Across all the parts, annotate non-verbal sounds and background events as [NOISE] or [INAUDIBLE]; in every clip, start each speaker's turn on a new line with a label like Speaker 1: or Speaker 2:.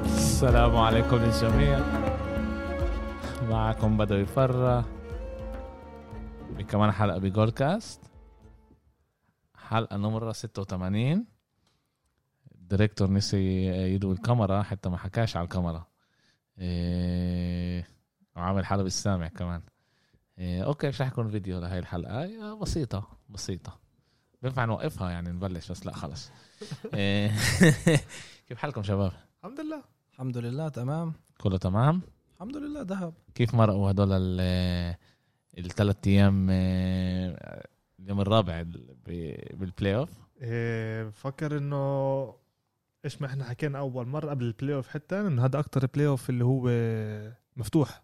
Speaker 1: السلام عليكم للجميع معكم بدو يفرح بكمان حلقة بجول كاست حلقة نمرة 86 الديريكتور نسي يدوي الكاميرا حتى ما حكاش على الكاميرا إيه وعامل حاله بالسامع كمان إيه اوكي مش رح يكون فيديو لهي الحلقة إيه، بسيطة بسيطة بينفع نوقفها يعني نبلش بس لا خلص إيه [LAUGHS] كيف حالكم شباب؟
Speaker 2: الحمد لله الحمد لله تمام
Speaker 1: كله تمام؟
Speaker 2: الحمد لله ذهب
Speaker 1: كيف مرقوا هدول ال- الثلاث ايام آه، اليوم الرابع ال- ب- بالبلاي اوف
Speaker 3: إيه، بفكر انه ايش ما احنا حكينا اول مره قبل البلاي اوف حتى انه هذا اكتر بلاي اوف اللي هو مفتوح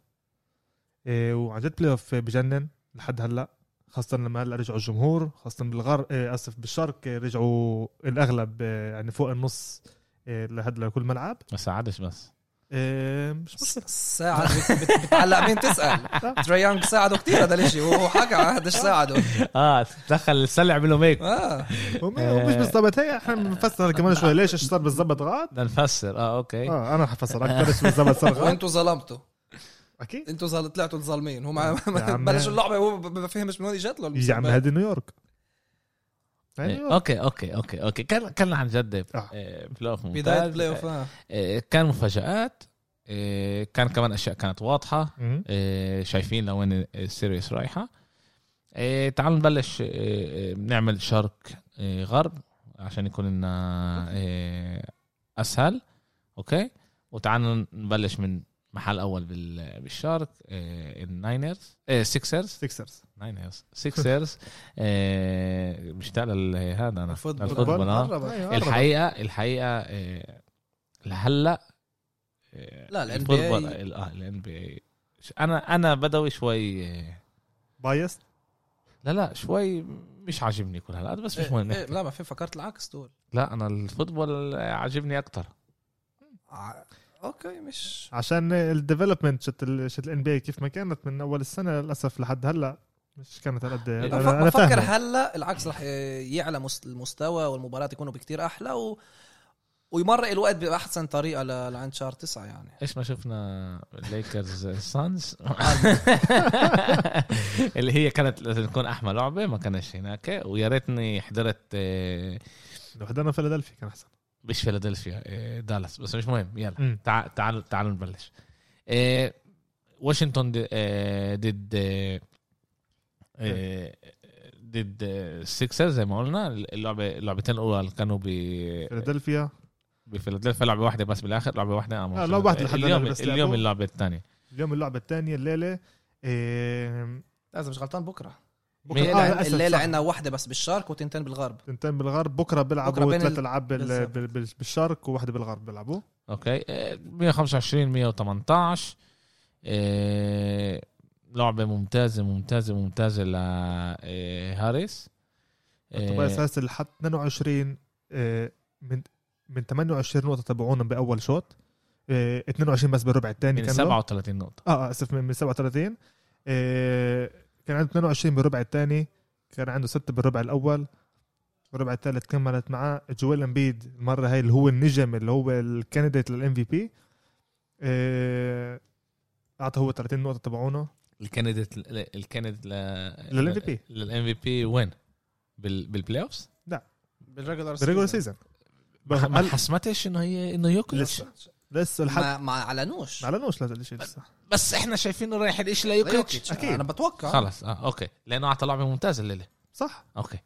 Speaker 3: إيه، وعن جد بلاي اوف بجنن لحد هلا خاصة لما هلا رجعوا الجمهور خاصة بالغرب إيه، اسف بالشرق إيه، رجعوا الاغلب إيه، يعني فوق النص إيه، لهاد لكل ملعب
Speaker 1: ما ساعدش بس
Speaker 3: إيه، مش مشكلة
Speaker 2: الساعة
Speaker 4: هلا مين تسال تريانج ساعده كثير هذا الشيء وهو حكى عن هذا الشيء ساعده
Speaker 1: اه دخل السلع عمله ميك
Speaker 4: اه
Speaker 3: هو مش بالضبط هي احنا بنفسر كمان شوي ليش ايش صار بالضبط غاد
Speaker 1: بدنا نفسر اه اوكي
Speaker 3: اه انا حفسر اكثر ايش بالضبط صار غاد
Speaker 4: [LAUGHS] وانتوا ظلمتوا
Speaker 3: اكيد
Speaker 4: انتوا زل... طلعتوا ظالمين هو ما
Speaker 3: يا عم.
Speaker 4: بلش اللعبه هو ب- ما فهمش من وين اجت له
Speaker 3: يا عم
Speaker 4: المسابقة.
Speaker 3: هذه نيويورك هاي
Speaker 1: إيه،
Speaker 3: نيويورك.
Speaker 1: اوكي اوكي اوكي اوكي كان كان عن جد
Speaker 3: يعني آه.
Speaker 1: آه، بلاي اوف ممتاز.
Speaker 4: بدايه بلاي اوف آه.
Speaker 1: آه، كان مفاجات آه، كان كمان اشياء كانت واضحه
Speaker 4: أه.
Speaker 3: مم.
Speaker 1: آه، شايفين لوين السيريس رايحه آه، تعالوا نبلش آه، آه، نعمل شرق آه، غرب عشان يكون لنا آه، اسهل اوكي وتعالوا نبلش من محل اول بال- بالشرق آه، الناينرز آه، سيكسرز
Speaker 3: سيكسرز
Speaker 1: ناينرز سيكسرز آه، مشتاق لهذا انا
Speaker 4: الفوتبول.
Speaker 1: الفوتبول آه.
Speaker 3: أيوة،
Speaker 1: الحقيقه الحقيقه آه، لهلا آه،
Speaker 4: لا، ال NBA
Speaker 1: الفوتبول- ال- اه الان بي اي انا انا بدوي شوي آه،
Speaker 3: بايست
Speaker 1: لا لا شوي مش عاجبني كل هالقد بس مش
Speaker 4: إيه،
Speaker 1: مهم
Speaker 4: إيه،
Speaker 1: نحكي.
Speaker 4: لا ما في فكرت العكس دول
Speaker 1: لا انا الفوتبول آه، عاجبني اكثر
Speaker 4: آه، اوكي مش
Speaker 3: عشان الديفلوبمنت شت ال شت الان بي كيف ما كانت من اول السنه للاسف لحد هلا مش كانت على قد
Speaker 1: إيه.
Speaker 3: انا انا
Speaker 4: بفكر
Speaker 3: فاهم
Speaker 4: هلا العكس رح يعلى مست- المستوى والمباريات يكونوا بكتير احلى و... ويمرق الوقت باحسن طريقه ل- لعند شهر تسعة يعني
Speaker 1: ايش ما شفنا ليكرز سانز
Speaker 4: [LAUGHS]
Speaker 1: اللي هي كانت لازم تكون احمى لعبه ما كانش هناك ويا ريتني حضرت آه،
Speaker 3: لو حضرنا فيلادلفيا كان احسن
Speaker 1: مش فيلادلفيا آه، دالاس بس مش مهم يلا
Speaker 3: مم.
Speaker 1: تع- تعالوا تعالوا نبلش إيه، واشنطن د- آه، ضد آه، آه، ضد السكسر زي ما قلنا اللعبه اللعبتين الاولى اللي كانوا ب-
Speaker 3: فيلادلفيا
Speaker 1: بفيلادلفيا لعبه واحده بس بالاخر لعبه واحده آه،
Speaker 3: آه، لعبة واحدة لحد
Speaker 1: اليوم
Speaker 3: هلا بس
Speaker 1: اليوم
Speaker 3: لعبوا.
Speaker 1: اللعبه الثانيه
Speaker 3: اليوم اللعبه الثانيه الليله إيه،
Speaker 4: لازم مش غلطان بكره
Speaker 3: بكره
Speaker 1: مين-
Speaker 4: الليله,
Speaker 3: آه،
Speaker 4: عن...
Speaker 3: للأسف
Speaker 4: الليلة
Speaker 3: صح.
Speaker 4: عندنا واحده بس بالشرق وتنتين بالغرب
Speaker 3: تنتين بالغرب بكره
Speaker 4: بكرة
Speaker 3: بيلعبوا
Speaker 4: بين
Speaker 3: ثلاث
Speaker 4: ال-
Speaker 3: العاب بال-
Speaker 4: بالظبط.
Speaker 3: بال- بال- بالشرق وواحده بالغرب بيلعبوا
Speaker 1: اوكي إيه، 125 118 إيه، لعبه ممتازه ممتازه ممتازه آه، لهاريس آه،
Speaker 3: توبايس هاسل لحد 22 آه، من من 28 نقطه تبعونا باول شوط آه، 22 بس بالربع الثاني
Speaker 1: من
Speaker 3: كان له.
Speaker 1: 37 نقطه
Speaker 3: اه آه، اسف من من 37 آه كان عنده 22 بالربع الثاني كان عنده 6 بالربع الاول الربع الثالث كملت معاه جويل امبيد المره هاي اللي هو النجم اللي هو الكانديديت للام في بي اعطى هو 30 نقطه تبعونه
Speaker 1: الكانديديت الكانديديت
Speaker 3: لل MVP.
Speaker 1: للام في بي وين؟ بال بالبلاي اوفز؟
Speaker 4: بالريجولار
Speaker 3: بالريجولار سيزون
Speaker 1: ما حسمتش انه هي انه يوكيتش
Speaker 3: لسه لسه لحد
Speaker 4: ما, ما اعلنوش
Speaker 3: ما اعلنوش لهذا الشيء لسه
Speaker 1: بس احنا شايفينه رايح الإيش ليوكيتش
Speaker 4: يوكيتش
Speaker 3: أكيد.
Speaker 4: انا بتوقع
Speaker 1: خلص اه اوكي لانه اعطى لعبه ممتازه الليله
Speaker 3: صح
Speaker 1: اوكي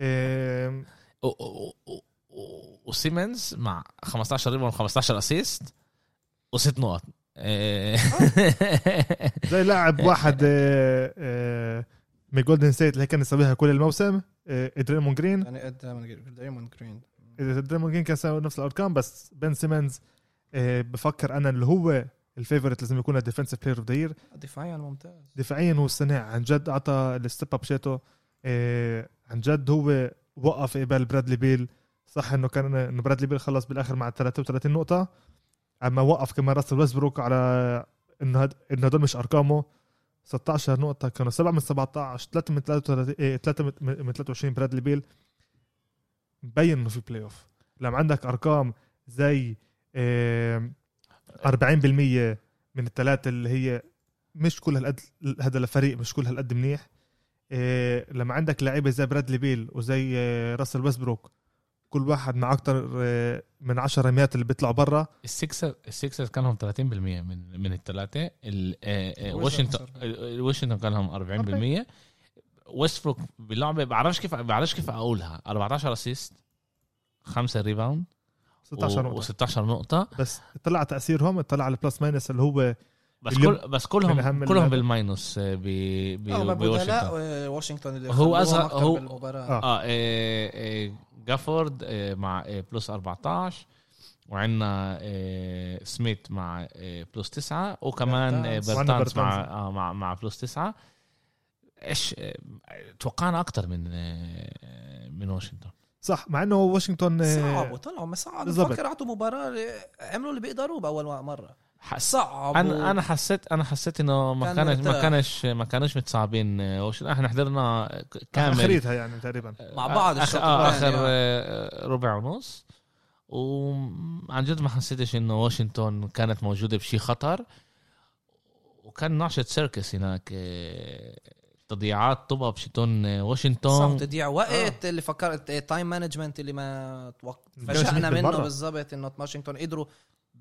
Speaker 3: آه
Speaker 1: و- و- و- و- وسيمنز مع 15 ريبون 15 اسيست وست نقط إيه. آه. [LAUGHS]
Speaker 3: زي لاعب واحد آه آه من جولدن ستيت اللي كان يسويها كل الموسم آه دريمون جرين
Speaker 4: يعني قد دايموند جرين
Speaker 3: اذا دريموند جرين كان سوى نفس الارقام بس بن سيمنز آه، بفكر انا اللي هو الفيفورت لازم يكون الديفنسيف بلاير اوف ذا يير
Speaker 4: دفاعيا ممتاز
Speaker 3: دفاعيا هو السنه عن جد اعطى الستيب اب شيتو آه، عن جد هو وقف قبال برادلي بيل صح انه كان انه برادلي بيل خلص بالاخر مع 33 نقطه اما وقف كمان راسل ويسبروك على انه هاد انه هدول مش ارقامه 16 نقطة كانوا 7 من 17 3 من 33 3 من 23 برادلي بيل مبين انه في بلاي اوف لما عندك ارقام زي آه، 40% من الثلاثه اللي هي مش كل هالقد هذا الفريق مش كل هالقد منيح آه، لما عندك لعيبه زي برادلي بيل وزي آه، راسل ويسبروك كل واحد مع اكثر من 10 ميات اللي بيطلعوا برا
Speaker 1: السكسر السكسر كان لهم 30% من من الثلاثه ال- آه، آه،
Speaker 2: واشنطن.
Speaker 1: واشنطن ال- واشنطن كان لهم 40% ويستبروك باللعبه بعرفش كيف بعرفش كيف اقولها 14 اسيست 5 ريباوند
Speaker 3: 16 نقطه
Speaker 1: و16 نقطه
Speaker 3: بس طلع تاثيرهم طلع البلس ماينس اللي هو
Speaker 1: بس
Speaker 3: اليوم
Speaker 1: كل بس
Speaker 3: من أهم
Speaker 1: كلهم كلهم
Speaker 3: اللعبة.
Speaker 1: بالماينوس آه، ب ب-
Speaker 4: رغم بدلاء
Speaker 1: بواشنطن
Speaker 4: آه، واشنطن اللي
Speaker 1: هو
Speaker 4: خلوهم
Speaker 1: أصغر-
Speaker 4: أكتر
Speaker 1: هو-
Speaker 4: بالمباراه
Speaker 3: آه.
Speaker 1: اه آه، آه، جافورد آه، مع آه، بلس 14 وعندنا آه، سميث مع آه، بلس 9 وكمان آه،
Speaker 4: برتانس.
Speaker 3: وعندنا
Speaker 1: برتانس مع
Speaker 3: برتانس.
Speaker 1: آه، مع مع بلس 9 ايش آه، توقعنا اكتر من آه، من واشنطن
Speaker 3: صح مع انه واشنطن آه،
Speaker 4: صعبوا طلعوا ما صعبوا
Speaker 3: بالظبط.
Speaker 4: بفكر اعطوا مباراه عملوا اللي بيقدروا باول مره
Speaker 1: حس-
Speaker 4: صعبوا
Speaker 1: انا انا حسيت انا حسيت انه ما
Speaker 4: كان
Speaker 1: كانش ما
Speaker 4: مرتاح.
Speaker 1: كانش ما كانوش متصعبين آه، واشنطن احنا حضرنا ك- كامل
Speaker 3: اخريتها يعني تقريبا
Speaker 4: مع بعض
Speaker 1: اخر
Speaker 4: الشوط
Speaker 1: آه
Speaker 4: الثاني،
Speaker 1: اخر
Speaker 4: آه.
Speaker 1: آه، ربع ونص وعن جد ما حسيتش انه واشنطن كانت موجوده بشي خطر وكان نعشة سيركس هناك آه، تضييعات طوبة بشيطون آه،
Speaker 4: صح
Speaker 1: واشنطن
Speaker 4: تضييع وقت اللي فكرت تايم مانجمنت اللي ما توق-
Speaker 3: ما كانش
Speaker 4: فشأنا
Speaker 3: هيك
Speaker 4: منه
Speaker 3: بالمرة.
Speaker 4: بالظبط انه واشنطن قدروا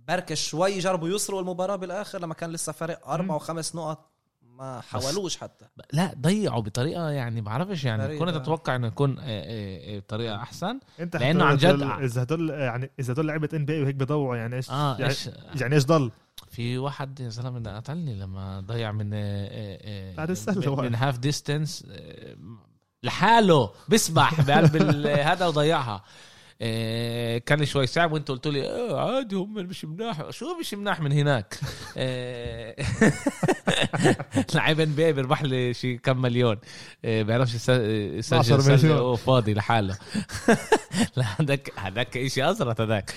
Speaker 4: بركة شوي جربوا يسروا المباراة بالاخر لما كان لسه فارق اربع
Speaker 3: مم.
Speaker 4: وخمس نقط ما حاولوش حتى
Speaker 1: لا ضيعوا بطريقة يعني بعرفش يعني
Speaker 4: غريبة.
Speaker 1: كنت اتوقع انه يكون آه، آه، آه، بطريقة احسن
Speaker 3: انت
Speaker 1: لأنه
Speaker 3: حتى
Speaker 1: عن جد-
Speaker 3: هدول- اذا هدول يعني اذا هدول لعيبه ان بي اي وهيك بيضوعوا يعني ايش
Speaker 1: اه
Speaker 3: يعني,
Speaker 1: ايش
Speaker 3: يعني ايش ضل
Speaker 1: في واحد يا زلمه قتلني لما ضيع من آه، آه،
Speaker 3: بعد السلة
Speaker 1: من-
Speaker 3: واقف.
Speaker 1: من هاف ديستنس لحاله بيسبح بقلب ال- هذا وضيعها آه، كان شوي صعب وانتوا قلتوا لي آه، عادي هم مش مناح شو مش مناح من هناك آه، [LAUGHS] لعيب ان بي بيربح لي شي كم مليون آه، بيعرفش يس- يسجل
Speaker 3: 12
Speaker 1: سله
Speaker 3: مليون.
Speaker 1: وهو فاضي لحاله [LAUGHS] لا هذاك هذاك شيء ازرط هذاك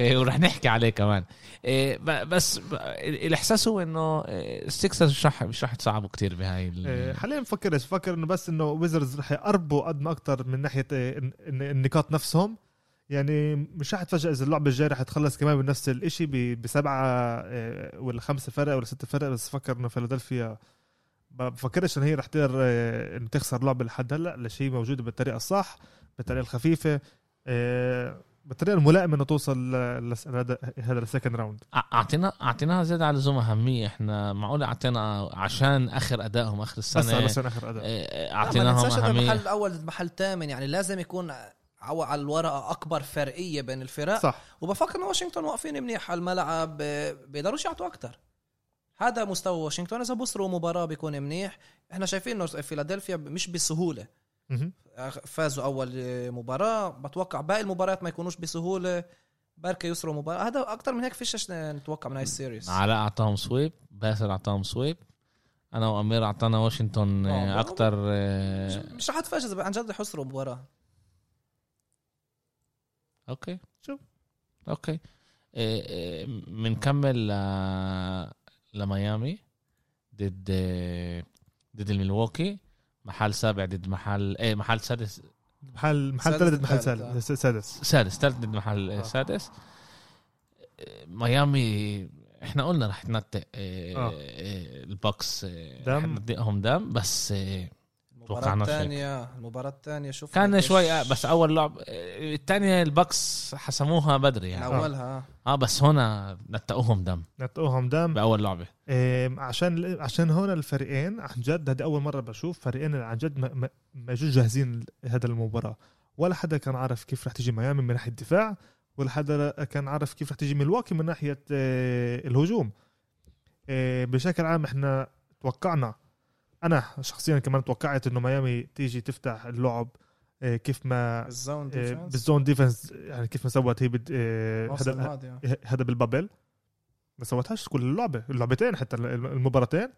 Speaker 1: إيه، ورح نحكي عليه كمان إيه، ب- بس ب- الاحساس هو انه السكسرز مش رح مش رح تصعبوا كثير بهاي ال-
Speaker 3: آه،
Speaker 4: إيه.
Speaker 3: حاليا بفكرش بفكر انه بس انه ويزرز رح يقربوا قد ما اكثر من ناحيه آه، الن- الن- النقاط نفسهم يعني مش رح تفاجئ اذا اللعبه الجايه رح تخلص كمان بنفس الشيء بسبعه آه، ولا خمسه فرق ولا سته فرق بس بفكر انه فيلادلفيا ما بفكرش ان هي رح تقدر آه، انه تخسر لعبه لحد هلا لشيء موجوده بالطريقه الصح بالطريقه الخفيفه آه، بالطريقه الملائمه انه توصل ل- لس- لهذا هذا السكند راوند
Speaker 1: أع- اعطينا اعطيناها زيادة على اللزوم اهميه احنا معقول اعطينا عشان اخر ادائهم اخر
Speaker 3: بس على
Speaker 1: السنه
Speaker 3: سنة اخر اداء
Speaker 1: إيه،
Speaker 4: لا، ما
Speaker 1: اعطيناهم
Speaker 4: ننساش إنه المحل
Speaker 1: اهميه
Speaker 4: الاول المحل الثامن يعني لازم يكون عو- على الورقة اكبر فرقية بين الفرق
Speaker 3: صح
Speaker 4: وبفكر انه واشنطن واقفين منيح على الملعب آه، بيقدروش يعطوا اكثر هذا مستوى واشنطن اذا بصروا مباراة بيكون منيح احنا شايفين انه فيلادلفيا مش بسهولة
Speaker 3: مهم.
Speaker 4: فازوا اول مباراه بتوقع باقي المباريات ما يكونوش بسهوله بركة يسروا مباراة هذا اكثر من هيك فيش نتوقع من هاي السيريز
Speaker 1: علاء اعطاهم سويب باسل اعطاهم سويب انا وامير اعطانا واشنطن
Speaker 4: آه،
Speaker 1: اكثر إيه،
Speaker 4: مش- مش رح اتفاجئ اذا عن جد رح يسروا مباراة
Speaker 1: اوكي
Speaker 3: شوف.
Speaker 1: اوكي آه، بنكمل ل... آه، لميامي ضد آه، ضد الملواكي محل سابع ضد محل ايه محل سادس
Speaker 3: محل محل ثالث
Speaker 4: سادس
Speaker 3: محل
Speaker 4: الثالث، آه.
Speaker 3: سادس سادس
Speaker 1: سادس ثالث ضد محل آه.
Speaker 3: آه.
Speaker 1: سادس آه، ميامي احنا قلنا رح تنتق آه،
Speaker 3: آه.
Speaker 1: آه، البوكس آه،
Speaker 3: دم.
Speaker 1: رح نطلقهم دم بس آه،
Speaker 4: المباراة
Speaker 1: توقعناش هيك.
Speaker 4: الثانية المباراة الثانية شوف
Speaker 1: كان شوي آه، بس اول لعب الثانيه البوكس حسموها بدري
Speaker 4: من
Speaker 1: يعني اه,
Speaker 4: اولها
Speaker 1: آه بس هنا نتقوهم دم
Speaker 3: نطقوهم دم
Speaker 1: باول لعبه
Speaker 3: إيه، عشان عشان هون الفريقين عن جد هذه اول مره بشوف فريقين عن جد ما- ما- ما يجوش جاهزين لهذا المباراه ولا حدا كان عارف كيف رح تيجي ميامي من ناحيه الدفاع ولا حدا كان عارف كيف رح تيجي ميلواكي من ناحيه إيه، الهجوم إيه، بشكل عام احنا توقعنا انا شخصيا كمان توقعت انه ميامي تيجي تفتح اللعب إيه، كيف ما
Speaker 4: الزون
Speaker 3: إيه،
Speaker 4: ديفنس
Speaker 3: بالزون ديفنس يعني كيف ما سوت هي بد- إيه،
Speaker 4: الموسم
Speaker 3: هذا
Speaker 4: الماضي آه.
Speaker 3: هذا بالبابل ما سوتهاش كل اللعبه اللعبتين حتى المباراتين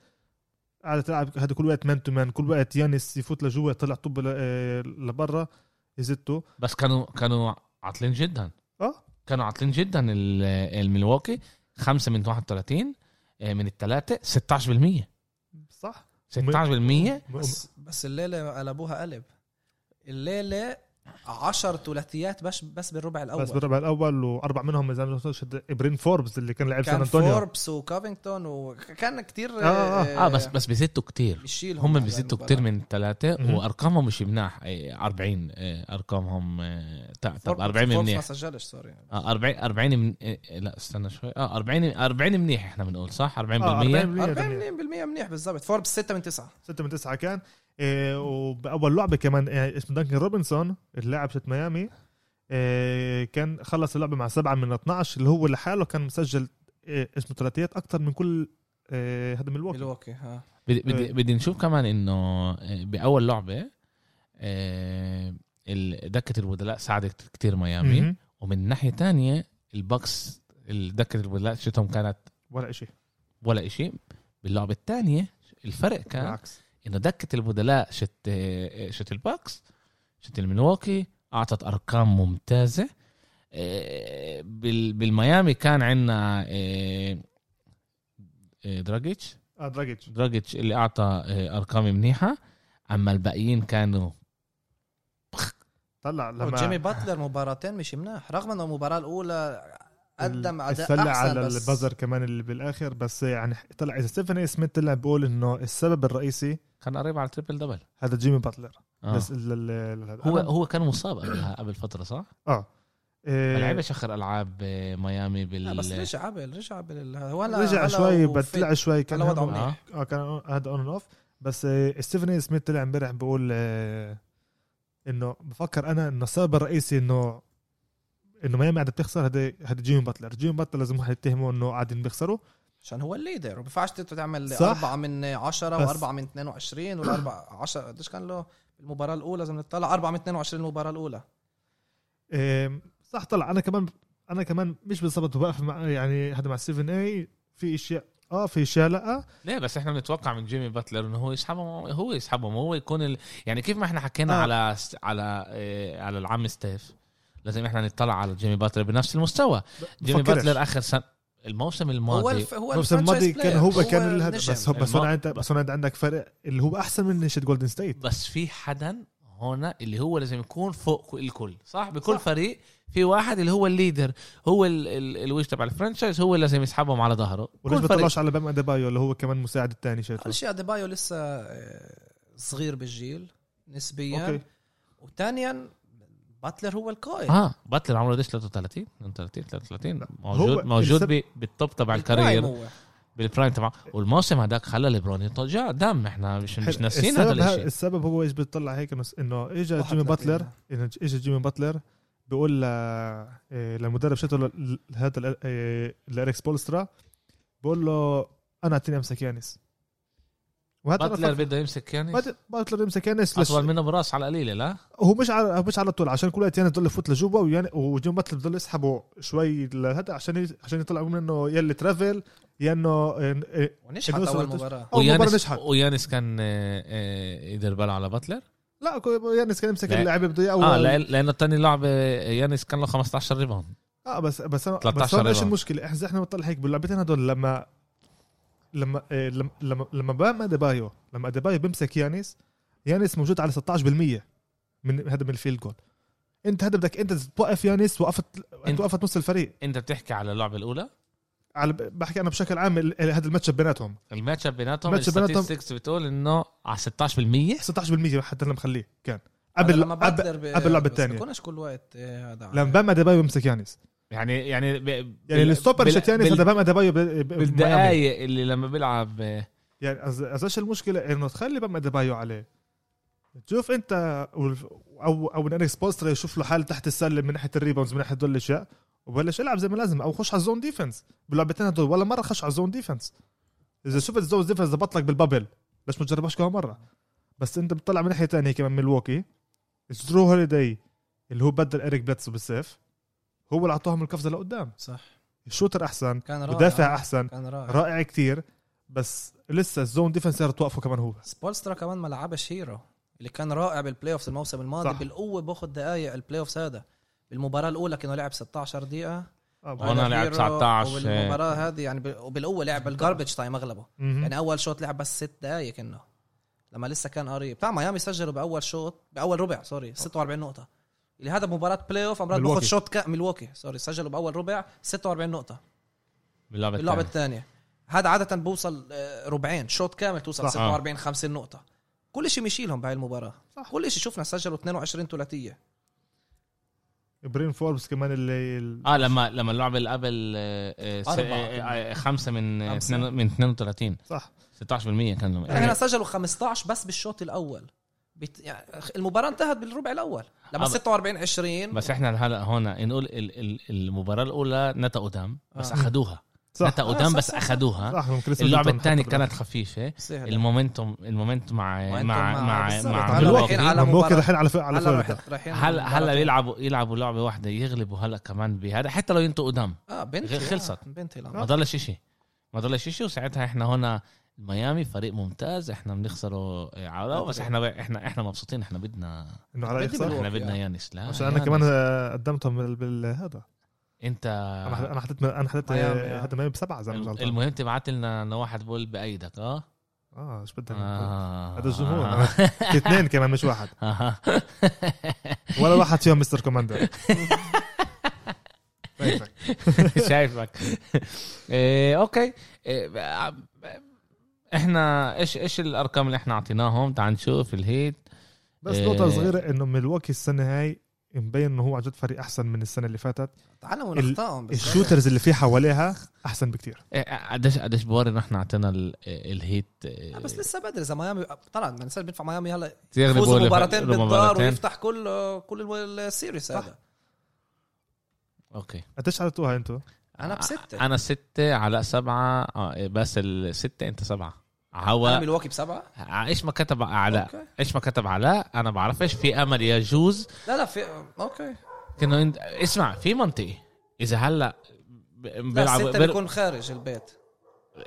Speaker 3: قعدت تلعب هذا كل وقت مان تو مان كل وقت يانس يفوت لجوا طلع طب ل- آه، لبرا يزته
Speaker 1: بس كانوا كانوا عاطلين جدا
Speaker 3: اه
Speaker 1: كانوا عاطلين جدا ال- الملواكي خمسة من 31 آه، من الثلاثة 16%
Speaker 3: صح
Speaker 1: 16%
Speaker 3: م-
Speaker 4: بس بس الليلة قلبوها قلب الليلة 10 ثلاثيات بس بس بالربع الاول
Speaker 3: بس بالربع الاول واربع منهم اذا ما بنساش ابرين فوربس اللي كان لعب سان
Speaker 4: كان
Speaker 3: انطونيو
Speaker 4: فوربس وكافينغتون وكان كتير
Speaker 3: آه، آه.
Speaker 1: اه بس بس بيزتوا كتير
Speaker 4: بيشيلهم
Speaker 1: هم
Speaker 4: على
Speaker 1: بيزتوا
Speaker 4: المباراة.
Speaker 1: كتير من الثلاثة
Speaker 3: مهم.
Speaker 1: وارقامهم مش مناح إيه، 40 إيه، ارقامهم إيه، تع- طب
Speaker 4: فوربس-
Speaker 1: 40
Speaker 4: فوربس
Speaker 1: منيح
Speaker 4: ما سجلش سوري
Speaker 1: اه 40 40 من إيه، إيه، لا استنى شوي اه 40 40 منيح احنا بنقول صح 40%
Speaker 3: آه، 40%
Speaker 1: 40
Speaker 3: تمانية.
Speaker 4: 40% منيح بالضبط فوربس 6 من 9
Speaker 3: 6 من 9 كان إيه وباول لعبه كمان إيه اسمه دانكن روبنسون اللاعب شت ميامي إيه كان خلص اللعبه مع 7 من 12 اللي هو لحاله كان مسجل إيه اسمه ثلاثيات اكثر من كل إيه هذا ملواكي
Speaker 4: ملواكي ها
Speaker 1: بدي بدي
Speaker 3: إيه.
Speaker 1: بدي نشوف كمان انه آه، باول لعبة آه، ال- دكة البدلاء ساعدت كتير ميامي
Speaker 3: مهم.
Speaker 1: ومن ناحيه تانية البكس دكة البدلاء شتهم كانت
Speaker 3: ولا شيء
Speaker 1: ولا إشي باللعبه الثانيه الفرق كان
Speaker 3: بالعكس
Speaker 1: انه دكه البدلاء شت إيه، شت الباكس شت الملواكي اعطت ارقام ممتازه إيه، بال- بالميامي كان عندنا إيه، دراجيتش
Speaker 3: اه دراجيتش
Speaker 1: دراجيتش اللي اعطى إيه، ارقام منيحه اما الباقيين كانوا
Speaker 3: طلع لما
Speaker 4: وجيمي باتلر مباراتين مش مناح رغم انه المباراه الاولى قدم اداء
Speaker 3: السلة
Speaker 4: احسن
Speaker 3: على
Speaker 4: بس
Speaker 3: البازر كمان اللي بالاخر بس يعني طلع اذا ستيفن سميث طلع بقول انه السبب الرئيسي
Speaker 1: كان قريب على تريبل دبل
Speaker 3: هذا جيمي باتلر
Speaker 1: آه.
Speaker 3: بس ال- ال- ال-
Speaker 1: هو
Speaker 3: أنا-
Speaker 1: هو كان مصاب قبلها قبل فتره
Speaker 4: آه.
Speaker 1: صح؟
Speaker 3: اه
Speaker 1: ما
Speaker 3: إيه،
Speaker 1: لعبش اخر العاب آه، ميامي
Speaker 4: لا
Speaker 1: بال
Speaker 4: بس رجع عبل رجع عبل ولا
Speaker 3: رجع
Speaker 4: ولا
Speaker 3: شوي
Speaker 4: وفت.
Speaker 3: بطلع شوي كان
Speaker 4: على وضعه
Speaker 3: هم-
Speaker 1: آه.
Speaker 4: منيح
Speaker 3: اه كان هذا اون اوف بس آه، ستيفن سميث طلع امبارح بقول آه، انه بفكر انا انه السبب الرئيسي انه انه ميامي قاعده بتخسر هذا هذا جيمي باتلر جيمي باتلر لازم واحد يتهمه انه قاعدين بيخسروا
Speaker 4: عشان هو الليدر ما بينفعش تعمل
Speaker 3: صح.
Speaker 4: أربعة من عشرة
Speaker 3: بس-
Speaker 4: وأربعة من 22
Speaker 3: [CLEARS THROAT]
Speaker 4: ولا أربعة عشرة قديش كان له المباراة الأولى لازم نطلع أربعة من 22 المباراة الأولى
Speaker 3: آم، صح طلع انا كمان انا كمان مش بالضبط بوقف مع يعني هذا مع ستيفن اي في اشياء اه في اشياء لا
Speaker 1: ليه بس احنا بنتوقع من جيمي باتلر انه هو يسحبهم هو يسحبهم هو يكون ال... يعني كيف ما احنا حكينا
Speaker 3: آه.
Speaker 1: على س- على آه، على العم ستيف لازم احنا نطلع على جيمي باتلر بنفس المستوى جيمي
Speaker 3: بفكرش.
Speaker 1: باتلر اخر سنه الموسم الماضي
Speaker 4: هو الف... هو
Speaker 3: الموسم الماضي
Speaker 4: الfranchise
Speaker 3: كان
Speaker 4: player.
Speaker 3: هو كان الهدف
Speaker 4: النجم.
Speaker 3: بس هو بس هون
Speaker 1: الم-
Speaker 3: عندك بس هون عندك فرق اللي هو احسن من نشيد جولدن ستيت
Speaker 1: بس في حدا هنا اللي هو لازم يكون فوق الكل صح بكل
Speaker 4: صح.
Speaker 1: صح. فريق في واحد اللي هو الليدر هو ال... ال... الوجه تبع الفرنشايز هو اللي لازم يسحبهم على ظهره
Speaker 3: وليش ما
Speaker 1: كل فريق.
Speaker 3: طلعش على بام اديبايو اللي هو كمان مساعد الثاني شايفه
Speaker 4: أول شيء أديبايو لسه آه، صغير بالجيل نسبيا
Speaker 3: أوكي.
Speaker 4: وثانيا باتلر هو القائد
Speaker 1: اه باتلر عمره قديش 33 32 33
Speaker 3: لا. هو
Speaker 1: موجود موجود
Speaker 3: السب-
Speaker 1: ب... بالتوب تبع
Speaker 4: البرايم
Speaker 1: الكارير
Speaker 4: هو.
Speaker 1: بالبرايم تبعه والموسم هداك خلى ليبرون يتوجع دم احنا مش مش ناسيين هذا
Speaker 3: السبب ه-
Speaker 1: الشيء
Speaker 3: السبب هو ايش بيطلع هيك إنه- انه اجى
Speaker 4: واحد
Speaker 3: جيمي
Speaker 4: ثلاثين.
Speaker 3: باتلر انه اجى جيمي باتلر بيقول ل... إيه، للمدرب شتو ل- هذا ال- إيه، لاريكس بولسترا بقول له انا اعطيني امسك يانس وهذا أنا
Speaker 1: باتلر
Speaker 3: فكر-
Speaker 1: بده يمسك يعني
Speaker 3: بات- باتلر يمسك يانس لش...
Speaker 1: اطول منه براس على القليله لا
Speaker 3: هو مش على هو مش على طول عشان كل وقت يانس بضل يفوت لجوا ويان... وجيمي باتلر بضل يسحبه شوي لهذا عشان ي... عشان يطلعوا منه يا اللي ترافل يا انه إيه،
Speaker 4: ونجحت
Speaker 3: النصر
Speaker 4: أول
Speaker 3: والتس-
Speaker 4: مباراة
Speaker 3: أول مباراة
Speaker 1: ويانس
Speaker 3: نجحت.
Speaker 1: ويانس كان آه، آه، يدير باله على باتلر
Speaker 3: لا يانس كان يمسك
Speaker 1: لا.
Speaker 3: اللعيبه بده اياه
Speaker 1: اه
Speaker 3: أول-
Speaker 1: لأن- لانه الثاني لعبه يانس كان له 15 ريباوند
Speaker 3: اه بس بس انا
Speaker 1: 13
Speaker 3: بس هون ايش
Speaker 1: ريباوند.
Speaker 3: المشكله احنا احنا بنطلع هيك باللعبتين هدول لما لما إيه، لما لما لما بام اديبايو لما اديبايو بيمسك يانس يانس موجود على 16% من هذا من الفيلد جول انت هذا بدك انت توقف يانس وقفت انت
Speaker 1: أنت-
Speaker 3: وقفت نص الفريق
Speaker 1: انت بتحكي على اللعبه الاولى
Speaker 3: على بحكي انا بشكل عام ال- ال- هذا الماتش بيناتهم
Speaker 1: الماتش اب بيناتهم
Speaker 3: الماتش بيناتهم-
Speaker 1: الستاتستكس بتقول انه على 16%
Speaker 3: 16% حتى اللي مخليه كان
Speaker 4: هذا
Speaker 3: قبل
Speaker 4: لما
Speaker 3: قبل
Speaker 4: باتلر ب-
Speaker 3: قبل اللعبه
Speaker 4: بس
Speaker 3: الثانيه
Speaker 4: بكونش كل وقت آه، هذا
Speaker 3: لما بام اديبايو بيمسك يانس
Speaker 1: يعني يعني ب...
Speaker 3: يعني الستوبر شت يانس هذا بام اديبايو ب- ب- بميامي.
Speaker 1: بالدقائق اللي لما بيلعب آه،
Speaker 3: يعني أز- ازاش المشكله انه تخلي بام اديبايو عليه تشوف انت والف- او او انريكس بولسترا يشوف له حال تحت السله من ناحيه الريباوندز من ناحيه دول الاشياء وبلش العب زي ما لازم او خش على الزون ديفنس باللعبتين هدول ولا مره خش على الزون ديفنس اذا شفت الزون ديفنس ضبط لك بالبابل ليش ما تجربهاش كمان مره بس انت بتطلع من ناحيه تانية كمان ملواكي درو هوليداي اللي هو بدل اريك بلاتسو بالسيف هو اللي اعطاهم القفزه لقدام
Speaker 4: صح
Speaker 3: الشوتر احسن
Speaker 4: كان رائع
Speaker 3: بدافع احسن
Speaker 4: كان رائع
Speaker 3: رائع كتير بس لسه الزون ديفنس صارت توقفه كمان هو
Speaker 4: سبولسترا كمان ما لعبش هيرو اللي كان رائع بالبلاي اوفز الموسم الماضي
Speaker 3: صح.
Speaker 4: صح. بالقوه باخذ دقائق البلاي اوفز هذا بالمباراه الاولى كانه لعب 16 دقيقه
Speaker 3: آه،
Speaker 1: هون
Speaker 4: هذا
Speaker 1: لعب آه.
Speaker 4: هيرو،
Speaker 1: 19.
Speaker 4: وبالمباراه هذه يعني ب- وبالقوه لعب الجاربج تايم اغلبه
Speaker 3: مهم.
Speaker 4: يعني اول شوط لعب بس ست دقائق انه لما لسه كان قريب بتاع ميامي سجلوا باول شوط باول ربع سوري 46 نقطه اللي هذا مباراه بلاي اوف امرار باخذ
Speaker 3: ملواكي.
Speaker 4: شوت كا ملواكي سوري سجلوا باول ربع 46 نقطه
Speaker 1: باللعبه
Speaker 4: اللعبه
Speaker 1: الثانيه
Speaker 4: الثانيه هذا عاده بوصل آه، ربعين شوت كامل توصل
Speaker 3: صح.
Speaker 4: 46 50 نقطه كل شيء مشيلهم بهاي المباراه
Speaker 3: صح.
Speaker 4: كل شيء شفنا سجلوا 22 ثلاثيه
Speaker 1: يعني
Speaker 3: برين فوربس كمان اللي اللي-
Speaker 1: اه لما لما اللعبه اللي قبل آه، آه، س-
Speaker 4: أربعة.
Speaker 1: آه، آه، خمسه من آه،
Speaker 4: خمسة.
Speaker 1: اتنين- من 32
Speaker 3: صح
Speaker 1: 16% كان لهم.
Speaker 4: يعني احنا سجلوا 15 بس بالشوط الاول بت... يعني المباراه انتهت بالربع الاول لما
Speaker 1: آه، بس-
Speaker 4: 46 20
Speaker 1: بس احنا هلا هون نقول ال- ال- المباراة الأولى نتقوا دم بس
Speaker 4: آه.
Speaker 1: أخدوها
Speaker 3: صح
Speaker 1: نتقوا
Speaker 4: آه،
Speaker 1: دم
Speaker 4: صح،
Speaker 1: بس
Speaker 4: صح،
Speaker 1: أخدوها
Speaker 3: صح من كريس
Speaker 1: اللعبة
Speaker 3: ميدلتون
Speaker 1: الثانية
Speaker 3: حطوا بالأخر.
Speaker 1: كانت خفيفة
Speaker 4: سهل.
Speaker 1: المومنتوم المومنت مع
Speaker 4: مومنتوم
Speaker 1: مع
Speaker 4: مع-
Speaker 1: مع
Speaker 4: بالظبط.
Speaker 1: مع
Speaker 4: على
Speaker 1: ملواكي.
Speaker 4: رايحين على
Speaker 3: ملواكي
Speaker 4: مباراة.
Speaker 3: الحين على ف- على
Speaker 4: هلا
Speaker 3: فلوريدا
Speaker 4: رايح- رايحين
Speaker 1: هلا هلا
Speaker 4: المباراة.
Speaker 1: يلعبوا يلعبوا لعبة واحدة يغلبوا هلا كمان بهذا حتى لو ينتقوا دم
Speaker 4: اه بنتي
Speaker 1: غير خلصت.
Speaker 4: آه بنتي لا
Speaker 1: ما ضلش إشي ما ضلش إشي وساعتها احنا هنا ميامي فريق ممتاز احنا بنخسره على بس احنا احنا احنا مبسوطين احنا بدنا
Speaker 3: انه على
Speaker 4: بدي
Speaker 3: يخسر
Speaker 4: بلوك.
Speaker 1: احنا
Speaker 4: ملواكي،
Speaker 1: بدنا
Speaker 4: آه.
Speaker 1: يانس لا
Speaker 3: عشان انا
Speaker 1: يانس.
Speaker 3: كمان آه، قدمتهم بال- بالهذا
Speaker 1: انت
Speaker 3: انا حط- انا حطيت انا حطيت
Speaker 4: ميامي،
Speaker 3: آه،
Speaker 4: آه.
Speaker 3: هذا ميامي بسبعه اذا أنا مش غلطان
Speaker 1: المهم تبعت لنا نواحد بول بأيدك اه
Speaker 3: اه ايش بدك
Speaker 1: آه.
Speaker 3: هذا الجمهور
Speaker 1: [LAUGHS]
Speaker 3: في [LAUGHS] اثنين كمان مش واحد
Speaker 1: آه.
Speaker 3: ولا واحد فيهم مستر طيب. كوماندر كيفك؟
Speaker 4: [LAUGHS]
Speaker 1: شايفك إيه، اوكي إيه، احنا ايش ايش الارقام اللي احنا اعطيناهم تعال نشوف الهيت
Speaker 3: بس
Speaker 1: إيه.
Speaker 3: نقطة صغيرة انه ملواكي السنة هاي مبين انه هو عن جد فريق احسن من السنة اللي فاتت
Speaker 4: تعلموا
Speaker 3: ال-
Speaker 4: من اخطائهم بس.
Speaker 3: الشوترز اللي فيه حواليها احسن بكتير
Speaker 1: إيه، قديش قديش بوري إنه احنا اعطينا ال- الهيت إيه،
Speaker 4: آه، بس لسه بدري اذا ميامي طلع ما ننساش بيدفع ميامي هلا
Speaker 1: يغلبوا
Speaker 4: يفوزوا
Speaker 1: اللي
Speaker 4: مباراتين
Speaker 1: فاتوا
Speaker 4: بالدار
Speaker 1: مباراتين.
Speaker 4: ويفتح كل آه، كل ال- السيريس هذا
Speaker 1: اوكي
Speaker 3: قديش عدتوها انتوا؟
Speaker 4: انا بستة
Speaker 1: انا بستة علاء سبعة آه، إيه، بس الستة انت سبعة
Speaker 4: انا
Speaker 1: هو
Speaker 4: ملواكي بسبعة
Speaker 1: ايش ما كتب علاء
Speaker 4: أوكي.
Speaker 1: ايش ما كتب علاء انا بعرفش في امل يجوز
Speaker 4: لا لا في اوكي
Speaker 1: انه انت اسمع في منطقي اذا هلا ب-
Speaker 4: لا
Speaker 1: بيلعب
Speaker 4: الستة
Speaker 1: بيل-
Speaker 4: بيكون خارج البيت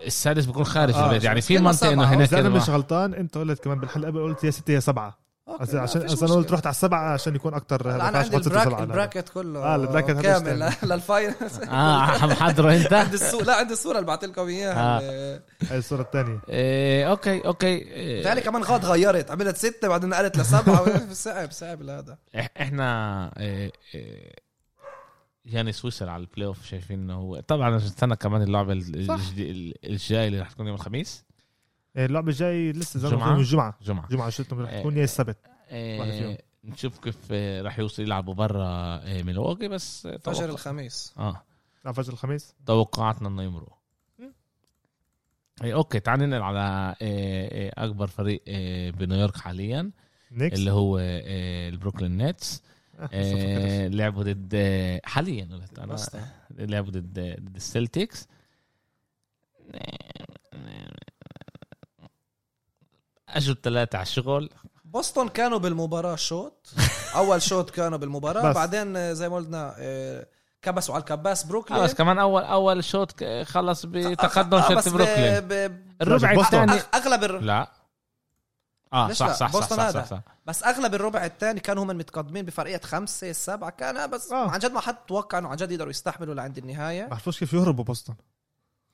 Speaker 1: السادس بيكون خارج
Speaker 3: آه،
Speaker 1: البيت يعني في
Speaker 4: كلمة
Speaker 1: منطقه انه
Speaker 4: سبعة.
Speaker 1: هناك
Speaker 3: اذا انا
Speaker 1: كده
Speaker 3: مش غلطان انت قلت كمان بالحلقة قبل قلت يا ستة يا سبعة
Speaker 4: أوكي،
Speaker 3: عشان
Speaker 4: لا،
Speaker 3: عشان
Speaker 4: فيش
Speaker 3: انا قلت
Speaker 4: مشكلة.
Speaker 3: رحت على السبعة عشان يكون اكتر
Speaker 4: لا، انا عندي البراك البراكت كله
Speaker 3: آه، البراكت هذا
Speaker 4: كامل
Speaker 3: اشتغل.
Speaker 4: [LAUGHS] للفاينل
Speaker 1: اه عم حضره انت
Speaker 4: عندي [LAUGHS] الصورة لا عندي الصورة اللي بعت لكم
Speaker 1: آه.
Speaker 4: اياها اللي-
Speaker 3: هاي الصورة الثانية
Speaker 1: إيه اوكي اوكي
Speaker 4: تعالي
Speaker 1: إيه
Speaker 4: كمان غاد غيرت عملت ستة بعدين
Speaker 3: [LAUGHS]
Speaker 4: نقلت لسبعة صعب صعب هذا
Speaker 1: إح- احنا إيه إيه يعني سويسرا على البلاي اوف شايفين انه هو طبعا نستنى كمان اللعبه ال-
Speaker 3: صح.
Speaker 1: الجدي- ال- الجاي اللي رح تكون يوم الخميس
Speaker 3: اللعبة إيه، الجاي لسه زي ما
Speaker 1: جمعة؟ إيه.
Speaker 3: قلت لكم الجمعة
Speaker 1: جمعه
Speaker 3: الجمعة شفتهم رح تكون يا السبت واحد فيهم.
Speaker 1: إيه نشوف كيف إيه، رح يوصل يلعبوا برا إيه ميلواكي بس إيه،
Speaker 4: فجر
Speaker 1: توقع-
Speaker 4: الخميس
Speaker 1: اه
Speaker 3: على فجر الخميس
Speaker 1: توقعاتنا انه يمرقوا إيه اوكي تعال ننقل على إيه إيه اكبر فريق إيه بنيويورك حاليا
Speaker 3: نيكس
Speaker 1: اللي هو إيه البروكلين نيتس
Speaker 4: آه،
Speaker 1: إيه لعبوا ضد إيه، حاليا قلت انا
Speaker 4: بس
Speaker 1: لعبوا ضد آه، ضد السلتكس اجوا الثلاثه على الشغل
Speaker 4: بوسطن كانوا بالمباراة شوط أول شوط كانوا بالمباراة
Speaker 3: بس.
Speaker 4: بعدين آه، زي ما قلنا آه، كبسوا على الكباس بروكلين
Speaker 1: خلص كمان اول اول شوط ك- خلص بتقدم
Speaker 4: آه، بس
Speaker 1: شوت
Speaker 4: ب-
Speaker 1: بروكلين يعني
Speaker 4: ب-
Speaker 1: الربع
Speaker 3: بوسطن.
Speaker 1: الثاني
Speaker 4: أغ- أغلب الر...
Speaker 1: لا اه
Speaker 4: ليش
Speaker 1: صح
Speaker 4: لا؟
Speaker 1: صح صح
Speaker 4: بوسطن
Speaker 1: صح,
Speaker 4: هذا.
Speaker 1: صح, صح.
Speaker 4: بس اغلب الربع الثاني كانوا هم متقدمين بفرقيه خمسه سبعه كان آه، بس
Speaker 3: آه.
Speaker 4: عن جد ما حد توقع انه عن جد يقدروا يستحملوا لعند النهايه
Speaker 3: بعرفوش كيف يهربوا بوسطن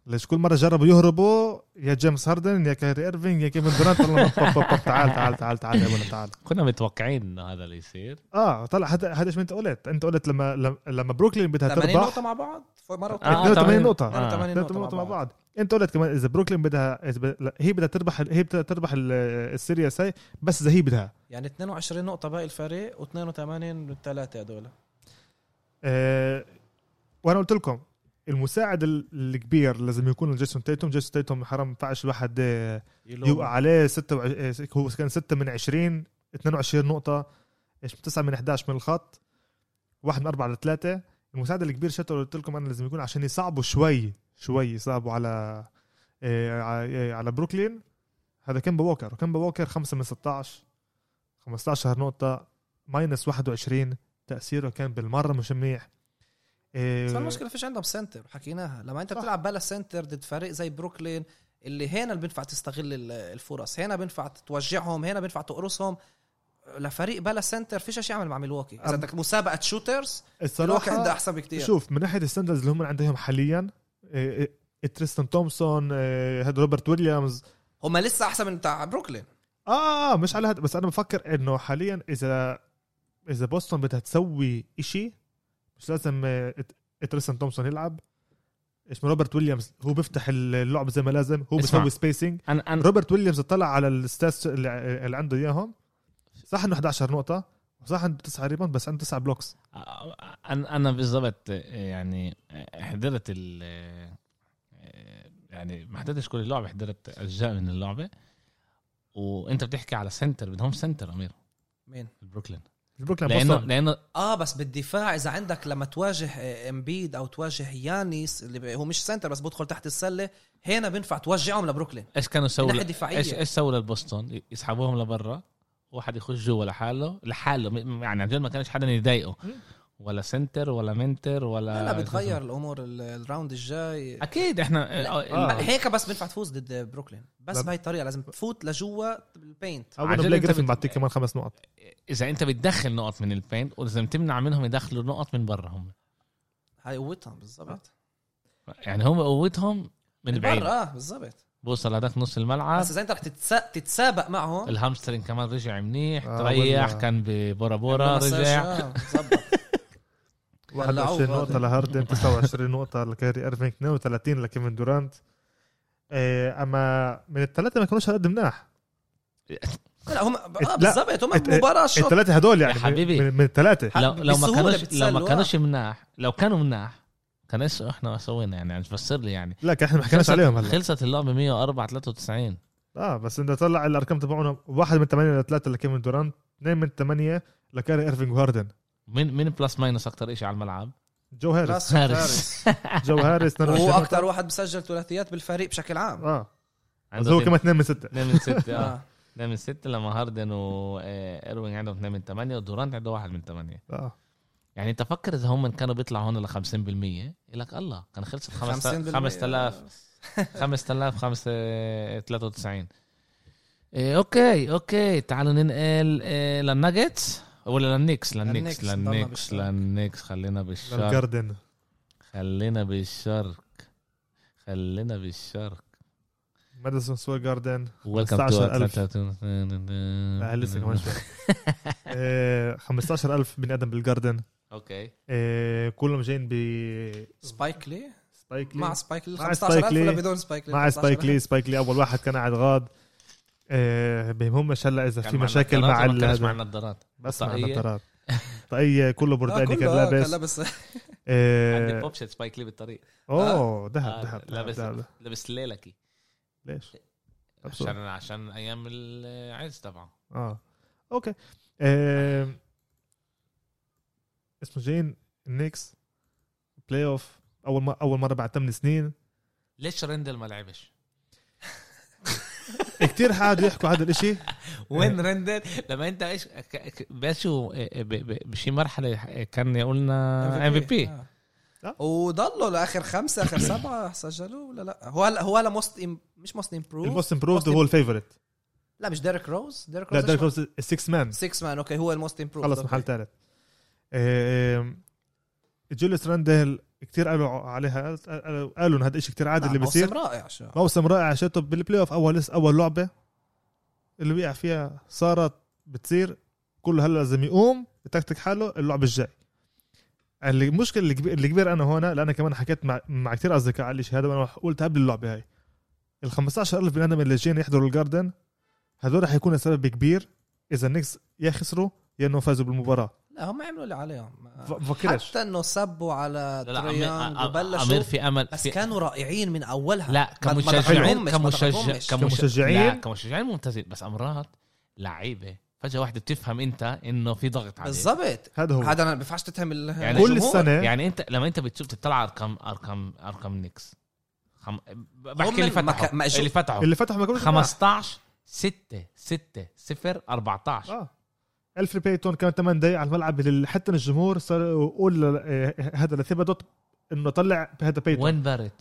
Speaker 3: ليش كل مرة جربوا يهربوا يا جيمس هاردن يا كايري ايرفينج يا كيفن دورانت [LAUGHS] والله بب- بب- بب- تعال تعال تعال تعال يا ولد تعال
Speaker 1: كنا متوقعين انه هذا اللي يصير
Speaker 3: اه طلع هذا هذا ايش ما انت قلت انت قلت لما لما- لما بروكلين بدها
Speaker 4: 80 نقطه
Speaker 3: تربح
Speaker 4: مع بعض ف- مره
Speaker 1: آه،
Speaker 4: وثانيه
Speaker 3: 82 نقطة
Speaker 1: آه.
Speaker 4: 82
Speaker 3: ثلاث نقطة مع بعض انت قلت كمان اذا بروكلين بدها إذا ب- لا، هي بدها تربح هي بدها تربح ال- السيريس هاي بس اذا هي بدها
Speaker 4: يعني 22 نقطه باقي الفريق و82 من الثلاثه هذول
Speaker 3: آه، وانا قلت لكم المساعد ال- الكبير لازم يكون جيسون تيتوم جيسون تيتوم حرام ينفعش الواحد آه، يوقع عليه 26 هو كان 6 من 20 22 نقطة ايش 9 من 11 من الخط واحد من 4 ل 3 المساعد الكبير شتو قلت لكم انا لازم يكون عشان يصعبوا شوي شوي يصعبوا على إيه على- على بروكلين هذا كيمبا ووكر وكيمبا ووكر 5 من 16 15 نقطة ماينس 21 تأثيره كان بالمرة مش منيح إيه،
Speaker 4: بس المشكله فيش عندهم سنتر حكيناها لما انت
Speaker 3: صح.
Speaker 4: بتلعب بلا سنتر ضد فريق زي بروكلين اللي هنا اللي بينفع تستغل ال- الفرص هنا بينفع توجعهم هنا بينفع تقرصهم لفريق بلا سنتر فيش شيء يعمل مع ميلواكي
Speaker 3: أم-
Speaker 4: اذا بدك مسابقه شوترز ميلواكي
Speaker 3: الصراحة
Speaker 4: عنده احسن بكتير
Speaker 3: شوف من ناحيه السنترز اللي هم عندهم حاليا إيه، إيه، تريستن تومسون إيه، هاد روبرت ويليامز
Speaker 4: هم لسه احسن من بتاع بروكلين
Speaker 3: آه, اه مش على هاد بس انا بفكر انه حاليا اذا اذا بوسطن بدها تسوي إشي مش لازم آه، إت- اتريسن تومسون يلعب اسمه روبرت ويليامز هو بيفتح اللعب زي ما لازم هو
Speaker 1: اسمع.
Speaker 3: بيسوي سبيسنج
Speaker 1: انا انا
Speaker 3: روبرت ويليامز اطلع على الستاتس اللي, اللي عنده اياهم صح انه 11 نقطه وصح عنده 9 ريبوند بس عنده 9 بلوكس
Speaker 1: انا انا بالضبط يعني حضرت ال يعني ما حضرتش كل اللعبه حضرت اجزاء من اللعبه وانت بتحكي على سنتر بدهم سنتر امير
Speaker 4: مين
Speaker 1: بروكلين
Speaker 3: البروكلين
Speaker 1: لانه
Speaker 3: بوسطن
Speaker 1: لانه
Speaker 4: اه بس بالدفاع اذا عندك لما تواجه آه، امبيد او تواجه يانيس اللي ب- هو مش سنتر بس بدخل تحت السله هنا بينفع توجعهم لبروكلين
Speaker 1: ايش كانوا يسووا
Speaker 4: من ناحيه
Speaker 1: ل- ايش
Speaker 4: دفاعيه
Speaker 1: ايش سووا للبوسطن يسحبوهم لبرا واحد يخش جوا لحاله لحاله م- يعني عن جد ما كانش حدا يضايقه
Speaker 3: مم.
Speaker 1: ولا سنتر ولا منتر ولا
Speaker 4: هلا بتغير الامور ال- الراوند الجاي
Speaker 1: اكيد احنا
Speaker 3: لا.
Speaker 1: آه.
Speaker 4: هيك بس بينفع تفوز ضد بروكلين بس
Speaker 3: لا.
Speaker 4: بهي الطريقه لازم تفوت لجوا البينت
Speaker 3: اول ما
Speaker 1: عجل
Speaker 3: بلاقي
Speaker 1: أنت
Speaker 3: جريفن
Speaker 1: بت-
Speaker 3: بعطيك كمان خمس نقط
Speaker 1: اذا انت بتدخل نقط من البين ولازم تمنع منهم يدخلوا نقط من برا هم
Speaker 4: هاي قوتهم بالضبط
Speaker 1: يعني هم قوتهم آه. من بعيد
Speaker 4: برا اه بالضبط
Speaker 1: بوصل هذاك نص الملعب
Speaker 4: بس اذا انت رح تتسا- تتسابق معهم
Speaker 1: الهامسترين كمان رجع منيح
Speaker 3: آه،
Speaker 1: تريح
Speaker 3: والله.
Speaker 1: كان ببورا بورا
Speaker 4: مساج،
Speaker 1: رجع
Speaker 4: آه،
Speaker 3: [LAUGHS]
Speaker 4: بالضبط
Speaker 3: 21
Speaker 4: ولعوه.
Speaker 3: نقطة لهاردن 29 نقطة لكاري ايرفينج 32 لكيفن دورانت إيه، اما من الثلاثة ما كانوش هالقد مناح
Speaker 4: لا هم اه
Speaker 3: لا.
Speaker 4: بالضبط هم
Speaker 3: ات-
Speaker 4: مباراه شوط
Speaker 3: الثلاثة هدول يعني
Speaker 1: يا حبيبي.
Speaker 3: من, من الثلاثة
Speaker 1: لو لو ما
Speaker 4: بسهولة
Speaker 1: كانوش لو
Speaker 4: بتسلوا.
Speaker 1: ما كانوش مناح لو كانوا مناح كان ايش احنا ما سوينا يعني عم تفسر لي يعني
Speaker 3: لا احنا ما حكيناش عليهم هلا
Speaker 1: خلصت اللعبه 104 93
Speaker 3: اه بس انت طلع الارقام تبعهم واحد من ثمانية لثلاثة لكيفن دورانت اثنين من ثمانية لكاري ايرفينج وهاردن
Speaker 1: مين مين بلس ماينس اكثر شيء على الملعب؟
Speaker 3: جو هاريس
Speaker 4: بس
Speaker 1: هارس.
Speaker 3: جو هاريس 22
Speaker 4: هو
Speaker 3: نقطة.
Speaker 4: اكثر واحد بسجل ثلاثيات بالفريق بشكل عام
Speaker 3: اه بس [LAUGHS]
Speaker 1: عنده
Speaker 3: هو
Speaker 1: اثنين-
Speaker 3: كمان 2 من 6
Speaker 1: اثنين من ستة اه
Speaker 4: [LAUGHS] آه.
Speaker 1: اثنين من ستة لما هاردن وايروين عندهم اثنين من ثمانية ودورانت عنده واحد من ثمانية
Speaker 3: اه
Speaker 1: يعني انت فكر اذا هم كانوا بيطلعوا هون ل 50% يقول لك الله كان خلصت
Speaker 4: 50%
Speaker 1: 5000 5000 5 93 إيه اوكي اوكي تعالوا ننقل إيه للناجتس ولا للنكس للنكس
Speaker 4: للنكس، ضلنا
Speaker 1: للنكس
Speaker 4: بالشرق.
Speaker 1: للنكس خلينا بالشرق
Speaker 3: الجاردن
Speaker 1: خلينا بالشرق خلينا بالشرق
Speaker 3: ماديسون سوير جاردن
Speaker 1: ويلكم تو
Speaker 3: 15,000.
Speaker 1: اتلانتا
Speaker 3: لا لسه
Speaker 1: [LAUGHS]
Speaker 3: كمان شوي آه، 15000 بني ادم بالجاردن
Speaker 1: اوكي
Speaker 3: آه، كلهم جايين ب
Speaker 4: سبايك لي
Speaker 3: سبايك لي
Speaker 4: مع سبايك لي
Speaker 3: مع سبايك
Speaker 4: 15000
Speaker 3: لي.
Speaker 4: ولا بدون سبايك لي
Speaker 3: مع سبايك لي سبايك لي اول واحد كان قاعد غاد آه، بهمهمش هلا اذا
Speaker 1: كان
Speaker 3: في
Speaker 1: مع
Speaker 3: مشاكل
Speaker 1: النظارات ولا
Speaker 3: مع
Speaker 1: ما كانش مع
Speaker 3: ال-
Speaker 1: النظارات
Speaker 3: بس مع
Speaker 1: طاقية. [LAUGHS]
Speaker 3: النظارات طاقية كله برداني كان لابس
Speaker 4: لابس
Speaker 3: آه،
Speaker 1: عندي بوب شيت سبايك لي بالطريق
Speaker 3: اوه ذهب
Speaker 1: آه،
Speaker 3: ذهب
Speaker 1: لابس
Speaker 3: ذهب، ذهب.
Speaker 1: لابس ليلكي
Speaker 3: ليش؟ أبسط.
Speaker 1: عشان عشان ايام العز تبعه
Speaker 3: اه اوكي آه، اسمه جين النكس بلاي اوف اول ما اول مره بعد 8 سنين
Speaker 1: ليش رندل ما
Speaker 3: [LAUGHS]
Speaker 1: لعبش؟
Speaker 3: كثير قعدوا يحكوا هذا الاشي
Speaker 1: [LAUGHS] وين رندل؟ لما انت ايش ك- ك- باشو ب- ب- بشي مرحله كان
Speaker 4: آه،
Speaker 1: يقولنا ام في بي
Speaker 3: آه.
Speaker 4: وضلوا لاخر خمسه
Speaker 3: [COUGHS]
Speaker 4: اخر سبعه سجلوا ولا لا هو هلا هو هلا موست مش موست امبروف
Speaker 3: الموست امبروفد هو الفيفورت
Speaker 4: لا مش ديريك روز ديريك
Speaker 3: لا
Speaker 4: روز
Speaker 3: ديريك روز 6 مان
Speaker 4: 6 مان اوكي هو الموست امبروف
Speaker 3: خلص محل ثالث جوليس راندل كثير قالوا عليها قالوا قالوا إن هذا الشيء كثير عادي اللي بيصير
Speaker 4: آه، رائع شو
Speaker 3: موسم رائع شاته بالبلاي اوف اول لسه اول لعبه اللي وقع فيها صارت بتصير كله هلا لازم يقوم يتكتك حاله اللعب الجاي المشكله اللي كبير, اللي كبير انا هون لان كمان حكيت مع مع كثير اصدقاء على الشيء هذا وانا قلت قبل اللعبه هاي ال 15000 بني ادم اللي جايين يحضروا الجاردن هذول رح يكون سبب كبير اذا النكس يا خسروا يا انه فازوا بالمباراه
Speaker 4: لا هم عملوا اللي عليهم ما-
Speaker 3: ف- فكرش
Speaker 4: حتى انه سبوا على
Speaker 1: لا، لا،
Speaker 4: تريان
Speaker 1: أمير- أ-
Speaker 4: وبلشوا
Speaker 1: امير في امل
Speaker 4: بس
Speaker 1: في-
Speaker 4: كانوا رائعين من اولها
Speaker 1: لا
Speaker 4: ما- ما
Speaker 1: كمشجعين
Speaker 4: تحكمهمش، ما
Speaker 1: كمشجع
Speaker 4: تحكمهمش.
Speaker 1: كمش-
Speaker 3: كمشجعين.
Speaker 1: لا، كمشجعين ممتازين بس امرات لعيبه فجاه واحده بتفهم انت انه في ضغط عليك
Speaker 4: بالضبط
Speaker 3: هذا هو
Speaker 4: هذا انا ما بينفعش تتهم ال-
Speaker 1: يعني
Speaker 3: كل
Speaker 4: الجمهور.
Speaker 3: السنه
Speaker 1: يعني انت لما انت بتشوف تطلع ارقام ارقام ارقام نيكس خم... بحكي
Speaker 4: هم
Speaker 1: اللي
Speaker 4: ما
Speaker 1: فتحوا
Speaker 4: ك- ما- شوف-
Speaker 1: اللي فتحوا
Speaker 3: اللي فتحوا ما كانوش
Speaker 1: 15 6 6 0 14
Speaker 3: اه الفري بيتون كان 8 دقائق على الملعب لل- حتى الجمهور صار يقول ل- آه، هذا لثيبادوت انه طلع هذا بيتون
Speaker 1: وين بارت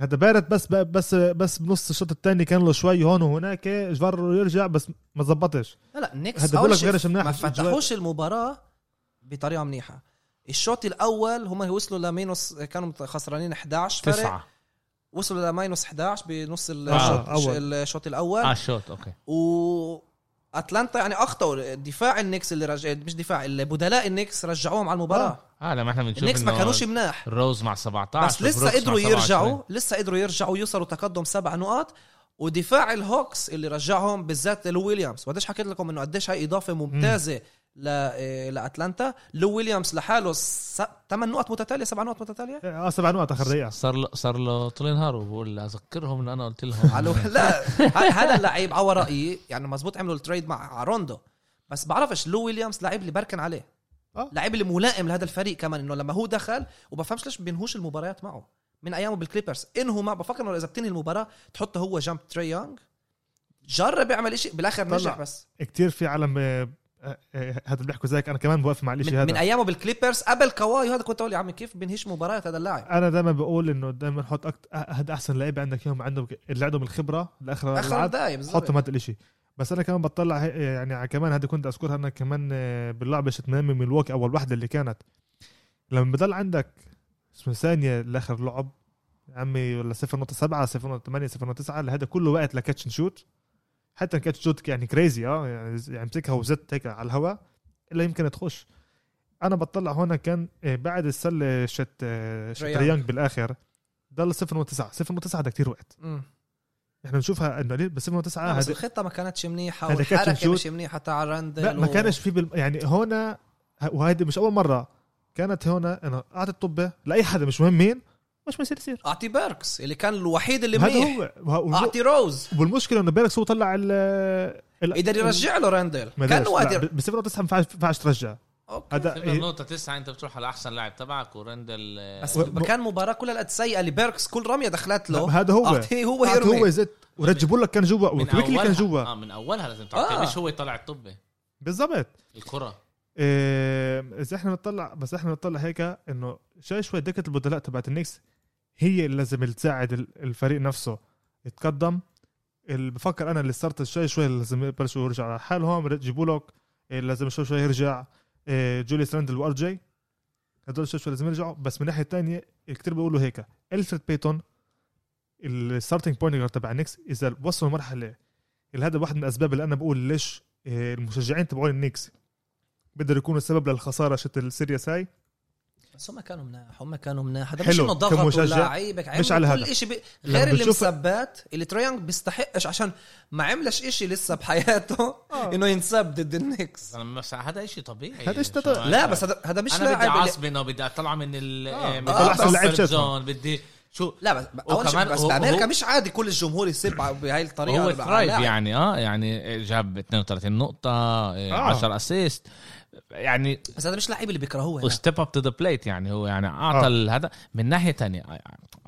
Speaker 3: هذا بارت بس ب- بس بس بنص الشوط الثاني كان له شوي هون وهناك جفر يرجع بس ما زبطش
Speaker 4: لا لا نيكس
Speaker 3: هذا بقول
Speaker 4: أول
Speaker 3: لك
Speaker 4: شيء
Speaker 3: غيرش مناح
Speaker 4: ما فتحوش المباراة بطريقة منيحة الشوط الأول هم وصلوا لمينوس كانوا مت- خسرانين 11 فرق
Speaker 1: تسعة
Speaker 4: وصلوا لمينوس 11 بنص
Speaker 3: آه،
Speaker 4: الشوط
Speaker 3: أول.
Speaker 1: آه،
Speaker 4: الشوط الأول
Speaker 1: اه شوت اوكي
Speaker 4: و اتلانتا يعني اخطاوا دفاع النكس اللي رج... مش دفاع اللي بدلاء النكس رجعوهم على المباراه
Speaker 1: اه لما احنا بنشوف
Speaker 4: النكس ما
Speaker 1: إنه
Speaker 4: كانوش مناح
Speaker 1: روز مع 17
Speaker 4: بس لسه
Speaker 1: وبروكس مع
Speaker 4: قدروا
Speaker 1: 27.
Speaker 4: يرجعوا لسه قدروا يرجعوا يوصلوا تقدم سبع نقاط ودفاع الهوكس اللي رجعهم بالذات لو ويليامز وقديش حكيت لكم انه قديش هاي اضافه ممتازه ل... إيه، لاتلانتا لو ويليامز لحاله س... 8 نقط متتاليه سبع نقط متتاليه
Speaker 3: اه سبع نقط اخر دقيقه
Speaker 1: صار له صار له طول النهار وبقول اذكرهم ان انا قلت لهم
Speaker 4: على [LAUGHS] لا ه- هذا اللعيب على رايي يعني مزبوط عملوا التريد مع روندو بس بعرفش لو ويليامز لعيب اللي بركن عليه
Speaker 3: آه.
Speaker 4: لعيب اللي ملائم لهذا الفريق كمان انه لما هو دخل وبفهمش ليش بينهوش المباريات معه من ايامه بالكليبرز انه ما بفكر انه اذا بتنهي المباراه تحطه هو جنب تري يونغ جرب يعمل إشي بالاخر
Speaker 3: طلع.
Speaker 4: نجح بس
Speaker 3: كتير في عالم آه، آه، آه، هذا اللي بيحكوا زيك انا كمان بوقف مع الاشي
Speaker 4: من, من
Speaker 3: هذا
Speaker 4: ايامه بالكليبرز قبل كواي هذا كنت اقول يا عمي كيف بينهيش مباريات هذا اللاعب
Speaker 3: انا دائما بقول انه دائما حط أكت... أه- هاد احسن لعيبه عندك اياهم عندهم اللي عندهم الخبره لاخر
Speaker 4: اخر
Speaker 3: العاب
Speaker 4: دقايق بالظبط
Speaker 3: حطهم هذا الاشي بس انا كمان بطلع هي- يعني على كمان هذه كنت اذكرها انا كمان آه، باللعبه شت من ميلواكي اول وحده اللي كانت لما بضل عندك اسمه ثانيه لاخر لعب يا عمي ولا 0.7 0.8 0.9 لهذا كله وقت لكاتش شوت حتى كاتش شوت يعني كريزي اه يعني يعني امسكها وزت هيك على الهواء الا يمكن تخش انا بطلع هون كان آه، بعد السله شت آه، شت
Speaker 4: تريانج.
Speaker 3: ريانج بالاخر ضل 0.9 0.9 ده كثير وقت
Speaker 4: مم.
Speaker 3: احنا بنشوفها انه ليه بس 0.9
Speaker 4: آه، بس
Speaker 3: هذا
Speaker 4: الخطه ما كانتش منيحه
Speaker 3: هذا كاتش
Speaker 4: والحركه
Speaker 3: وشوت.
Speaker 4: مش منيحه تاع راندل
Speaker 3: لا ما
Speaker 4: و-
Speaker 3: كانش في بال... يعني هون وهيدي مش اول مره كانت هون انا قعدت طبه لاي حدا مش مهم مين مش بصير يصير
Speaker 4: اعطي بيركس اللي كان الوحيد اللي
Speaker 3: هذا
Speaker 4: منيح
Speaker 3: هو وه-
Speaker 4: اعطي روز
Speaker 3: والمشكله انه بيركس هو طلع ال ال-
Speaker 4: يقدر يرجع له راندل
Speaker 3: ما
Speaker 4: كان
Speaker 3: قدرش. لا،
Speaker 4: قادر
Speaker 3: ب 0.9 ما ينفعش- ما ينفعش ترجع
Speaker 1: [LAUGHS]
Speaker 4: أوكي.
Speaker 3: هذا
Speaker 1: سيبنا
Speaker 3: إيه،
Speaker 1: النقطة تسعة أنت بتروح على أحسن لاعب تبعك ورندل
Speaker 4: بس
Speaker 1: آه،
Speaker 3: و-
Speaker 4: كان مباراه كلها قد سيئه لبيركس كل رميه دخلت له
Speaker 3: هذا هو
Speaker 4: اعطيه هو
Speaker 3: قعد هو
Speaker 4: يرمي
Speaker 3: زت ورجع بقول لك كان جوا
Speaker 1: من
Speaker 3: وكويكلي كان جوا
Speaker 1: آه من أولها لازم تعطيه
Speaker 4: آه.
Speaker 1: مش هو يطلع الطبة
Speaker 3: بالضبط
Speaker 1: الكرة
Speaker 3: إيه، اذا احنا بنطلع بس احنا بنطلع هيك انه شوي شوي دكه البدلاء تبعت النكس هي اللي لازم تساعد ال- الفريق نفسه يتقدم اللي بفكر انا اللي صارت شوي شوي لازم يبلشوا يرجعوا على حالهم جيبوا لك إيه، لازم شوي شوي يرجع إيه، جوليس راندل وار جي هدول شوي شوي لازم يرجعوا بس من الناحيه الثانيه كثير بيقولوا هيك الفريد بيتون الستارتنج بوينت جارد تبع النكس اذا وصلوا مرحله اللي هذا واحد من الاسباب اللي انا بقول ليش إيه، المشجعين تبعون النكس بيقدروا يكونوا السبب للخساره شت السيريس هاي
Speaker 4: بس هم كانوا مناح هم كانوا مناح هذا مش
Speaker 3: حلو.
Speaker 4: انه ضغطوا
Speaker 3: كمشجع،
Speaker 4: لعيبك عملوا
Speaker 3: مش على
Speaker 4: كل
Speaker 3: هذا.
Speaker 4: شيء بي...
Speaker 3: لما
Speaker 4: غير اللي
Speaker 3: بتشوف-
Speaker 4: مسبات اللي تريانج بيستحقش عشان ما عملش إشي لسه بحياته
Speaker 3: آه.
Speaker 4: انه ينسب ضد النكس
Speaker 1: أنا مش هذا شيء طبيعي
Speaker 3: هذا إشي
Speaker 1: شو
Speaker 3: طبيعي.
Speaker 1: رأيك؟
Speaker 4: لا بس هذا هذا مش
Speaker 1: أنا بدي
Speaker 4: لاعب اللي-
Speaker 1: أعصب إنه بدي أطلع من ال
Speaker 3: آه.
Speaker 1: آه، من
Speaker 4: آه، بس-
Speaker 3: لعيب
Speaker 1: الكونفرت
Speaker 3: شتهم.
Speaker 1: زون بدي شو
Speaker 4: لا بس اول شيء
Speaker 1: وكمان
Speaker 4: بس
Speaker 1: هو-
Speaker 4: بامريكا
Speaker 1: هو-
Speaker 4: مش عادي كل الجمهور يسب على- بهاي الطريقه
Speaker 1: هو
Speaker 4: على- على
Speaker 1: ثرايف
Speaker 4: لاعب.
Speaker 1: يعني اه يعني جاب 32 نقطة آه.
Speaker 3: آه.
Speaker 1: 10 اسيست يعني
Speaker 4: بس هذا مش لعيب اللي بيكرهوه هناك.
Speaker 1: وستيب اب تو ذا بليت يعني هو يعني اعطى
Speaker 3: آه.
Speaker 1: آه. هذا من ناحيه تانية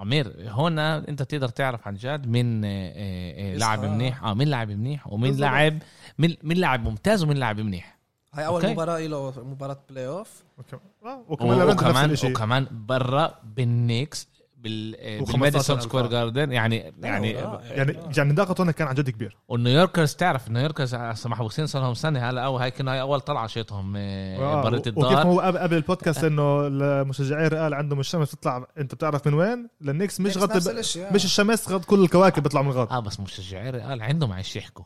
Speaker 1: امير هون انت تقدر تعرف عن جد مين آه، آه، آه، لاعب
Speaker 4: إسحاق.
Speaker 1: منيح اه مين لاعب منيح ومين
Speaker 3: بالضبط.
Speaker 1: لاعب مين مين لاعب ممتاز ومين لاعب منيح
Speaker 4: هاي اول
Speaker 1: أوكي.
Speaker 4: مباراه له مباراه بلاي اوف
Speaker 3: وكمان
Speaker 1: و-
Speaker 3: وكمان, وكمان,
Speaker 1: وكمان
Speaker 3: نفس الشيء
Speaker 1: وكمان برا بالنيكس بال آه،
Speaker 3: و15
Speaker 1: بالماديسون سكوير
Speaker 3: ألف. أيوة،
Speaker 1: جاردن يعني يعني
Speaker 4: آه،
Speaker 3: يعني يعني ضغط هون كان عن جد كبير
Speaker 1: والنيويوركرز تعرف النيويوركرز هسه محبوسين صار لهم سنه هلا او هاي كنا هاي اول طلعه شيتهم آه،
Speaker 3: آه،
Speaker 1: برة
Speaker 3: وكيف
Speaker 1: الدار
Speaker 3: هو قبل قبل البودكاست انه مشجعي الريال عندهم الشمس تطلع انت بتعرف من وين للنكس مش
Speaker 4: نفس-
Speaker 3: غط
Speaker 4: نفس الأشياء.
Speaker 3: مش الشمس غط كل الكواكب بيطلعوا من الغرب
Speaker 1: اه بس مشجعي ريال عندهم عايش يحكوا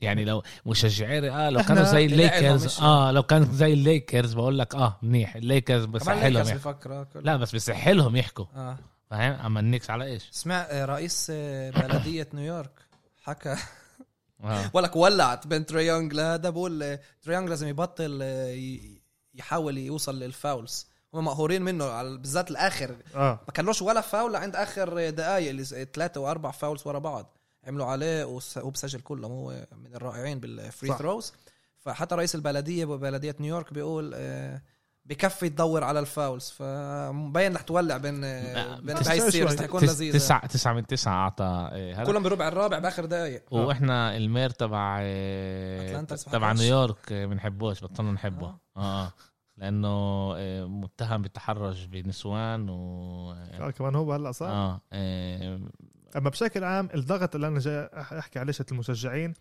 Speaker 1: يعني لو مشجعي ريال لو
Speaker 3: إحنا
Speaker 1: كانوا زي
Speaker 4: اللي لعبهم
Speaker 1: الليكرز
Speaker 4: مش-
Speaker 1: اه لو كانوا زي الليكرز بقول لك اه منيح الليكرز
Speaker 4: كمان
Speaker 1: بسح لهم
Speaker 4: ليكرز
Speaker 1: يحكوا.
Speaker 4: بفكر كل-
Speaker 1: لا بس بسح لهم يحكوا
Speaker 4: اه
Speaker 1: فاهم اما النكس على ايش؟
Speaker 4: سمع آه، رئيس آه، بلديه نيويورك حكى
Speaker 1: آه.
Speaker 4: ولك ولعت بين تريانج لهذا بقول آه، تريانج لازم يبطل آه، ي- يحاول يوصل للفاولز هم مقهورين منه على- بالذات الاخر
Speaker 1: آه.
Speaker 3: اه
Speaker 4: ما كان لوش ولا فاول عند اخر دقائق اللي ثلاثه واربع فاولز ورا بعض عملوا عليه وس- وهو بسجل كلهم هو من الرائعين بالفري
Speaker 3: صح.
Speaker 4: ثروز فحتى رئيس البلديه ببلديه نيويورك بيقول آه، بكفي تدور على الفاولز فمبين رح تولع بين آه،
Speaker 1: لا،
Speaker 4: بين
Speaker 3: بس
Speaker 4: هاي
Speaker 3: شوي
Speaker 4: السيريز
Speaker 3: شوي.
Speaker 4: رح يكون
Speaker 1: تس-
Speaker 4: لذيذ
Speaker 1: تسعة تسعة من تسعة أعطى آه، هلا
Speaker 4: كلهم بربع الرابع باخر دقائق
Speaker 1: وإحنا المير تبع آه،
Speaker 4: اه. أتلانتا اه. بس
Speaker 1: تبع
Speaker 4: بحبوش.
Speaker 1: نيويورك آه، بنحبوش بطلنا نحبه آه. آه. لأنه آه، متهم بالتحرش بنسوان و
Speaker 3: آه، كمان هو هلا صح
Speaker 1: آه. آه.
Speaker 3: اما بشكل عام الضغط اللي انا جاي أح- احكي عليه شت المشجعين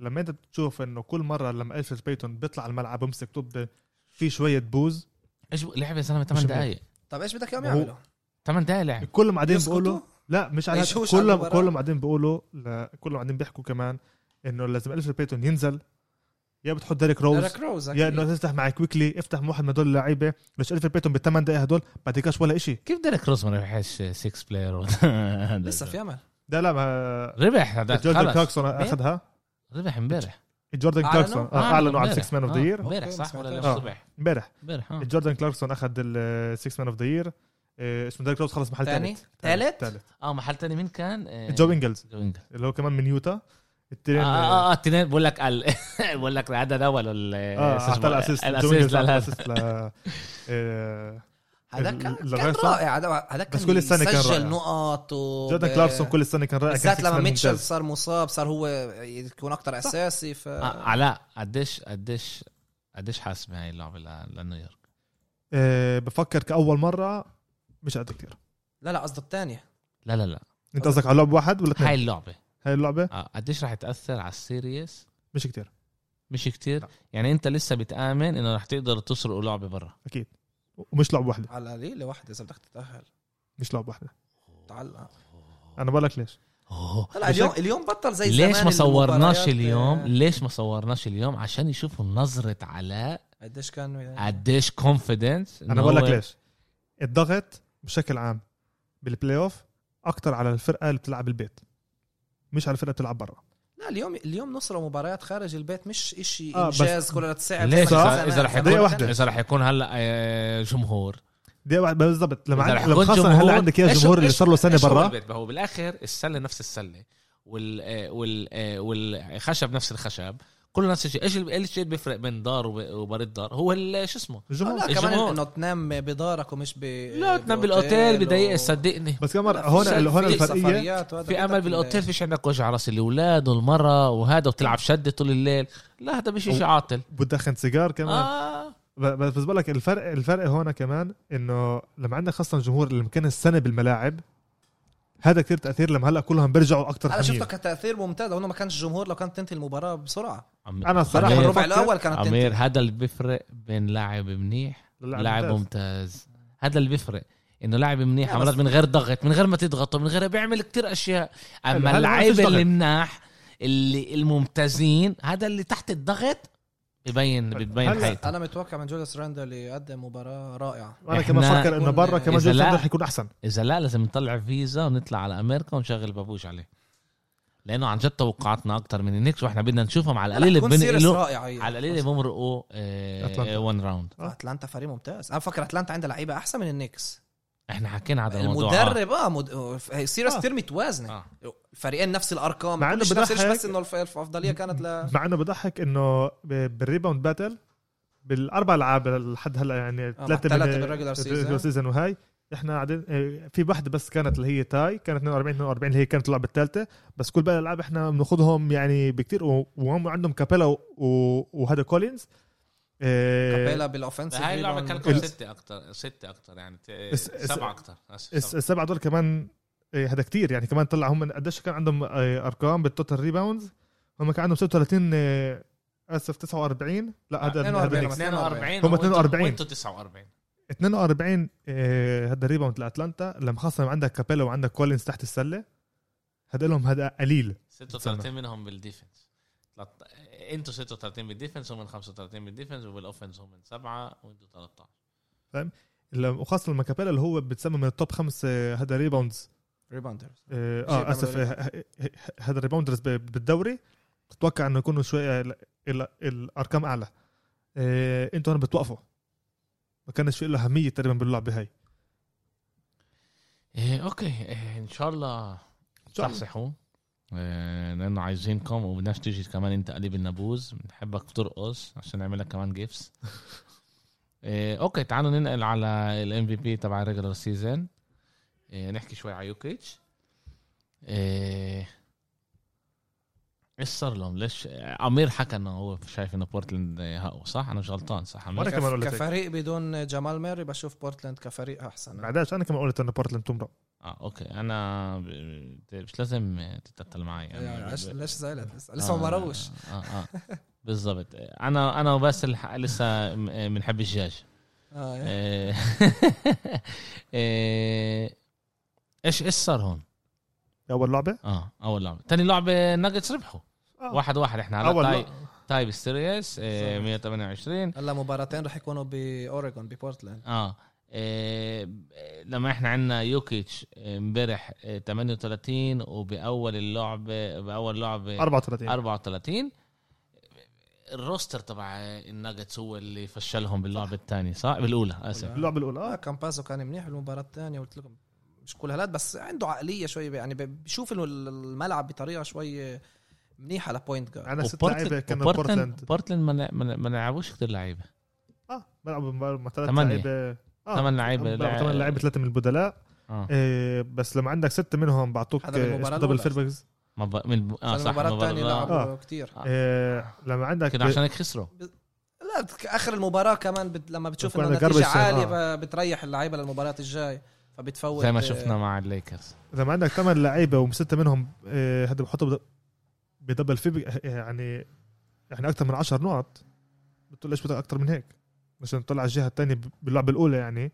Speaker 3: لما انت بتشوف انه كل مره لما الفريد بيتون بيطلع على الملعب بمسك طب في شويه بوز
Speaker 1: ايش لعب يا زلمة 8
Speaker 3: مش منيح.
Speaker 1: دقايق
Speaker 4: طب ايش بدك اياهم
Speaker 3: وهو-
Speaker 4: يعملوا؟
Speaker 1: 8 دقايق لعب
Speaker 3: كلهم قاعدين
Speaker 4: يسقطوا؟
Speaker 3: بيقولوا لا مش على
Speaker 4: ما
Speaker 3: هاد-
Speaker 4: يشوش على
Speaker 3: كلهم
Speaker 4: المباراة.
Speaker 3: كلهم قاعدين بيقولوا لا كلهم قاعدين بيحكوا كمان انه لازم الفريد بيتون ينزل يا بتحط ديريك روز
Speaker 4: ديريك روز
Speaker 3: يا
Speaker 4: أكيد.
Speaker 3: انه تفتح مع كويكلي افتح مع واحد من هدول اللعيبه ليش الف بيتهم بالثمان دقائق هدول بعطيكش ولا إشي
Speaker 1: كيف ديريك روز ما ربحش 6 بلاير
Speaker 4: [LAUGHS] لسه في امل
Speaker 3: لا لا ما
Speaker 1: ربح هذا
Speaker 3: جوردن
Speaker 1: خلص.
Speaker 3: كلاكسون اخذها
Speaker 1: ربح امبارح
Speaker 3: جوردن
Speaker 4: أعلنوا؟
Speaker 3: كلاكسون آه، اعلنوا عن
Speaker 1: امبارح.
Speaker 3: 6 مان اوف
Speaker 1: آه،
Speaker 3: ذا يير
Speaker 1: امبارح
Speaker 4: أوكي،
Speaker 1: صح
Speaker 4: بس
Speaker 1: ولا
Speaker 4: ما
Speaker 1: اليوم
Speaker 3: تعرف.
Speaker 1: الصبح
Speaker 3: امبارح
Speaker 1: امبارح آه.
Speaker 3: جوردن كلاكسون اخذ ال 6 مان اوف ذا يير آه، اسمه ديريك روز خلص محل
Speaker 4: تاني؟
Speaker 3: ثالث
Speaker 4: تالت؟
Speaker 3: ثالث
Speaker 1: اه محل تاني مين كان؟ آه،
Speaker 3: جو انجلز
Speaker 1: جو إنجلز.
Speaker 3: اللي هو كمان من يوتا
Speaker 1: اه
Speaker 3: التنين
Speaker 1: اه آه، التنين بقول لك ال- [LAUGHS] بقول لك العدد الاول وال
Speaker 3: اه اعطى الاسيست جو
Speaker 1: الاسيست
Speaker 3: انجلز
Speaker 1: لا
Speaker 3: أعطى
Speaker 1: لا
Speaker 3: الاسيست ل- آه،
Speaker 4: هذا كان
Speaker 3: ال-
Speaker 4: كان
Speaker 3: الرئيس-
Speaker 4: رائع هذا هذا كان
Speaker 3: بس كل السنة كان
Speaker 4: يسجل
Speaker 3: رائع.
Speaker 4: نقط و
Speaker 3: جوردن كلاركسون كل السنه كان رائع كان
Speaker 4: بالذات
Speaker 3: six
Speaker 4: لما
Speaker 3: man
Speaker 4: ميتشل
Speaker 3: ممتاز.
Speaker 4: صار مصاب صار هو يكون اكثر اساسي ف
Speaker 1: آه، علاء قديش قديش قديش حاسس بهاي اللعبه ل- لنيويورك؟
Speaker 3: آه، بفكر كاول مره مش قد كثير
Speaker 4: لا لا قصدي الثانيه
Speaker 1: لا لا لا
Speaker 3: انت قصدك على لعب واحد ولا
Speaker 1: هاي
Speaker 3: اثنين؟
Speaker 1: اللعبه
Speaker 3: هاي اللعبه
Speaker 1: آه، قديش رح تاثر على السيريس
Speaker 3: مش كتير
Speaker 1: مش كتير
Speaker 3: لا.
Speaker 1: يعني انت لسه بتامن انه رح تقدر تسرق لعبه برا
Speaker 3: اكيد ومش لعبه واحده
Speaker 4: على قليله واحده اذا بدك تتاهل
Speaker 3: مش لعبه واحده
Speaker 4: تعلق
Speaker 3: انا بقول لك ليش
Speaker 1: أوه.
Speaker 4: هلا اليوم اليوم بطل زي زمان
Speaker 1: ليش ما صورناش
Speaker 4: المباريات،
Speaker 1: اليوم
Speaker 4: آه،
Speaker 1: ليش ما صورناش اليوم عشان يشوفوا نظره علاء
Speaker 4: قديش كان
Speaker 1: قديش كونفيدنس
Speaker 3: انا بقول لك ليش الضغط بشكل عام بالبلاي اوف اكتر على الفرقه اللي بتلعب البيت مش على الفرقه اللي بتلعب برا
Speaker 4: لا اليوم اليوم نصرة مباريات خارج البيت مش اشي
Speaker 3: آه، بس-
Speaker 4: انجاز كل تسعة يعني
Speaker 1: ليش
Speaker 3: صح.
Speaker 1: اذا إذا رح
Speaker 3: دقيقة
Speaker 1: يكون
Speaker 3: واحدة.
Speaker 1: اذا رح يكون هلا آه، جمهور
Speaker 3: دي واحد بالضبط لما
Speaker 1: إذا
Speaker 3: عندك
Speaker 1: رح
Speaker 3: لما
Speaker 1: يكون
Speaker 3: خاصه
Speaker 1: جمهور-
Speaker 3: هلا عندك يا
Speaker 1: إيش-
Speaker 3: الجمهور اللي
Speaker 1: إيش-
Speaker 3: صار له سنه
Speaker 1: إيش هو
Speaker 3: برا
Speaker 1: البيت؟ ما هو بالاخر السله نفس السله وال آه، وال آه، والخشب نفس الخشب كله نفس الشيء ايش ال- ايش اللي بيفرق بين دار وب- وبريد دار هو ال- شو اسمه
Speaker 3: الجمهور
Speaker 4: لا
Speaker 1: الجمهور.
Speaker 4: كمان انه تنام بدارك ومش ب
Speaker 1: لا تنام
Speaker 4: بأوتيل
Speaker 1: بالاوتيل
Speaker 4: إيه، و-
Speaker 1: بدقيقه صدقني
Speaker 3: بس كمان
Speaker 4: لا،
Speaker 3: هون
Speaker 4: في
Speaker 3: ال- هون
Speaker 4: في
Speaker 3: الفرقيه
Speaker 4: سفريات وهذا
Speaker 1: في
Speaker 4: بدك
Speaker 1: امل
Speaker 4: ال-
Speaker 1: بالاوتيل فيش عندك وجع راس الاولاد والمره وهذا وبتلعب شده طول الليل لا هذا مش شيء عاطل
Speaker 3: بتدخن سيجار كمان
Speaker 1: اه
Speaker 3: ب- بس بقول لك الفرق الفرق هون كمان انه لما عندك خاصه الجمهور اللي مكان السنه بالملاعب هذا كتير تاثير لما هلا كلهم بيرجعوا اكتر
Speaker 4: انا شفته
Speaker 3: حمير
Speaker 4: كتاثير ممتاز لو ما كانش الجمهور لو كانت تنتهي المباراه بسرعه
Speaker 1: عمير.
Speaker 3: انا الصراحه
Speaker 1: عمير-
Speaker 4: الربع
Speaker 3: بفكر-
Speaker 4: الاول كانت تنتهي
Speaker 1: عمير هذا اللي بيفرق بين لاعب منيح
Speaker 3: لا،
Speaker 1: لاعب
Speaker 3: ممتاز.
Speaker 1: ممتاز هذا اللي بيفرق انه لاعب منيح
Speaker 4: لا،
Speaker 1: عملت
Speaker 4: بس-
Speaker 1: من غير ضغط من غير ما تضغطه من غير بيعمل كتير اشياء
Speaker 3: هلا-
Speaker 1: اما
Speaker 3: هلا ما
Speaker 1: اللعيبه
Speaker 3: فيش ضغط.
Speaker 1: اللي مناح اللي الممتازين هذا اللي تحت الضغط ببين بتبين
Speaker 3: هلا
Speaker 1: حياته
Speaker 4: انا متوقع من جوليس راندل يقدم مباراه رائعه
Speaker 3: انا
Speaker 1: إحنا-
Speaker 3: كمان بفكر انه برا
Speaker 4: إذا
Speaker 3: كمان جيمس
Speaker 1: لا-
Speaker 3: هاردن رح يكون احسن
Speaker 1: اذا لا لازم نطلع فيزا ونطلع على امريكا ونشغل بابوش عليه لانه عن جد توقعاتنا اكتر من النكس واحنا بدنا نشوفهم على القليل
Speaker 4: تكون سيريس
Speaker 1: بنقلوا
Speaker 4: رائعه هي.
Speaker 1: على القليل آه، بمرقوا
Speaker 3: أتلانتا.
Speaker 1: 1 راوند
Speaker 4: اتلانتا فريق ممتاز انا فكر اتلانتا عندها لعيبه احسن من النكس
Speaker 1: احنا حكينا على الموضوع آه.
Speaker 4: المدرب اه مد... هي سيريس
Speaker 3: آه.
Speaker 4: ترمي توازنه
Speaker 1: آه.
Speaker 4: الفريقين نفس الارقام
Speaker 3: مع إنه آه.
Speaker 4: مش نفس الشيء،
Speaker 3: بضحك.
Speaker 4: بس انه الف- الافضليه كانت ل
Speaker 3: مع انه بضحك انه ب- بالريباوند باتل بالاربع العاب لحد هلا يعني
Speaker 4: آه، مع
Speaker 3: ثلاثه
Speaker 4: التلاتة بالregular season.
Speaker 3: سيزون وهاي احنا قاعدين إيه، في واحده بس كانت اللي هي تاي كانت 42 42 اللي هي كانت اللعبه الثالثه بس كل باقي الالعاب احنا بناخذهم يعني بكثير وهم عندهم كابيلا و- وهذا كولينز إيه،
Speaker 4: كابيلا بالاوفنسيف
Speaker 1: هاي اللعبة
Speaker 4: rebound.
Speaker 1: كان
Speaker 3: ال-
Speaker 1: لكم ستة أكتر ستة أكتر يعني ت-
Speaker 3: اس- اس-
Speaker 1: سبعة أكتر آسف،
Speaker 3: الس-
Speaker 1: سبعة.
Speaker 3: السبعه دول كمان إيه، هذا كتير يعني كمان طلع هم قديش كان عندهم إيه، ارقام بالتوتال ريباوندز هم كان عندهم 36 إيه، اسف 49 لا هذا هذا
Speaker 4: 42
Speaker 3: النكس.
Speaker 1: 42
Speaker 3: هم
Speaker 1: وأنتوا-
Speaker 3: 42.
Speaker 1: وأنتوا 49
Speaker 3: 42 آه، هذا ريباوند لاتلانتا لما خاصه لما عندك كابيلا وعندك كولينز تحت السله هذا لهم هذا قليل
Speaker 1: 36 منهم بالديفنس تلت- أنتوا 36 بالديفنس هم 35 بالديفنس وبالأوفنس هم سبعة وأنتوا 13
Speaker 3: لما- وخاصه لما كابيلا اللي هو بتسمى من التوب خمس آه، هذا ريباوندز
Speaker 4: ريباوندر
Speaker 3: اه آه،
Speaker 4: شيء
Speaker 3: اسف
Speaker 4: بيعملوا
Speaker 3: آه، آه، هذا ريباوندرز ب- بالدوري بتوقع انه يكونوا شوي آه، ال- ال- الارقام اعلى آه، انتوا هون بتوقفوا ما كانش في له اهميه تقريبا باللعبه هاي
Speaker 1: إيه أوكي إيه إن شاء الله
Speaker 3: شاء الله.
Speaker 1: تصحصحوا إيه، لأنه عايزينكم وبدناش تيجي كمان أنت قليب النابوز بنحبك ترقص عشان نعمل لك كمان جيفس [LAUGHS] إيه أوكي تعالوا ننقل على الام في بي تبع الريجلر سيزون إيه، نحكي شوي على يوكيتش إيه، ايش صار لهم؟ ليش امير حكى انه هو شايف انه بورتلاند هقوا صح؟ انا مش غلطان صح
Speaker 3: وأنا
Speaker 1: امير؟
Speaker 3: كمان قلت هيك.
Speaker 4: كفريق بدون جمال ميري بشوف بورتلاند كفريق احسن
Speaker 3: بعداش انا كمان قلت انه بورتلاند تمرق
Speaker 1: اه اوكي انا ب- ب- مش لازم تتقتل معي
Speaker 4: يعني
Speaker 1: يعني
Speaker 4: عش- ليش زعلت لسه لسه ما مروش
Speaker 1: اه اه بالضبط انا انا وبس الح- لسه م- بنحب الدجاج
Speaker 4: آه، يعني.
Speaker 1: آه، [LAUGHS] آه، ايش ايش صار هون؟ آه،
Speaker 3: اول لعبه
Speaker 1: اه اول لعبه، ثاني لعبه ناجتس ربحوا
Speaker 3: آه.
Speaker 1: واحد واحد احنا على
Speaker 3: اول
Speaker 1: طاي
Speaker 3: لعبة.
Speaker 1: تايب سيريس آه، 128
Speaker 4: هلا مباراتين رح يكونوا باوريجون ببورتلاند
Speaker 1: اه آه، لما احنا عندنا يوكيتش آه، امبارح آه، 38 وباول اللعبه باول لعبه
Speaker 3: 34
Speaker 1: 34 الروستر تبع الناجتس هو اللي فشلهم باللعبه الثانيه صح آه، بالاولى اسف
Speaker 3: اللعبه الاولى
Speaker 4: اه
Speaker 3: اه
Speaker 4: كامباسو كان منيح بالمباراه الثانيه قلت لكم مش كل هالات بس عنده عقليه شوي يعني بشوف انه الملعب بطريقه شوي منيحه لبوينت جارد
Speaker 3: عندنا ست لعيبه كانوا بورتلاند
Speaker 1: بورتلاند ما لع- ما لع- ما لعبوش كثير لعيبه
Speaker 3: اه بلعبوا مع- مع ثلاث
Speaker 1: ثمانية.
Speaker 3: لعيبه اه
Speaker 1: ثمان لعيبه
Speaker 3: بلعبوا ثمان لعيبه ثلاثه من البدلاء
Speaker 1: آه.
Speaker 3: إيه بس لما عندك سته منهم بعطوك
Speaker 4: هذا بالمباراة
Speaker 3: دبل
Speaker 4: الأولى.
Speaker 3: فيربكس
Speaker 1: ما ب... من... اه صح
Speaker 4: المباراه الثانيه
Speaker 1: الثانيه
Speaker 4: لعبوا كثير
Speaker 1: آه.
Speaker 3: إيه لما عندك
Speaker 1: كده عشان هيك خسروا
Speaker 4: لا بت- اخر المباراه كمان بت... لما بتشوف
Speaker 3: بكون
Speaker 4: انه
Speaker 3: عندك
Speaker 4: النتيجه
Speaker 3: garbage time،
Speaker 4: عاليه
Speaker 3: آه.
Speaker 4: آه. بتريح اللعيبه للمباريات الجاي فبتفوت
Speaker 1: زي ما
Speaker 4: آه،
Speaker 1: شفنا مع الليكرز
Speaker 3: لما عندك ثمان لعيبه وسته منهم إيه، هذا بحطوا بد- بدبل فيربكس يعني احنا اكثر من 10 نقط بتقول ليش بدك اكثر من هيك عشان تطلع الجهه الثانيه باللعبه الاولى يعني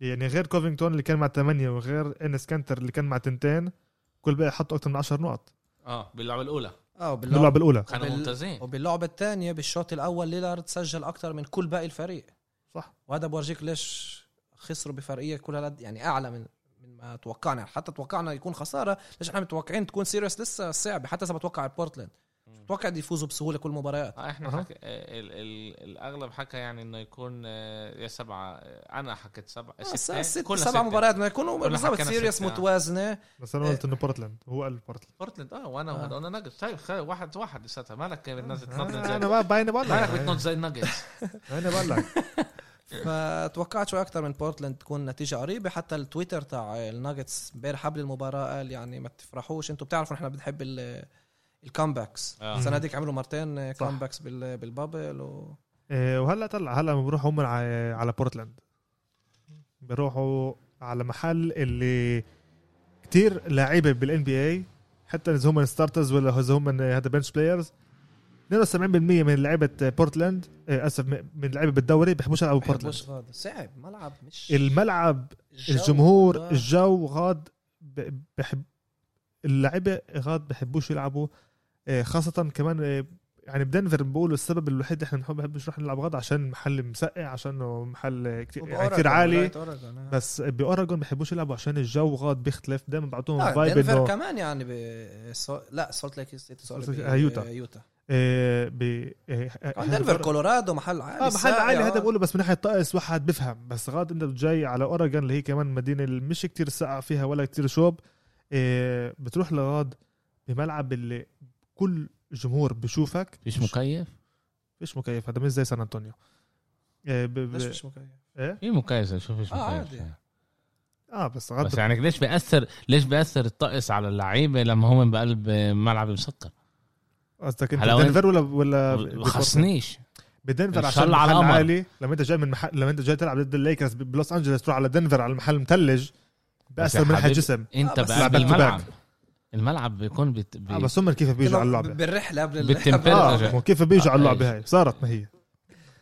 Speaker 3: يعني غير كوفينغتون اللي كان مع ثمانيه وغير انس كانتر اللي كان مع تنتين كل بقى حطوا اكثر من 10 نقط
Speaker 1: اه باللعبه الاولى
Speaker 4: اه
Speaker 3: باللعبه
Speaker 4: باللعب
Speaker 3: الاولى
Speaker 1: كانوا
Speaker 4: وبال-
Speaker 1: ممتازين
Speaker 4: وباللعبه الثانيه بالشوط الاول ليلارد سجل اكثر من كل باقي الفريق
Speaker 3: صح
Speaker 4: وهذا بورجيك ليش خسروا بفرقيه كل هالقد يعني اعلى من من ما توقعنا يعني حتى توقعنا يكون خساره ليش احنا متوقعين تكون سيريس لسه صعبه حتى اذا بتوقع بورتلاند متوقع دي يفوزوا بسهوله كل المباريات
Speaker 1: اه احنا
Speaker 3: أها.
Speaker 1: حكى ال ال الاغلب حكى يعني انه يكون آه، يا سبعه آه، انا حكيت سبعه
Speaker 4: آه،
Speaker 1: ستة،
Speaker 4: ست
Speaker 1: كلها
Speaker 4: سبع
Speaker 1: ستة.
Speaker 4: مباريات ما يكونوا
Speaker 1: كلنا
Speaker 4: بالضبط
Speaker 1: حكينا
Speaker 4: سيريس
Speaker 1: ستة، آه. [LAUGHS]
Speaker 4: متوازنه
Speaker 3: بس انا
Speaker 1: إيه.
Speaker 3: قلت انه بورتلاند هو قال بورتلاند
Speaker 1: بورتلاند اه وانا
Speaker 4: آه.
Speaker 1: وانا ناجتس طيب خ- واحد واحد لساتها مالك بتنزل تنطط
Speaker 3: آه،
Speaker 1: زي
Speaker 3: انا بقى باين
Speaker 1: مالك
Speaker 3: بقول
Speaker 1: بتنط زي الناجتس
Speaker 3: انا بقول [LAUGHS] لك
Speaker 1: إيه.
Speaker 4: فتوقعت شوي اكثر من بورتلاند تكون نتيجه قريبه حتى التويتر تاع الناجتس امبارح قبل المباراه قال يعني ما تفرحوش انتم بتعرفوا احنا بنحب ال- الكامباكس
Speaker 1: آه.
Speaker 4: السنه هذيك عملوا مرتين كامباكس بال- بالبابل و...
Speaker 3: إيه، وهلا طلع هلا بروحوا هم على على بورتلاند بيروحوا على محل اللي كتير لعيبه بالان بي اي حتى اذا هم ستارترز ولا اذا هم هذا بنش بلايرز 72% من لعيبه بورتلاند إيه، اسف م- من لعيبه بالدوري بيحبوش يلعبوا بورتلاند
Speaker 4: بحبوش غاد. صعب ملعب مش
Speaker 3: الملعب
Speaker 4: الجو
Speaker 3: الجمهور
Speaker 4: غاد.
Speaker 3: الجو غاد ب- بحب اللعيبه غاد بحبوش يلعبوا إيه، خاصه كمان إيه، يعني بدنفر بيقولوا السبب الوحيد احنا بنحب بنحبش نروح نلعب غاد عشان محل مسقع عشان هو محل كتير, يعني
Speaker 4: وبأوراجون،
Speaker 3: كتير عالي
Speaker 4: ولاية أوراجون، آه.
Speaker 3: بس باوراجون بحبوش يلعبوا عشان الجو غاد بيختلف دائما بعطوهم
Speaker 4: لا
Speaker 3: فايب
Speaker 4: دنفر
Speaker 3: انه
Speaker 4: كمان يعني ب... سو... لا سولت ليك سيتي سوري،
Speaker 3: سولت ليك-
Speaker 4: ب-
Speaker 3: آه، يوتا.
Speaker 4: يوتا
Speaker 3: إيه، ب إيه،
Speaker 4: آه،
Speaker 3: إحنا
Speaker 4: دنفر
Speaker 3: بأورا-
Speaker 4: كولورادو محل عالي
Speaker 3: اه محل
Speaker 4: ساقع،
Speaker 3: عالي هذا
Speaker 4: آه.
Speaker 3: بقوله بس من ناحيه طقس واحد بفهم بس غاد انت جاي على اوريجون اللي هي كمان مدينه اللي مش كتير ساقعه فيها ولا كتير شوب إيه بتروح لغاد بملعب اللي كل جمهور بشوفك
Speaker 1: مش مكيف؟
Speaker 3: فيش مكيف هذا مش زي سان انطونيو إيه ب...
Speaker 4: ليش
Speaker 3: ب...
Speaker 4: مش مكيف؟
Speaker 3: إيه؟
Speaker 1: في مكيف شوف مش
Speaker 4: آه،
Speaker 1: مكيف
Speaker 4: عادي.
Speaker 1: يعني.
Speaker 3: اه بس غاد
Speaker 1: بس يعني ليش بياثر ليش بياثر الطقس على اللعيبه لما هم بقلب ملعب مسكر؟
Speaker 3: قصدك انت
Speaker 1: هلا وين-
Speaker 3: دنفر ولا ولا ب-
Speaker 1: خصنيش
Speaker 3: بدنفر عشان
Speaker 1: الشلة على
Speaker 3: محل
Speaker 1: القمر.
Speaker 3: عالي لما انت جاي من محل لما انت جاي تلعب ضد الليكرز ب- بلوس انجلوس تروح على دنفر على المحل
Speaker 1: بس
Speaker 3: مثلج
Speaker 1: يا
Speaker 3: بأثر من ناحيه
Speaker 1: حبيبي،
Speaker 3: جسم
Speaker 1: انت
Speaker 4: بس
Speaker 1: بقلب
Speaker 3: لعبك
Speaker 1: الملعب
Speaker 3: بباك.
Speaker 1: الملعب بيكون بت... بي...
Speaker 3: آه بس هم كيف بيجوا على اللعبه
Speaker 4: بالرحله قبل
Speaker 1: بالتمبير-
Speaker 4: آه.
Speaker 1: رجع.
Speaker 3: اه وكيف بيجوا على
Speaker 1: آه،
Speaker 3: اللعبه هاي صارت ما هي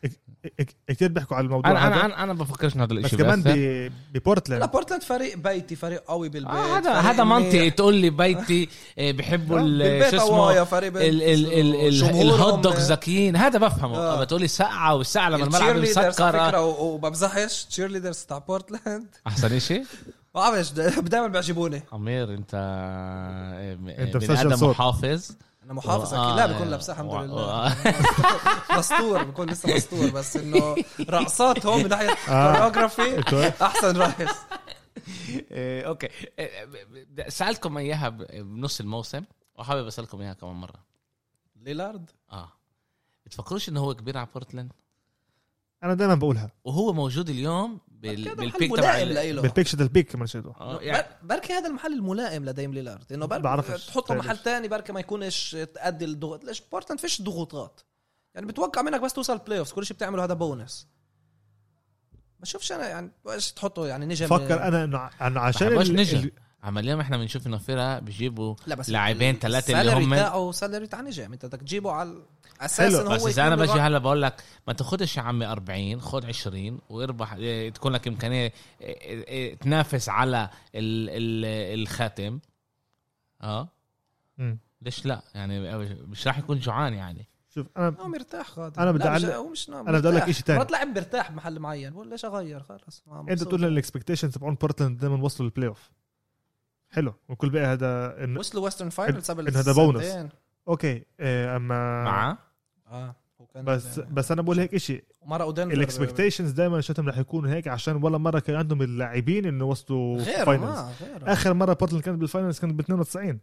Speaker 3: إك- إك- كتير بيحكوا على الموضوع
Speaker 1: انا
Speaker 3: هذا
Speaker 1: انا انا, أنا بفكرش ان هذا
Speaker 3: بس
Speaker 1: الشيء
Speaker 3: كمان
Speaker 1: بيأثر.
Speaker 3: ب-
Speaker 4: لا
Speaker 3: ببورتلاند
Speaker 4: بورتلاند فريق بيتي فريق قوي بالبيت
Speaker 1: آه هذا
Speaker 4: فريق
Speaker 1: هذا منطقي
Speaker 4: منيح.
Speaker 1: تقول لي بيتي آه، بيحبوا
Speaker 3: آه،
Speaker 1: ال-
Speaker 4: بالبيت
Speaker 1: شو اسمه
Speaker 4: قوي يا فريق بيت.
Speaker 1: ال ال ال ال
Speaker 4: جمهورهم-
Speaker 1: الهوت دوغ ذكيين هذا بفهمه
Speaker 4: آه.
Speaker 1: آه. بتقولي سقعه والسقعه لما الملعب
Speaker 4: التشير ليدرز
Speaker 1: مسكر
Speaker 4: على فكره
Speaker 1: آه.
Speaker 4: و- وبمزحش تشير ليدرز تاع بورتلاند [LAUGHS]
Speaker 1: احسن شيء
Speaker 4: ما بعرفش دائما بيعجبوني
Speaker 1: امير انت آه، م-
Speaker 3: أنت
Speaker 1: بني
Speaker 3: مسجل
Speaker 1: ادم
Speaker 3: صوت.
Speaker 1: [LAUGHS] محافظ
Speaker 4: انا محافظ
Speaker 1: آه،
Speaker 4: اكيد لا
Speaker 1: آه،
Speaker 4: بكون لابسها الحمد
Speaker 1: آه،
Speaker 4: لله
Speaker 1: آه.
Speaker 4: [LAUGHS] مستور بكون لسه مستور بس انه رقصات هون من ناحيه
Speaker 3: آه.
Speaker 4: كوريوغرافي
Speaker 3: [LAUGHS]
Speaker 4: احسن راقص
Speaker 1: آه، اوكي آه، ب- ب- سالتكم اياها ب- بنص الموسم وحابب اسالكم اياها كمان مره
Speaker 4: ليلارد
Speaker 1: اه بتفكروش انه هو كبير على بورتلاند
Speaker 3: انا دائما بقولها
Speaker 1: وهو موجود اليوم بال...
Speaker 4: هذا
Speaker 1: بالبيك
Speaker 4: محل
Speaker 1: تبع
Speaker 4: ملائم
Speaker 1: ال-
Speaker 4: لإله
Speaker 3: بالبيك شد البيك كمان شدوا
Speaker 1: آه، يعني
Speaker 4: بر- بركي هذا المحل الملائم لديم ليلارد انه بركي
Speaker 3: بعرفش.
Speaker 4: تحطه
Speaker 3: طيب.
Speaker 4: محل تاني بركي ما يكونش تأدي الضغط ليش بورتلاند فيش ضغوطات يعني بتوقع منك بس توصل بلاي اوف كل شيء بتعمله هذا بونس بشوفش انا يعني ايش تحطه يعني نجم
Speaker 3: فكر انا انه ع- إنه عشان
Speaker 1: بحبوش
Speaker 3: ال-
Speaker 1: نجم.
Speaker 3: ال-
Speaker 1: عمال اليوم احنا بنشوف انه فرقه بيجيبوا
Speaker 4: لا بس
Speaker 1: لاعبين ثلاثه اللي هم
Speaker 4: تاعه سالري تاع نجم انت بدك تجيبه على اساس
Speaker 3: حلو.
Speaker 4: انه هو
Speaker 1: بس اذا انا
Speaker 4: يكون
Speaker 1: بجي
Speaker 4: الرا-
Speaker 1: هلا بقول لك ما تاخدش يا عمي 40 خد 20 واربح إيه، تكون لك امكانيه إيه، إيه، إيه، تنافس على ال ال الخاتم اه
Speaker 3: مم.
Speaker 1: ليش لا يعني مش راح يكون جوعان يعني
Speaker 3: شوف انا
Speaker 4: اه مرتاح غادي
Speaker 3: أنا بدي
Speaker 4: لا، مش-
Speaker 3: أعلق-
Speaker 4: هو مش نعم
Speaker 3: أنا بدي أعلق إشي تاني.
Speaker 4: مرات لاعب مرتاح محل معين ولا ليش اغير خلص
Speaker 3: انت
Speaker 4: آه، مبسوط.
Speaker 3: بتقول الاكسبكتيشن تبعون بورتلاند دائما وصلوا للبلاي اوف حلو والكل بقى هذا إن...
Speaker 4: وصلوا ويسترن فاينلز قبل
Speaker 3: إن هذا بونس.
Speaker 4: سنتين.
Speaker 3: اوكي إيه اما
Speaker 1: معاه
Speaker 4: اه هو كان
Speaker 3: بس بس انا بقول هيك شيء
Speaker 4: ومره ودنفر
Speaker 3: الاكسبكتيشنز دائما شتهم رح يكونوا هيك عشان ولا مره كان عندهم اللاعبين انه وصلوا
Speaker 4: غير
Speaker 3: finals.
Speaker 4: ما غير
Speaker 3: اخر مره بورتلاند كانت بالفاينلز كانت ب 92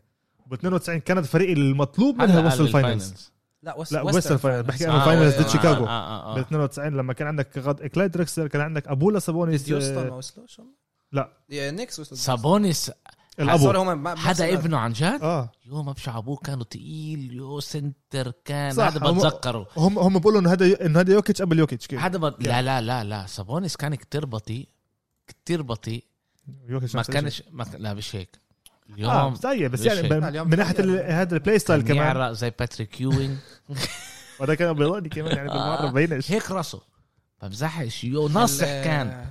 Speaker 3: ب 92 كانت فريق المطلوب
Speaker 1: هلا
Speaker 3: منها وصل
Speaker 1: قال
Speaker 3: الفاينلز
Speaker 4: لا وست
Speaker 3: لا ويسترن فاينلز بحكي انا
Speaker 1: آه، آه،
Speaker 3: فاينلز يعني ضد
Speaker 1: آه،
Speaker 3: شيكاغو
Speaker 1: آه، آه، آه.
Speaker 3: بال 92 لما كان عندك غاد كلاي دريكسلر كان عندك ابولا سابونيس
Speaker 4: هيوستن ما
Speaker 3: آه،
Speaker 4: وصلوش هم؟
Speaker 3: لا.
Speaker 4: يا نيكس وصلوا
Speaker 1: سابونيس
Speaker 3: الابو
Speaker 4: هم
Speaker 1: حدا ابنه عن جد
Speaker 3: اه
Speaker 1: يو ما بشع ابوه كانوا تقيل يو سنتر كان
Speaker 3: صح،
Speaker 1: هذا
Speaker 3: هم-
Speaker 1: بتذكره
Speaker 3: هم هم بيقولوا انه هذا انه هذا يوكيتش قبل يوكيتش كيف
Speaker 1: حدا بد... لا لا لا لا سابونيس كان كتير بطيء كتير بطيء
Speaker 3: يوكيتش
Speaker 1: ما
Speaker 3: نفس الشيء.
Speaker 1: كانش ما... ك- لا مش هيك اليوم
Speaker 3: اه سيء بس
Speaker 1: مش
Speaker 3: يعني
Speaker 1: هيك.
Speaker 3: بال-
Speaker 4: لا، اليوم
Speaker 3: من ناحيه
Speaker 4: سيء.
Speaker 3: ال- هذا البلاي ستايل
Speaker 1: كان
Speaker 3: كمان
Speaker 1: يعرق زي باتريك
Speaker 3: [LAUGHS]
Speaker 1: يوين
Speaker 3: وهذا كان بيضاني كمان يعني
Speaker 1: آه.
Speaker 3: بالمره بينش
Speaker 1: هيك راسه فمزحش يو ناصح كان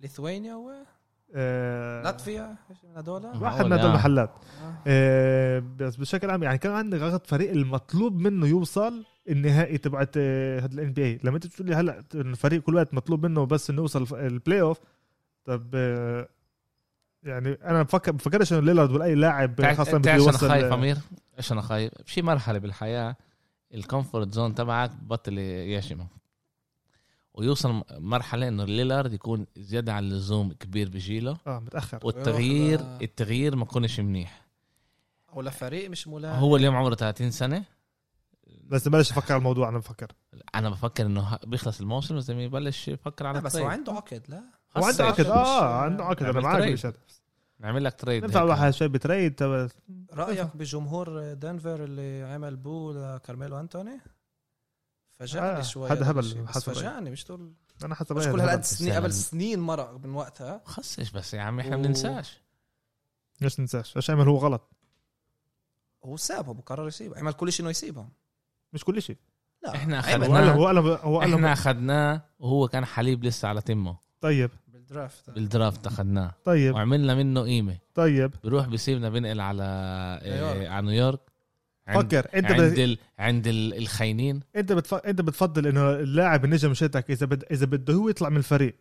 Speaker 4: ليثوانيا و
Speaker 3: آه،
Speaker 4: لاتفيا إيش من هدول
Speaker 3: واحد
Speaker 1: هول،
Speaker 3: من هدول
Speaker 1: آه.
Speaker 3: المحلات آه، بس بشكل عام يعني كان عندك غلط فريق المطلوب منه يوصل النهائي تبعت آه، هاد الان بي اي لما انت بتقول لي هلا إن الفريق كل وقت مطلوب منه بس انه يوصل الف- البلاي اوف طب آه، يعني انا بفكر بفكرش انه ليلارد ولا اي لاعب
Speaker 1: تعرف
Speaker 3: خاصه
Speaker 1: تعرف
Speaker 3: بده
Speaker 1: ايش انا
Speaker 3: يوصل
Speaker 1: خايف
Speaker 3: آه،
Speaker 1: امير؟ ايش انا خايف؟ بشي مرحله بالحياه الكومفورت زون تبعك بطل يشمك ويوصل م- مرحله انه ليلارد يكون زياده عن اللزوم كبير بجيله
Speaker 3: اه متاخر
Speaker 1: والتغيير
Speaker 4: ياخد-
Speaker 1: التغيير ما يكونش منيح
Speaker 4: او لفريق مش ملائم
Speaker 1: هو اليوم عمره 30 سنه
Speaker 3: بس بلاش افكر على الموضوع انا بفكر
Speaker 1: انا بفكر انه ه- بيخلص الموسم لازم يبلش يفكر على
Speaker 4: لا، بس هو
Speaker 3: طيب.
Speaker 1: التريد
Speaker 4: عنده عقد لا
Speaker 1: خلص
Speaker 3: وعنده عقد
Speaker 1: يا
Speaker 3: اه عنده عقد انا
Speaker 1: نعمل
Speaker 3: معك
Speaker 1: تريد.
Speaker 3: مش هاد.
Speaker 1: نعمل لك تريد
Speaker 3: ينفع
Speaker 1: هيك.
Speaker 3: واحد شاب تريد تبع- طيب.
Speaker 4: رايك بجمهور دنفر اللي عمل بو لكارميلو انتوني فاجأني
Speaker 3: آه،
Speaker 4: شوي
Speaker 3: حد
Speaker 4: هذا
Speaker 3: هبل
Speaker 4: الشيء، بس
Speaker 3: حسب رأيي.
Speaker 4: فاجأني مش طول
Speaker 3: انا حسب
Speaker 4: مش
Speaker 3: رأيي
Speaker 4: كل
Speaker 3: هذا
Speaker 4: هالقد
Speaker 3: بس.
Speaker 4: سنين
Speaker 1: سلام.
Speaker 4: قبل سنين مرق من وقتها
Speaker 1: خصش بس يا عمي احنا
Speaker 4: و-
Speaker 1: بننساش
Speaker 3: مش ننساش ايش عمل هو غلط
Speaker 4: هو سابهم وقرر يسيبهم عمل كل شيء انه يسيبهم
Speaker 3: مش كل شيء
Speaker 4: لا
Speaker 1: احنا
Speaker 4: عمل
Speaker 3: هو
Speaker 1: اخذناه
Speaker 3: قال هو قال هو قال
Speaker 1: احنا اخذناه وهو كان حليب لسه على تمه
Speaker 3: طيب
Speaker 4: بالدرافت
Speaker 1: بالدرافت اخذناه
Speaker 3: طيب
Speaker 1: وعملنا منه قيمه
Speaker 3: طيب
Speaker 1: بروح بيسيبنا بنقل على
Speaker 4: نيويورك.
Speaker 1: آه على نيويورك عند
Speaker 3: فكر انت
Speaker 1: عند
Speaker 3: بت...
Speaker 1: ال... عند ال... الخاينين
Speaker 3: انت بتف... انت بتفضل انه اللاعب النجم شتك اذا بد... اذا بده هو يطلع من الفريق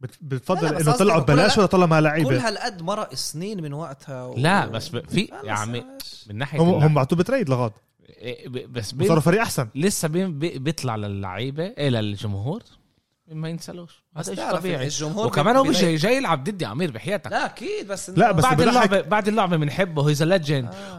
Speaker 3: بت... بتفضل
Speaker 4: لا لا، بس
Speaker 3: انه
Speaker 4: قصدي
Speaker 3: طلعه
Speaker 4: إنه كل
Speaker 3: ببلاش
Speaker 4: هلا-
Speaker 3: ولا طلع مع
Speaker 4: كل
Speaker 3: لعيبه
Speaker 4: هالقد مرق سنين من وقتها و... آه.
Speaker 1: لا بس ب... في يعني
Speaker 4: خلص
Speaker 1: يا عمي
Speaker 4: عاش.
Speaker 1: من ناحيه
Speaker 3: هم
Speaker 1: اللع-
Speaker 3: هم بعتوه بتريد لغاد
Speaker 1: إيه، ب- بس بي...
Speaker 3: صاروا فريق احسن
Speaker 1: لسه بي... بي... بيطلع للعيبه ايه للجمهور ما ينسلوش
Speaker 4: بس
Speaker 1: هذا شيء
Speaker 4: تعرف
Speaker 1: طبيعي
Speaker 4: الجمهور
Speaker 1: وكمان هو
Speaker 4: بي-
Speaker 1: مش جاي, جاي يلعب ضدي عمير بحياتك
Speaker 4: لا اكيد بس إنه-
Speaker 3: لا، بس
Speaker 1: بعد
Speaker 3: بضحك.
Speaker 1: اللعبه بعد اللعبه بنحبه هيز ليجند
Speaker 4: آه. لا،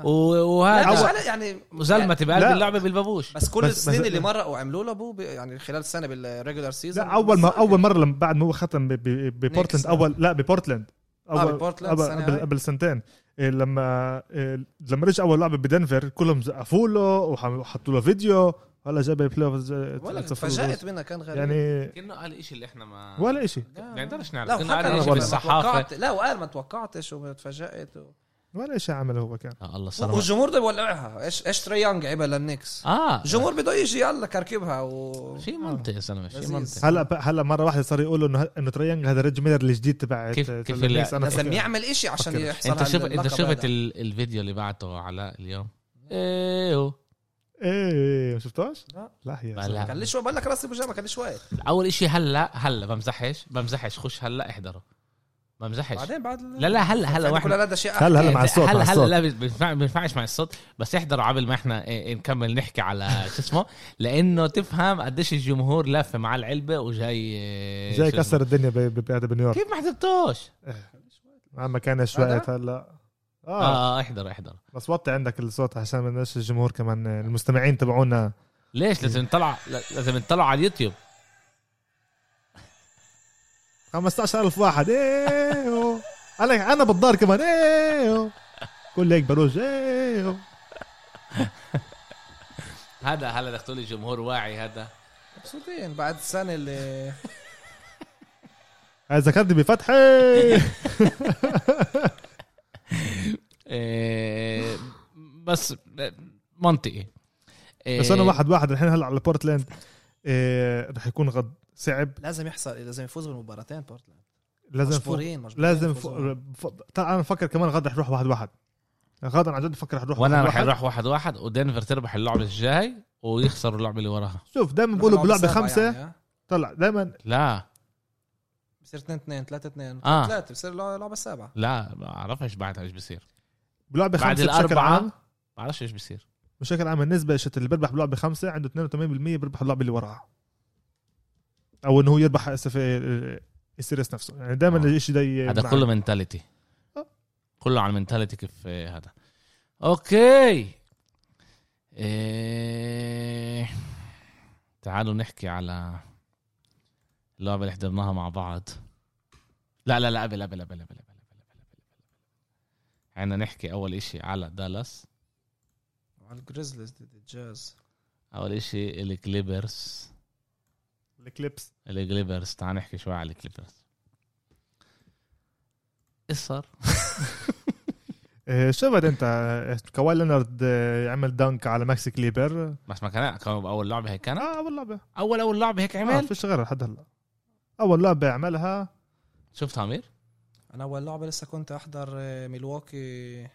Speaker 4: مش
Speaker 1: وهذا
Speaker 4: على- يعني
Speaker 1: زلمه تبقى قلب
Speaker 3: لا.
Speaker 1: اللعبه بالبابوش
Speaker 4: بس كل
Speaker 3: بس- بس-
Speaker 4: السنين اللي مرقوا وعملوا له ابو يعني خلال السنه بالريجولار سيزون
Speaker 3: لا اول ما اول مره لما بعد ما هو ختم ب... ب... ببورتلاند
Speaker 4: نيكس.
Speaker 3: اول لا ببورتلاند
Speaker 4: آه،
Speaker 3: اول
Speaker 4: ببورتلاند
Speaker 3: قبل-
Speaker 4: السنة
Speaker 3: قبل
Speaker 4: هاي.
Speaker 3: قبل سنتين إيه، لما إيه، لما رجع اول لعبه بدنفر كلهم زقفوا له وح- وحطوا له فيديو هلا جاب البلاي اوف
Speaker 4: ولا تفاجأت آه. منها كان غريب
Speaker 3: يعني
Speaker 1: كانه قال شيء اللي احنا ما
Speaker 3: ولا شيء
Speaker 4: لا.
Speaker 1: بنقدرش
Speaker 4: لا
Speaker 1: نعرف كنا
Speaker 4: وحكى
Speaker 1: قال
Speaker 4: إنه
Speaker 1: شيء
Speaker 4: ما
Speaker 1: بالصحافه
Speaker 4: توقعت- لا وقال ما توقعتش وتفاجأت و...
Speaker 3: ولا شيء عمله هو كان
Speaker 1: آه الله صار
Speaker 4: والجمهور ده بيولعها ايش ايش تري يونغ عمل للنكس
Speaker 1: اه
Speaker 4: الجمهور بده يجي يلا كركبها و
Speaker 1: شيء منطقي يا زلمه شيء
Speaker 4: لذيذ.
Speaker 1: منطقي
Speaker 3: هلا هلا مره واحده صار يقولوا انه انه تريانج هذا ريج ميلر الجديد تبع
Speaker 1: كيف- كيف
Speaker 3: تبع
Speaker 1: اللي-
Speaker 3: الناس. أنا
Speaker 4: لازم
Speaker 3: فكر-
Speaker 4: يعمل إشي عشان
Speaker 3: فكر.
Speaker 4: يحصل
Speaker 1: انت
Speaker 4: على
Speaker 1: شفت انت
Speaker 4: اللقب
Speaker 1: شفت
Speaker 4: هذا.
Speaker 1: ال- الفيديو اللي بعته علاء اليوم ايه هو.
Speaker 3: ايه ما شفتوش؟
Speaker 4: لا.
Speaker 3: لا يا
Speaker 1: بلا.
Speaker 3: زلمة.
Speaker 4: كان ليش بقول لك راسي بجامه كان ليش وقت
Speaker 1: اول اشي هلا هلا بمزحش بمزحش خش هلا احضره بمزحش
Speaker 4: بعدين بعد
Speaker 1: لا لا هلا هلا
Speaker 4: كل
Speaker 1: واحنا
Speaker 4: هذا شيء
Speaker 3: هلا هلا مع الصوت
Speaker 1: إيه، هلا
Speaker 3: مع
Speaker 1: هلا
Speaker 3: الصوت
Speaker 1: لا بينفع- بينفعش مع الصوت بس احضروا قبل ما احنا إيه، نكمل نحكي على [LAUGHS] شو اسمه لانه تفهم قديش الجمهور لافه مع العلبه وجاي إيه،
Speaker 3: جاي
Speaker 1: شو اسمه.
Speaker 3: كسر الدنيا ب- ب- بهذا بنيويورك
Speaker 1: كيف ما حضرتوش؟
Speaker 3: عم كان شوية هلا اه
Speaker 1: اه احضر احضر
Speaker 3: بس وطي عندك الصوت عشان ما بدناش الجمهور كمان المستمعين تبعونا
Speaker 1: ليش لازم نطلع لازم نطلع على اليوتيوب
Speaker 3: 15000 واحد ايه أوه. انا انا بالدار كمان ايه أوه. كل هيك بروج ايه أوه.
Speaker 1: هذا هلا بدك تقول لي جمهور واعي هذا
Speaker 4: مبسوطين بعد السنه اللي
Speaker 3: هاي ذكرتني
Speaker 1: [LAUGHS]
Speaker 3: بفتح إيه.
Speaker 1: إيه بس منطقي إيه
Speaker 3: بس انا واحد واحد الحين هلا على بورتلاند إيه رح يكون غض صعب
Speaker 4: لازم يحصل لازم يفوز بالمباراتين بورتلاند
Speaker 3: لازم فوق
Speaker 4: مجبورين مجبورين
Speaker 3: لازم
Speaker 4: يفوزوا.
Speaker 3: فوق فوق طيب انا بفكر كمان غاد رح يروح واحد واحد غاد انا عن جد بفكر رح يروح
Speaker 1: وانا
Speaker 3: واحد
Speaker 1: رح
Speaker 3: واحد.
Speaker 1: اروح واحد واحد ودنفر تربح اللعبه الجاي ويخسروا اللعبه اللي وراها
Speaker 3: شوف دائما بقولوا بلعبه خمسه
Speaker 4: يعني ها؟
Speaker 3: طلع دائما
Speaker 1: لا
Speaker 4: بصير 2 2 3 2
Speaker 1: آه.
Speaker 4: 3 بصير اللعبه السابعه
Speaker 1: لا ما بعرفش بعدها ايش بصير
Speaker 3: بلعبه
Speaker 1: بعد
Speaker 3: خمسه بشكل
Speaker 1: الأربعة.
Speaker 3: عام
Speaker 1: بعرفش ايش بصير
Speaker 3: بشكل عام النسبه شت اللي بيربح بلعبه خمسه عنده 82% بيربح اللعبه اللي وراها او انه هو يربح اسف إيه، السيريس نفسه يعني دائما
Speaker 1: آه.
Speaker 3: الشيء ده
Speaker 1: هذا كله منتاليتي
Speaker 3: آه.
Speaker 1: كله على المنتاليتي كيف آه، هذا اوكي إيه... تعالوا نحكي على اللعبه اللي حضرناها مع بعض لا لا لا قبل قبل قبل قبل قبل قبل عنا نحكي اول اشي على دالاس
Speaker 4: على الجريزليز ضد الجاز
Speaker 1: اول اشي الكليبرز
Speaker 3: الكليبس
Speaker 1: الكليبرز تعال نحكي شوي على الكليبرز ايش صار؟
Speaker 3: آه، شفت انت آه، كواي لينارد آه، عمل دنك على ماكس كليبر
Speaker 1: بس ما كان كان اول لعبه هيك كانت
Speaker 3: اه اول لعبه
Speaker 1: اول اول لعبه هيك
Speaker 3: ما
Speaker 1: عمل
Speaker 3: آه، فيش غيرها لحد هلا اول لعبه عملها
Speaker 1: شفت عمير
Speaker 4: انا اول لعبه لسه كنت احضر آه، ميلواكي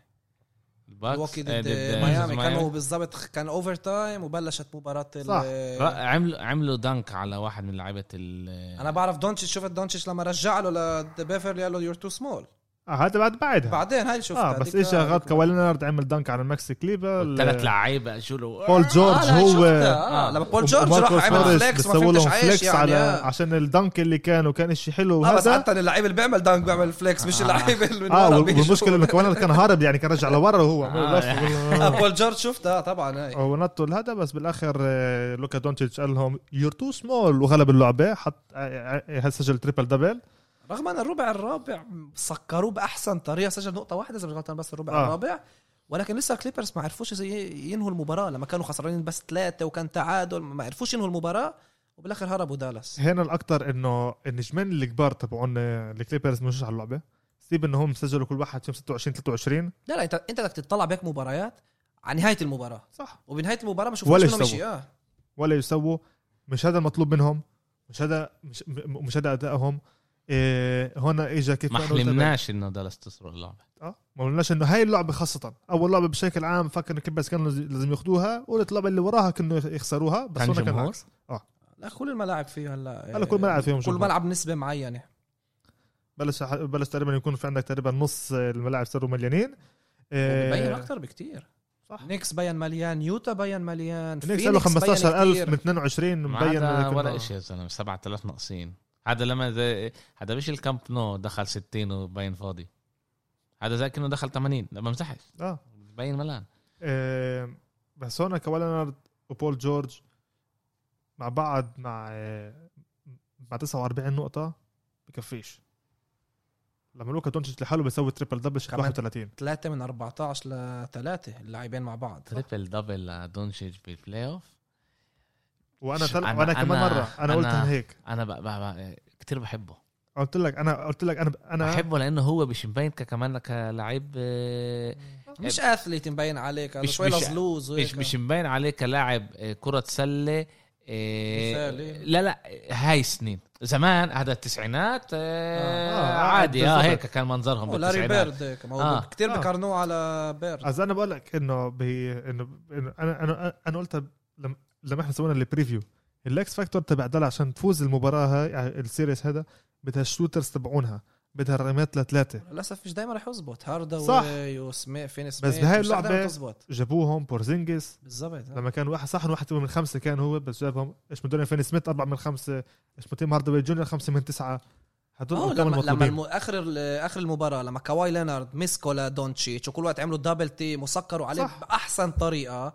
Speaker 1: الباكس
Speaker 4: ميلواكي
Speaker 1: آه،
Speaker 4: ضد آه، ميامي كانوا بالضبط كان اوفر تايم وبلشت مباراه ال-
Speaker 3: صح.
Speaker 1: را- آه، عملوا عملوا دنك على واحد من لعيبه ال
Speaker 4: انا بعرف دونتش شفت دونتش لما رجع له لبيفرلي قال له يور تو سمول
Speaker 3: آه هذا بعد بعدها
Speaker 4: بعدين هاي شفتها
Speaker 3: اه بس
Speaker 4: هذيك-
Speaker 3: ايش اخذ كواي لينارد عمل دنك على ماكس كليبر
Speaker 1: ثلاث لعيبه شو له
Speaker 3: بول جورج
Speaker 4: آه، لا،
Speaker 3: هو
Speaker 4: شفتها. آه،
Speaker 1: آه.
Speaker 4: لما بول جورج راح
Speaker 3: وماركوس
Speaker 4: عمل
Speaker 3: موريس
Speaker 4: فليكس ما
Speaker 3: بيسووا
Speaker 4: فهمتش
Speaker 3: لهم
Speaker 4: عايش
Speaker 3: فليكس
Speaker 4: يعني
Speaker 3: على
Speaker 4: آه.
Speaker 3: عشان الدنك اللي كان وكان شيء حلو
Speaker 4: آه، بس
Speaker 3: وهذا
Speaker 4: حتى اللعيب اللي بيعمل دانك بيعمل فليكس مش اللعيب اللي من
Speaker 3: اه
Speaker 4: ورا
Speaker 3: وال-
Speaker 4: بيجوا.
Speaker 3: والمشكله انه كمان كان هارب يعني كان رجع لورا وهو
Speaker 1: آه.
Speaker 3: عمل لف
Speaker 4: آه، [LAUGHS] بول جورج شفتها طبعا هاي
Speaker 3: هو نطوا هذا بس بالاخر آه، لوكا دونتش قال لهم يور تو سمول وغلب اللعبه حط آه، آه، سجل تريبل دبل
Speaker 4: رغم ان الربع الرابع سكروه باحسن طريقه سجل نقطه واحده اذا مش غلطان بس الربع
Speaker 3: آه.
Speaker 4: آه. الرابع ولكن لسه الكليبرز ما عرفوش إزاي ينهوا المباراه لما كانوا خسرانين بس ثلاثه وكان تعادل ما عرفوش ينهوا المباراه وبالاخر هربوا دالاس
Speaker 3: هنا الاكثر انه النجمين الكبار تبعون آه، الكليبرز مش على اللعبه سيب ان هم سجلوا كل واحد فيهم 26 23
Speaker 4: لا لا انت انت بدك تطلع بهيك مباريات على نهايه المباراه
Speaker 3: صح
Speaker 4: وبنهايه المباراه ما شفناش
Speaker 3: ولا
Speaker 4: منهم
Speaker 3: يسووا.
Speaker 4: شيء اه
Speaker 3: ولا يسووا مش هذا المطلوب منهم مش هذا مش, م- مش هذا ادائهم إيه هنا اجى كيف
Speaker 1: ما
Speaker 3: أنا قلت
Speaker 1: حلمناش انه دالاس تسرق اللعبه
Speaker 3: اه ما قلناش انه هاي اللعبه خاصه اول لعبه بشكل عام فكر الكبس كانوا لز- لازم ياخذوها واللعبه اللي وراها كانوا يخ- يخسروها بس
Speaker 1: كان
Speaker 3: هنا كان
Speaker 1: جمهور؟
Speaker 3: العكس.
Speaker 4: لا كل الملاعب فيه هلا
Speaker 3: هلا كل ملعب فيهم
Speaker 4: كل
Speaker 3: جمهور.
Speaker 4: ملعب نسبه معينه
Speaker 3: بلش بلش تقريبا يكون في عندك تقريبا نص الملاعب صاروا مليانين
Speaker 4: بين
Speaker 3: إيه
Speaker 4: اكثر بكتير
Speaker 3: صح.
Speaker 4: نيكس بين مليان يوتا بين مليان
Speaker 3: هناك
Speaker 4: فينيكس
Speaker 3: صار له
Speaker 4: بين
Speaker 3: 15000
Speaker 4: كتير.
Speaker 3: من 22
Speaker 1: ما
Speaker 3: مبين
Speaker 1: عدا
Speaker 3: إنه آه. كنا-
Speaker 1: ولا شيء يا زلمه 7000 ناقصين هذا لما زي- هذا مش الكامب نو دخل 60 وبين فاضي هذا زي كانه دخل 80 لا ما مسحش
Speaker 3: اه
Speaker 1: بين ملان
Speaker 3: آه، بس هون كواي لينارد وبول جورج مع بعض مع آه، مع 49 نقطة بكفيش لما لوكا دونتش لحاله بيسوي تريبل دبل شكل
Speaker 4: كمان.
Speaker 3: 31
Speaker 4: 3 من 14 ل 3 اللاعبين مع بعض
Speaker 1: تريبل دبل لدونشيج بالبلاي اوف
Speaker 3: وانا
Speaker 1: ش-
Speaker 3: تل...
Speaker 1: أنا-
Speaker 3: وانا كمان
Speaker 1: أنا-
Speaker 3: مرة انا قلت
Speaker 1: أنا-
Speaker 3: هيك
Speaker 1: انا بقى بقى بقى كتير بحبه
Speaker 3: قلت لك انا قلت لك انا انا
Speaker 1: بحبه لانه هو مش مبين كمان كلاعب آه،
Speaker 4: مش اثليت مبين عليك هذا
Speaker 1: مش-
Speaker 4: شوي
Speaker 1: مش-
Speaker 4: لزلوز
Speaker 1: مش مش مبين عليه كلاعب آه، كرة سلة آه،
Speaker 4: مثالي.
Speaker 1: لا لا آه، هاي سنين زمان هذا التسعينات آه،
Speaker 3: آه، آه،
Speaker 1: عادي اه
Speaker 3: بالضبط.
Speaker 1: هيك كان منظرهم
Speaker 4: لاري
Speaker 1: بالتسعينات
Speaker 4: بيرد هيك
Speaker 1: آه.
Speaker 4: آه. كثير
Speaker 3: آه.
Speaker 4: بقارنوه على بيرد
Speaker 3: از انا بقول لك انه بي... انه إنه انا انا انا قلت لما لما احنا سوينا البريفيو الاكس فاكتور تبع دلع عشان تفوز المباراة هاي يعني السيريس هذا بدها الشوترز تبعونها بدها الرميات لثلاثة
Speaker 4: للاسف مش دايما رح يزبط هاردا
Speaker 3: صح.
Speaker 4: وسمي فين سميث
Speaker 3: بس بهاي
Speaker 4: مش رح دايماً
Speaker 3: اللعبة-
Speaker 4: تزبط
Speaker 3: جابوهم بورزينجس
Speaker 4: بالضبط آه.
Speaker 3: لما كان واحد صحن واحد من خمسه كان هو بس جابهم ايش مدوني فين سميث اربعه من خمسه ايش متيم هاردوي جونيور خمسه من تسعه
Speaker 4: اه
Speaker 3: هدول كانوا
Speaker 4: لما لما
Speaker 3: مطلوبين
Speaker 4: الم... اخر ال- اخر المباراه لما كواي لينارد مسكوا لدونتشيتش وكل وقت عملوا دبل تيم وسكروا عليه
Speaker 3: صح.
Speaker 4: صح. باحسن طريقه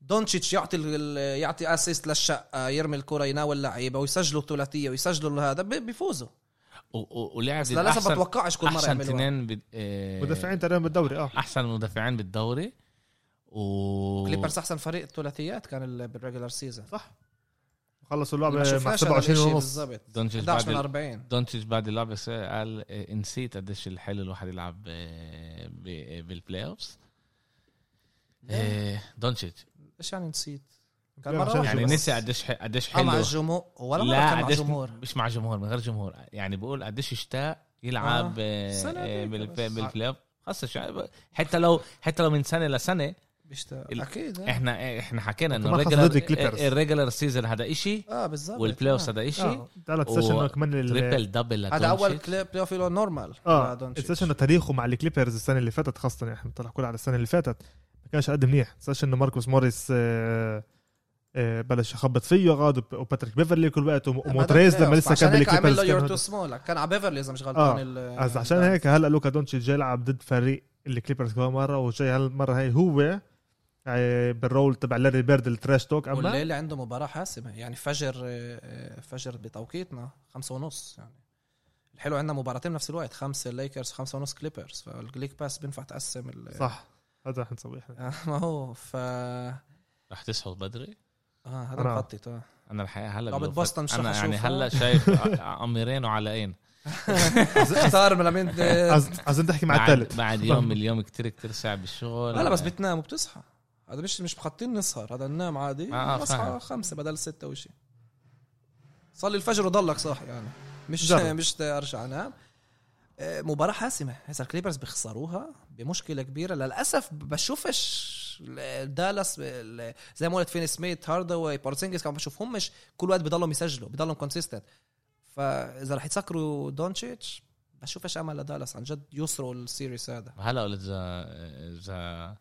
Speaker 4: دونتشيتش يعطي ال... ال- يعطي اسيست للشقه يرمي الكره يناول اللعيبه ويسجلوا الثلاثيه ويسجلوا هذا ب... بيفوزوا
Speaker 1: و- و- ولعب
Speaker 4: بس للاسف ما
Speaker 1: احسن
Speaker 4: بتوقعش كل مره
Speaker 1: احسن
Speaker 4: يعملوها
Speaker 1: اثنين بال-
Speaker 4: إيه.
Speaker 1: آه،
Speaker 3: مدافعين تقريبا بالدوري اه
Speaker 1: احسن مدافعين بالدوري و
Speaker 4: كليبرز احسن فريق ثلاثيات كان ال- بالريجولار سيزون
Speaker 3: صح خلصوا
Speaker 4: ما
Speaker 3: اللعبه مع
Speaker 4: شفناش هذا
Speaker 3: 27
Speaker 4: الإشي
Speaker 3: ونص
Speaker 4: بالضبط
Speaker 1: دونتش
Speaker 4: 11 من
Speaker 1: بعد
Speaker 4: 40
Speaker 1: دونتش بعد اللعبة س- قال آه، نسيت قديش الحلو الواحد يلعب آه، ب- آه، بالبلاي اوفز
Speaker 4: إيه.
Speaker 1: آه، دونتش
Speaker 4: ايش يعني نسيت؟ كان مرة
Speaker 3: عشان
Speaker 1: يعني
Speaker 4: بس.
Speaker 1: نسي قديش ح- قديش
Speaker 4: آه، مع
Speaker 1: حلو
Speaker 4: الجمهور ولا مره
Speaker 1: لا
Speaker 4: كان مع
Speaker 1: قديش
Speaker 4: الجمهور
Speaker 1: مش مع جمهور من غير جمهور يعني بقول قديش اشتاق يلعب آه.
Speaker 4: سنة
Speaker 1: آه
Speaker 4: هيك
Speaker 1: بالف...
Speaker 4: بس.
Speaker 1: بالفلاف خلص شو- حتى لو حتى لو من سنه لسنه ال-
Speaker 4: بيشتاق اكيد آه.
Speaker 1: احنا احنا حكينا انه
Speaker 3: كمان خاصة ضد
Speaker 1: الريجلر
Speaker 3: الكليبرز.
Speaker 1: الريجلر سيزون هذا إشي
Speaker 4: اه بالظبط
Speaker 1: والبلاي اوف
Speaker 4: آه.
Speaker 1: هذا إشي
Speaker 3: ثلاث
Speaker 1: و-
Speaker 3: سيشن كمان ال-
Speaker 1: تريبل دبل
Speaker 4: هذا
Speaker 1: لدونتش.
Speaker 4: اول كليب بلاي اوف له نورمال
Speaker 3: اه
Speaker 4: لدونتش.
Speaker 3: السيشن تاريخه مع الكليبرز السنه اللي فاتت خاصه احنا بنطلع كل على السنه اللي فاتت ما كانش قد منيح سيشن انه ماركوس موريس آه، آه، بلش يخبط فيه غاد وب- وباتريك بيفرلي كل وقت
Speaker 4: آه،
Speaker 3: ومونتريز
Speaker 4: هذا
Speaker 3: لما لسه
Speaker 4: عشان
Speaker 3: كان
Speaker 4: هيك عمل
Speaker 3: بالكليبرز
Speaker 4: له
Speaker 3: كان
Speaker 4: يور تو
Speaker 3: هذا.
Speaker 4: سمول كان على بيفرلي اذا مش غلطان
Speaker 3: آه.
Speaker 4: ال-
Speaker 3: بس عشان هيك هلا لوكا دونتش جاي يلعب ضد فريق الكليبرز كمان مره وجاي هالمره هي هو آه، بالرول تبع لاري بيرد التراش توك اما
Speaker 4: والليله عنده مباراه حاسمه يعني فجر آه، آه، فجر بتوقيتنا خمسة ونص يعني الحلو عندنا مباراتين بنفس الوقت خمسة ليكرز خمسة ونص كليبرز فالكليك باس بينفع تقسم ال-
Speaker 3: صح هذا رح نسويه
Speaker 1: [LAUGHS]
Speaker 3: احنا
Speaker 4: آه، [LAUGHS] ما هو ف اه
Speaker 1: رح تصحوا بدري
Speaker 4: هذا
Speaker 3: أنا-
Speaker 4: مخطط اه
Speaker 1: انا الحقيقه هلا
Speaker 4: لعبة
Speaker 1: بالوفد-
Speaker 4: بوسطن مش رح
Speaker 1: انا يعني
Speaker 4: أشوفها.
Speaker 1: هلا شايف اميرين وعلى عين
Speaker 4: اختار من لمين آه،
Speaker 3: عايز- عايزين نحكي مع
Speaker 1: بعد,
Speaker 3: الثالث
Speaker 1: بعد يوم اليوم كتير كتير صعب الشغل
Speaker 4: لا بس بتنام وبتصحى هذا مش مش مخططين نسهر هذا ننام عادي
Speaker 1: آه، آه،
Speaker 4: اصحى
Speaker 1: فاهم.
Speaker 4: خمسة بدل ستة وشي صلي الفجر وضلك صاحي يعني مش
Speaker 3: جرب.
Speaker 4: مش ارجع انام آه، مباراة حاسمة هسا الكليبرز بيخسروها بمشكلة كبيرة للأسف بشوفش دالاس ال- زي ما قلت فين سميث هارداواي بارسينجز كمان بشوفهم مش كل وقت بضلهم يسجلوا بضلهم كونسيستنت فإذا رح يسكروا دونتشيتش بشوفش أمل لدالاس عن جد يسروا السيريس هذا
Speaker 1: هلا قلت اذا اذا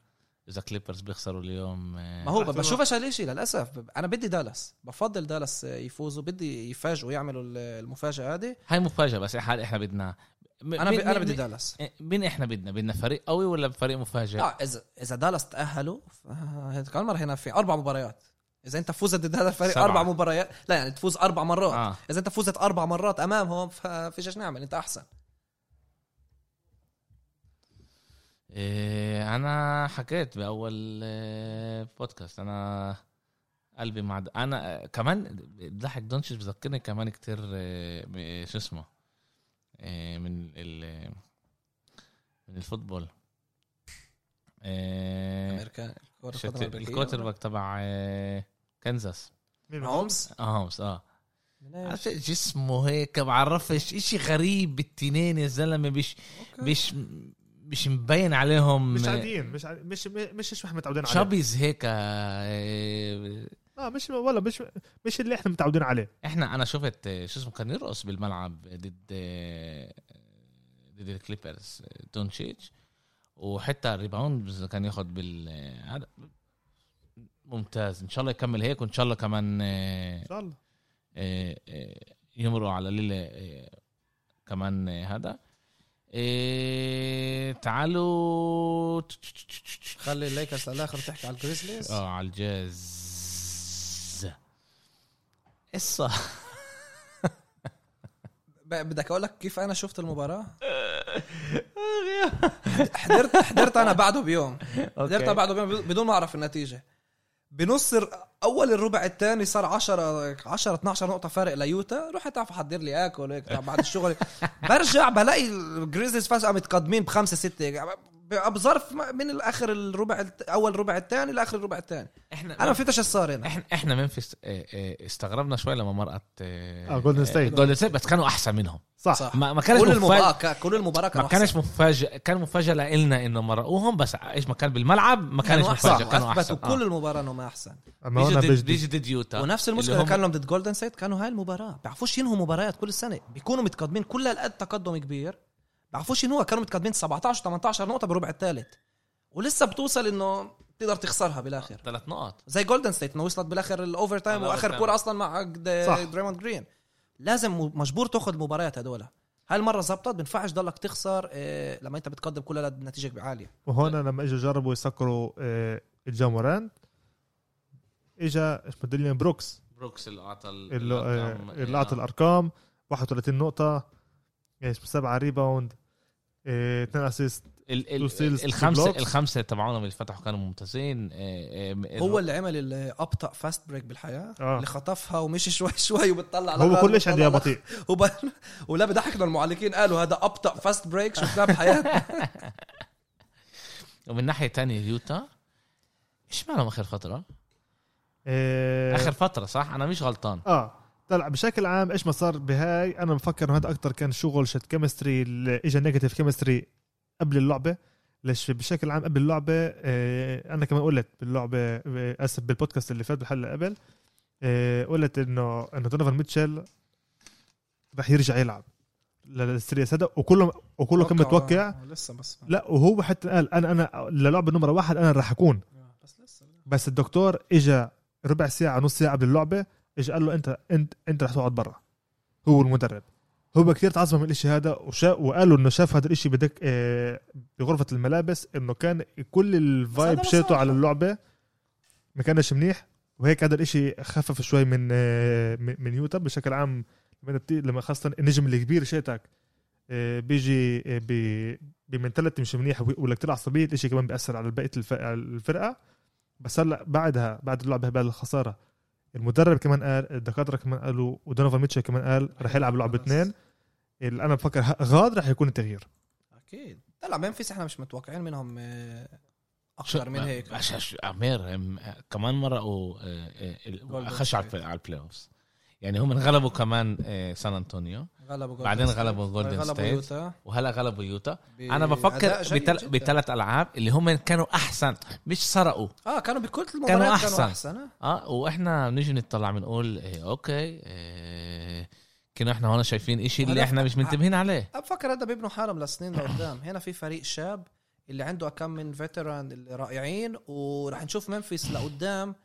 Speaker 1: اذا كليبرز بيخسروا اليوم
Speaker 4: ما هو
Speaker 3: أحسن
Speaker 4: بشوفش هالشيء للاسف انا بدي دالاس بفضل دالاس يفوزوا بدي يفاجئوا يعملوا المفاجاه هذه
Speaker 1: هاي مفاجاه بس إح- احنا بدنا م-
Speaker 4: انا
Speaker 1: مين-
Speaker 4: ب... انا
Speaker 1: مين- إيه،
Speaker 4: بدي دالاس
Speaker 1: مين احنا بدنا بدنا فريق قوي ولا فريق مفاجئ
Speaker 4: اه اذا اذا دالاس تاهلوا ف- كمان مره هنا في اربع مباريات اذا انت فوزت ضد هذا الفريق
Speaker 1: سبعة.
Speaker 4: اربع مباريات لا يعني تفوز اربع مرات
Speaker 1: آه.
Speaker 4: اذا انت فوزت اربع مرات امامهم ففيش ايش نعمل انت احسن
Speaker 1: إيه انا حكيت باول إيه، بودكاست انا قلبي مع د- انا آه، كمان ضحك دونتش بذكرني كمان كتير إيه، ب- إيه، شو اسمه إيه، من ال من الفوتبول إيه،
Speaker 4: امريكان الكرة
Speaker 1: شت-
Speaker 4: القدم الأمريكية.
Speaker 1: الكوتر باك تبع إيه، كنزاس
Speaker 3: مين معه؟
Speaker 4: هومز
Speaker 1: اه هومس اه عرفت جسمه هيك بعرفش اشي غريب بالتنين يا زلمه مش
Speaker 4: أوكي.
Speaker 1: مش مش مبين عليهم
Speaker 3: مش عاديين مش عادي- مش مش مش احنا متعودين عليه
Speaker 1: شابيز هيك آه،
Speaker 3: اه مش ولا مش مش اللي احنا متعودين عليه
Speaker 1: احنا انا شفت آه، شو اسمه كان يرقص بالملعب ضد آه، ضد الكليبرز آه، دونتشيتش وحتى الريباوند كان ياخد بال آه، هذا ممتاز ان شاء الله يكمل هيك وان شاء الله كمان آه،
Speaker 3: ان شاء الله
Speaker 1: آه، آه، يمروا على ليلة آه، كمان آه، هذا آه، تعالوا
Speaker 4: خلي الليكرز على الاخر تحكي على الجريزليز
Speaker 1: اه على الجاز قصة
Speaker 4: ب- بدك اقول لك كيف انا شفت المباراه
Speaker 1: [LAUGHS]
Speaker 4: حضرت حضرت انا بعده
Speaker 1: [LAUGHS]
Speaker 4: بيوم حضرت انا بعده بيوم بدون ما اعرف النتيجه بنص الر- اول الربع الثاني صار 10 10 12 نقطه فارق ليوتا رحت تعرف احضر لي اكل هيك تعرف بعد الشغل
Speaker 1: [LAUGHS]
Speaker 4: برجع بلاقي الجريزليز فجاه متقدمين بخمسه سته ب- بظرف ما- من الاخر الربع الت- اول ربع الثاني لاخر الربع الثاني
Speaker 1: احنا
Speaker 4: انا ما فهمتش ايش صار هنا
Speaker 1: احنا احنا منفس آه، آه، استغربنا شوي لما مرقت
Speaker 3: آه، Golden State.
Speaker 1: جولدن ستيت بس كانوا احسن منهم
Speaker 3: صح,
Speaker 4: صح.
Speaker 1: ما ما كانش
Speaker 4: كل المباراه
Speaker 1: مفاجأة
Speaker 4: ك- كل المباراه كان
Speaker 1: ما كانش مفاجأة كان مفاجأة لإلنا انه مرقوهم بس ايش ما كان بالملعب ما كانش
Speaker 4: كانوا احسن
Speaker 1: مفاجأة كانوا احسن
Speaker 4: اثبتوا
Speaker 1: آه.
Speaker 4: كل المباراه انهم احسن
Speaker 3: اما هون
Speaker 1: بيجي ضد-
Speaker 3: بجدي
Speaker 1: بيجي ضد يوتا
Speaker 4: ونفس المشكله
Speaker 1: اللي هم-
Speaker 4: اللي كان لهم ضد جولدن سيت كانوا هاي المباراه بيعرفوش ينهوا مباريات كل السنه بيكونوا متقدمين كل هالقد تقدم كبير بيعرفوش ينهوا كانوا متقدمين 17 18 نقطه بالربع الثالث ولسه بتوصل انه تقدر تخسرها بالاخر
Speaker 1: ثلاث نقاط
Speaker 4: زي جولدن سيت انه وصلت بالاخر الاوفر تايم
Speaker 1: الأوفر
Speaker 4: واخر
Speaker 1: تايم.
Speaker 4: كوره اصلا مع د-
Speaker 3: صح.
Speaker 4: دريموند جرين لازم م- مجبور تاخذ مباريات هدول هالمره زبطت بينفعش ضلك تخسر آه، لما انت بتقدم كل هالقد نتيجه عاليه
Speaker 3: وهون لما اجوا جربوا يسكروا آه، الجاموران اجا اسمه ديليان بروكس
Speaker 1: بروكس اللي اعطى ال-
Speaker 3: اللي آه،
Speaker 1: الأرقام. إيه، نعم.
Speaker 3: اللي اعطى الارقام 31 نقطه يعني اسمه 7 ريباوند إيه، 2 اسيست
Speaker 1: ال-
Speaker 3: two steals,
Speaker 1: ال-
Speaker 3: two
Speaker 1: الخمسه
Speaker 3: blocks.
Speaker 1: الخمسه تبعونهم اللي فتحوا كانوا ممتازين آه، آه،
Speaker 4: هو اللي عمل الابطا فاست بريك بالحياه
Speaker 3: آه.
Speaker 4: اللي خطفها ومشي [LAUGHS] شوي شوي وبتطلع
Speaker 3: هو
Speaker 4: لغاية-
Speaker 3: كلش عندي
Speaker 4: بتطلع
Speaker 3: بطيء
Speaker 4: وب... [LAUGHS] ولا بضحكنا المعلقين قالوا هذا ابطا فاست بريك شفناه بحياتنا
Speaker 1: [LAUGHS] ومن ناحيه تانية يوتا ايش مالهم اخر فتره؟
Speaker 3: آه،
Speaker 1: اخر فتره صح؟ انا مش غلطان
Speaker 3: اه طلع بشكل عام ايش ما صار بهاي انا بفكر انه هذا اكثر كان شغل شت كيمستري اجى نيجاتيف كيمستري قبل اللعبه ليش بشكل عام قبل اللعبه آه، انا كمان قلت باللعبه آه، اسف بالبودكاست اللي فات بالحلقه قبل آه، قلت انه انه دونيفان ميتشل رح يرجع يلعب للسيريس هذا وكله وكله كان متوقع
Speaker 4: آه، لسه بس
Speaker 3: لا وهو حتى قال انا انا للعبه نمره واحد انا رح اكون
Speaker 4: آه، بس لسه
Speaker 3: بس الدكتور اجى ربع ساعه نص ساعه قبل اللعبه اجى قال له انت انت انت رح تقعد برا هو المدرب هو كثير تعصب من الاشي هذا وشا وقالوا انه شاف هذا الاشي بدك آه، بغرفه الملابس انه كان كل
Speaker 4: هذا
Speaker 3: الفايب
Speaker 4: بس
Speaker 3: شيته
Speaker 4: هذا.
Speaker 3: على اللعبه ما كانش منيح وهيك هذا الاشي خفف شوي من آه، من من يوتا بشكل عام لما بت- لما خاصه النجم الكبير شيتك آه، بيجي آه، ب- بمنتاليتي مش منيح و- ولا كتير عصبيه الاشي كمان بياثر على بقيه الف- على الفرقه بس هلا بعدها بعد اللعبه بعد الخساره المدرب كمان قال الدكاتره كمان قالوا ودونوفان ميتشل كمان قال رح يلعب لعبه اثنين اللي انا بفكر ه- غاد رح يكون التغيير
Speaker 4: اكيد طلع منفيس احنا مش متوقعين منهم آه، اكثر من هيك
Speaker 1: عش- عش- عمير هم- كمان مرقوا آه، آه، ال-
Speaker 4: Golden
Speaker 1: خشوا على
Speaker 4: State.
Speaker 1: البلاي- على البلاي اوفز يعني هم انغلبوا كمان آه، سان انطونيو
Speaker 4: غلبوا Golden
Speaker 1: بعدين
Speaker 4: State.
Speaker 1: غلبوا Golden
Speaker 4: غلبوا
Speaker 1: State.
Speaker 4: يوتا
Speaker 1: وهلا غلبوا يوتا
Speaker 4: ب-
Speaker 1: انا بفكر
Speaker 4: إيه، أداء جيد
Speaker 1: بتل...
Speaker 4: جداً.
Speaker 1: بثلاث العاب اللي هم كانوا احسن مش سرقوا
Speaker 4: اه كانوا بكل المباريات كانوا احسن,
Speaker 1: أحسن.
Speaker 4: كانوا أحسن. آه.
Speaker 1: اه واحنا بنيجي نطلع بنقول إيه اوكي إيه كنا احنا هون شايفين اشي اللي
Speaker 4: وهدف-
Speaker 1: احنا مش منتبهين عليه
Speaker 4: أنا بفكر هذا بيبنوا حالهم لسنين لقدام هنا في فريق شاب اللي عنده كم من فيتران اللي رائعين ورح نشوف منفيس لقدام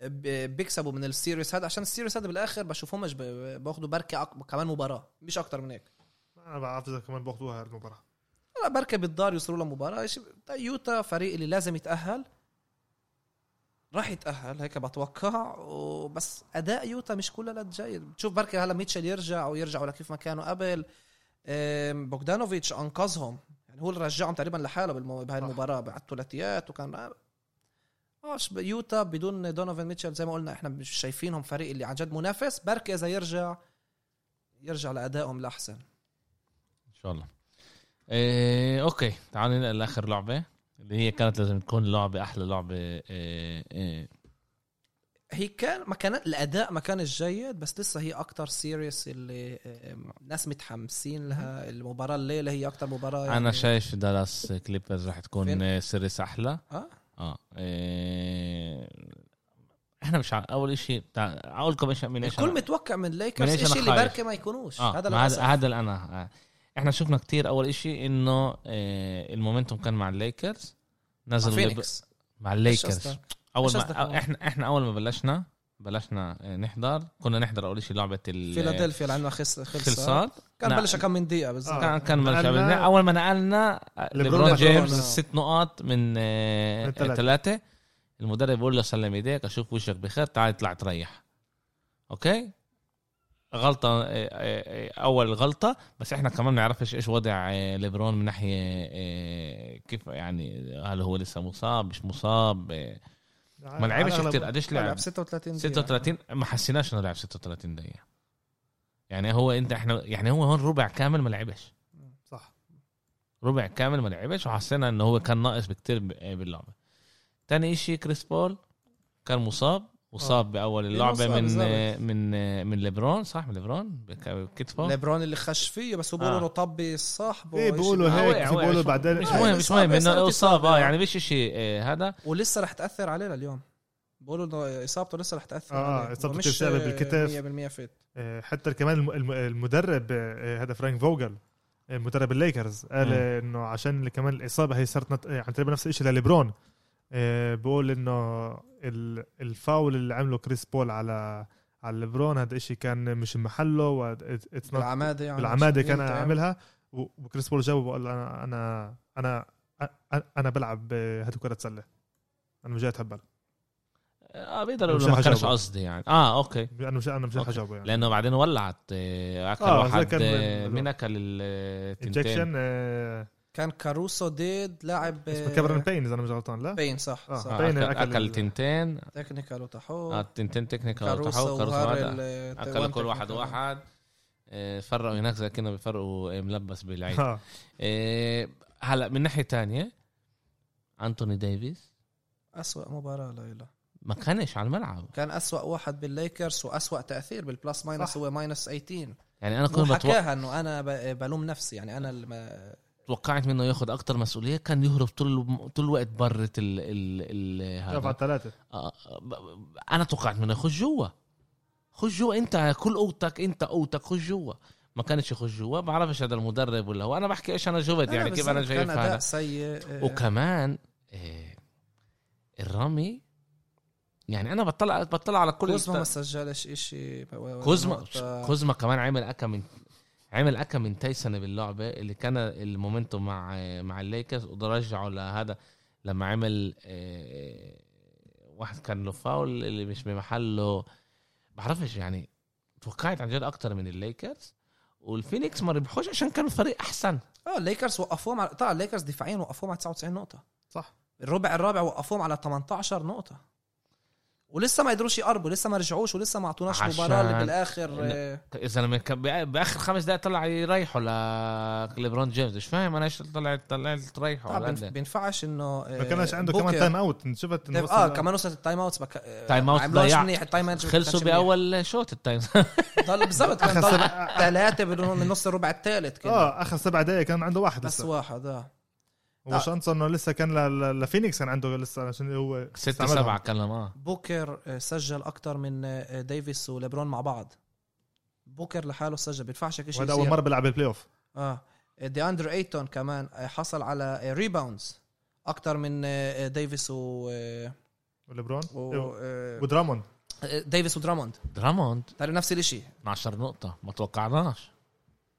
Speaker 4: ب- بيكسبوا من السيريس هذا عشان السيريس هذا بالاخر بشوفهمش ب- باخدوا بركه أك... كمان مباراه مش اكتر من هيك
Speaker 3: انا بعرف اذا كمان باخذوها المباراه
Speaker 4: لا بركه بالدار يوصلوا لمباراه إيش- يوتا فريق اللي لازم يتاهل راح يتاهل هيك بتوقع وبس اداء يوتا مش كلها لا جيد بتشوف بركه هلا ميتشل يرجع او يرجعوا لكيف ما كانوا قبل أم، بوغدانوفيتش انقذهم يعني هو اللي رجعهم تقريبا لحاله بالمو... بهاي المباراه على الثلاثيات وكان اش يوتا بدون دونوفان ميتشل زي ما قلنا احنا مش شايفينهم فريق اللي عن جد منافس بركه اذا يرجع يرجع لادائهم لاحسن
Speaker 1: ان شاء الله إيه اوكي تعالوا ننقل لاخر لعبه اللي هي كانت لازم تكون لعبه احلى لعبه إيه إيه
Speaker 4: هي كان ما كان الاداء ما كانش جيد بس لسه هي اكتر سيريس اللي آم، ناس متحمسين لها المباراه الليله هي يعني، اكتر مباراه
Speaker 1: انا شايف دالاس كليبرز رح
Speaker 4: طيب. فين؟
Speaker 1: تكون سيريس احلى
Speaker 4: اه
Speaker 1: اه إيه احنا مش ع... اول اشي تع... اقول لكم ايش من ايش
Speaker 4: الكل
Speaker 1: أنا-
Speaker 4: متوقع من
Speaker 1: من
Speaker 4: الليكرز
Speaker 1: إيش
Speaker 4: شيء
Speaker 1: أنا
Speaker 4: اللي
Speaker 1: خايف؟
Speaker 4: بركه ما يكونوش
Speaker 1: آه.
Speaker 4: هذا
Speaker 1: ما هذا
Speaker 4: الأسف.
Speaker 1: هذا اللي انا آه. احنا شفنا كتير اول اشي انه آه المومنتوم كان مع الليكرز نزل
Speaker 4: مع فينيكس
Speaker 1: مع
Speaker 4: إيش
Speaker 1: الليكرز
Speaker 4: قصدك؟
Speaker 1: اول
Speaker 4: إيش قصدك
Speaker 1: ما
Speaker 4: هون؟
Speaker 1: احنا احنا اول ما بلشنا بلشنا آه، نحضر كنا نحضر اول شيء لعبه ال-
Speaker 4: فيلادلفيا لانه خس خلص
Speaker 1: خلصات
Speaker 4: كان
Speaker 1: نعم.
Speaker 4: بلش كم من دقيقه بالظبط
Speaker 3: آه.
Speaker 1: كان كان بلش
Speaker 3: نقلنا-
Speaker 1: قبل- اول ما نقلنا ليبرون
Speaker 3: لبرون
Speaker 1: جيمس
Speaker 4: لبرون.
Speaker 1: ست نقاط من
Speaker 3: من الثلاثة.
Speaker 1: ثلاثة المدرب بيقول له سلم ايديك اشوف وشك بخير تعال اطلع تريح اوكي غلطة آه، آه، آه، أول غلطة بس إحنا كمان بنعرفش إيش وضع آه، ليبرون من ناحية آه، كيف يعني هل هو لسه مصاب مش مصاب آه، ما لعبش كتير قديش لعب
Speaker 4: لعب 36 دقيقه
Speaker 1: 36 ما حسيناش انه لعب 36 دقيقة يعني هو انت احنا يعني هو هون ربع كامل ما لعبش
Speaker 3: صح
Speaker 1: ربع كامل ما لعبش وحسينا انه هو كان ناقص بكتير ب- باللعبة تاني اشي كريس بول كان مصاب
Speaker 3: آه.
Speaker 1: وصاب باول اللعبة
Speaker 4: بالنص، آه،
Speaker 1: من
Speaker 4: بالظبط.
Speaker 1: من من ليبرون صح من ليبرون بك- بكتفه
Speaker 4: ليبرون اللي خش فيه بس هو بيقولوا
Speaker 1: آه.
Speaker 4: انه طبي صاحبه
Speaker 3: ايه
Speaker 4: وإشي.
Speaker 3: بيقولوا
Speaker 1: آه،
Speaker 3: هيك
Speaker 1: وقع-
Speaker 3: في
Speaker 1: وقع.
Speaker 3: بيقولوا بعدين
Speaker 1: مش
Speaker 4: آه،
Speaker 1: مهم مش
Speaker 4: إصابة،
Speaker 1: مهم
Speaker 4: إصابة،
Speaker 1: انه اصاب
Speaker 4: إصابة.
Speaker 1: آه، يعني مش اشي آه، هذا
Speaker 4: ولسه رح تاثر عليه لليوم بيقولوا انه اصابته لسه رح تاثر
Speaker 3: آه،
Speaker 4: عليه
Speaker 3: إصابته
Speaker 4: ومش
Speaker 3: بتلعب بالكتاف.
Speaker 4: 100%
Speaker 1: نعم.
Speaker 4: فيت
Speaker 3: آه، حتى كمان الم- الم- المدرب آه، آه، هذا فرانك فوجل آه، مدرب الليكرز قال
Speaker 1: مم.
Speaker 3: آه، انه عشان اللي كمان الاصابه هي صارت نت- آه، عن تقريبا نفس الشيء لليبرون آه، بقول انه ال- الفاول اللي عمله كريس بول على على ليبرون هذا الشيء كان مش محله و- it- it's not
Speaker 4: بالعماده يعني
Speaker 3: بالعماده كان
Speaker 4: إمتى؟
Speaker 3: عاملها و- وكريس بول جاوب وقال انا انا انا أ- انا بلعب آه، هاتوا كره سله انا مش جاي اتهبل
Speaker 1: اه بيقدروا يقولوا
Speaker 3: مش
Speaker 1: ما كانش
Speaker 3: هجاوبه.
Speaker 1: قصدي يعني اه اوكي
Speaker 3: انا مش انا مش
Speaker 1: أوكي.
Speaker 3: رح اجاوبه يعني
Speaker 1: لانه بعدين ولعت آه، اكل
Speaker 3: آه،
Speaker 1: آه
Speaker 3: زي
Speaker 1: واحد
Speaker 3: كان
Speaker 1: آه،
Speaker 3: من-
Speaker 1: مين اكل التنتين
Speaker 3: انجكشن
Speaker 4: كان كاروسو ديد لاعب
Speaker 3: آه،
Speaker 4: آه،
Speaker 3: اسمه كاميرون بينز انا مش غلطان لا
Speaker 4: بين صح
Speaker 3: آه.
Speaker 4: صح
Speaker 1: آه،
Speaker 3: بين
Speaker 1: اكل,
Speaker 3: الأكل
Speaker 1: أكل
Speaker 3: ال-
Speaker 1: تنتين
Speaker 4: تكنيكال
Speaker 1: آه،
Speaker 4: وتحول
Speaker 1: التنتين تكنيكال
Speaker 4: كاروسو
Speaker 1: وتحول كاروسو هذا.
Speaker 4: وهارل
Speaker 1: اكل كل واحد واحد آه، فرقوا هناك زي كنا بيفرقوا آه، ملبس بالعيد
Speaker 3: [LAUGHS] آه.
Speaker 1: آه، هلا من ناحيه تانية انتوني ديفيس
Speaker 4: أسوأ مباراة ليلى
Speaker 1: ما كانش على الملعب
Speaker 4: كان أسوأ واحد بالليكرز وأسوأ تأثير بالبلس ماينس
Speaker 3: صح.
Speaker 4: هو ماينس 18
Speaker 1: يعني انا
Speaker 4: هو
Speaker 1: كنت بتوقع
Speaker 4: حكاها انه انا ب- بلوم نفسي يعني انا اللي ما
Speaker 1: توقعت منه ياخذ اكثر مسؤوليه كان يهرب طول طول الوقت برة ال ال, ال
Speaker 3: شاف على
Speaker 1: هذا
Speaker 3: الثلاثه
Speaker 1: آه، ب- ب- انا توقعت منه يخش جوا خش جوا انت كل اوضتك انت اوضتك خش جوا ما كانش يخش جوا بعرفش هذا المدرب ولا هو انا بحكي ايش انا شفت يعني كيف انا
Speaker 4: كان
Speaker 1: شايف
Speaker 4: اداء
Speaker 1: هذا
Speaker 4: سيء آه،
Speaker 1: وكمان آه، الرامي يعني انا بطلع بطلع على كل
Speaker 4: كوزما ما
Speaker 1: الست-
Speaker 4: سجلش اشي
Speaker 1: كوزما
Speaker 4: نقطة.
Speaker 1: كوزما كمان عمل اكا من عمل اكا من تايسون باللعبه اللي كان المومنتوم مع مع الليكرز ورجعوا لهذا لما عمل آه، واحد كان له فاول اللي مش بمحله بعرفش يعني توقعت عن جد اكتر من الليكرز والفينيكس ما ربحوش عشان كانوا فريق احسن
Speaker 4: اه الليكرز وقفوهم على طلع الليكرز دفاعيا وقفوهم على 99 نقطة
Speaker 3: صح.
Speaker 4: الربع الرابع وقفوهم على 18 نقطة ولسه ما قدروش يقربوا لسه ما رجعوش ولسه ما اعطوناش
Speaker 1: عشان-
Speaker 4: مباراة اللي بالاخر
Speaker 1: لا.
Speaker 4: آه،
Speaker 1: اذا لما كان بآ- باخر خمس دقائق طلع يريحوا ل- ليبرون جيمس مش فاهم انا ايش طلعت طلعت تريحوا
Speaker 4: طبعا
Speaker 1: على
Speaker 4: بينف-
Speaker 1: قد إيه.
Speaker 4: بينفعش انه آه،
Speaker 3: ما كانش عنده
Speaker 4: بوكر-
Speaker 3: كمان تايم اوت شفت إنه
Speaker 4: طيب،
Speaker 3: وصل-
Speaker 4: اه كمان وصلت التايم اوتس بك... آه،
Speaker 1: تايم أوت
Speaker 4: ما عملوهاش
Speaker 1: ضيع.
Speaker 4: منيح التايم مانجمنت
Speaker 1: خلصوا
Speaker 4: ما كانش منيح.
Speaker 1: باول شوط التايم
Speaker 4: ضل بالظبط كان
Speaker 3: آخر
Speaker 4: ضل
Speaker 3: سبع-
Speaker 4: ثلاثة من من نص الربع الثالث كده
Speaker 3: اه اخر سبع دقائق كان عنده واحد
Speaker 4: بس
Speaker 3: لسه
Speaker 4: واحد اه آه.
Speaker 3: هو شانسون انه لسه كان ل- ل- لفينيكس كان عنده لسه عشان هو
Speaker 1: ستة
Speaker 3: استعملهم.
Speaker 1: سبعة كلام اه
Speaker 4: بوكر آه، سجل اكتر من آه، ديفيس وليبرون مع بعض بوكر لحاله سجل بينفعش هيك شيء
Speaker 3: وهذا اول
Speaker 4: يصير.
Speaker 3: مره بيلعب البلاي اوف
Speaker 4: اه دي اندر ايتون كمان آه، حصل على ريباوندز اكتر من آه، ديفيس و, آه،
Speaker 3: وليبرون
Speaker 4: و... آه،
Speaker 3: ودرامون
Speaker 4: ديفيس ودراموند
Speaker 1: دراموند
Speaker 4: ترى نفس الاشي
Speaker 1: 12 نقطة ما توقعناش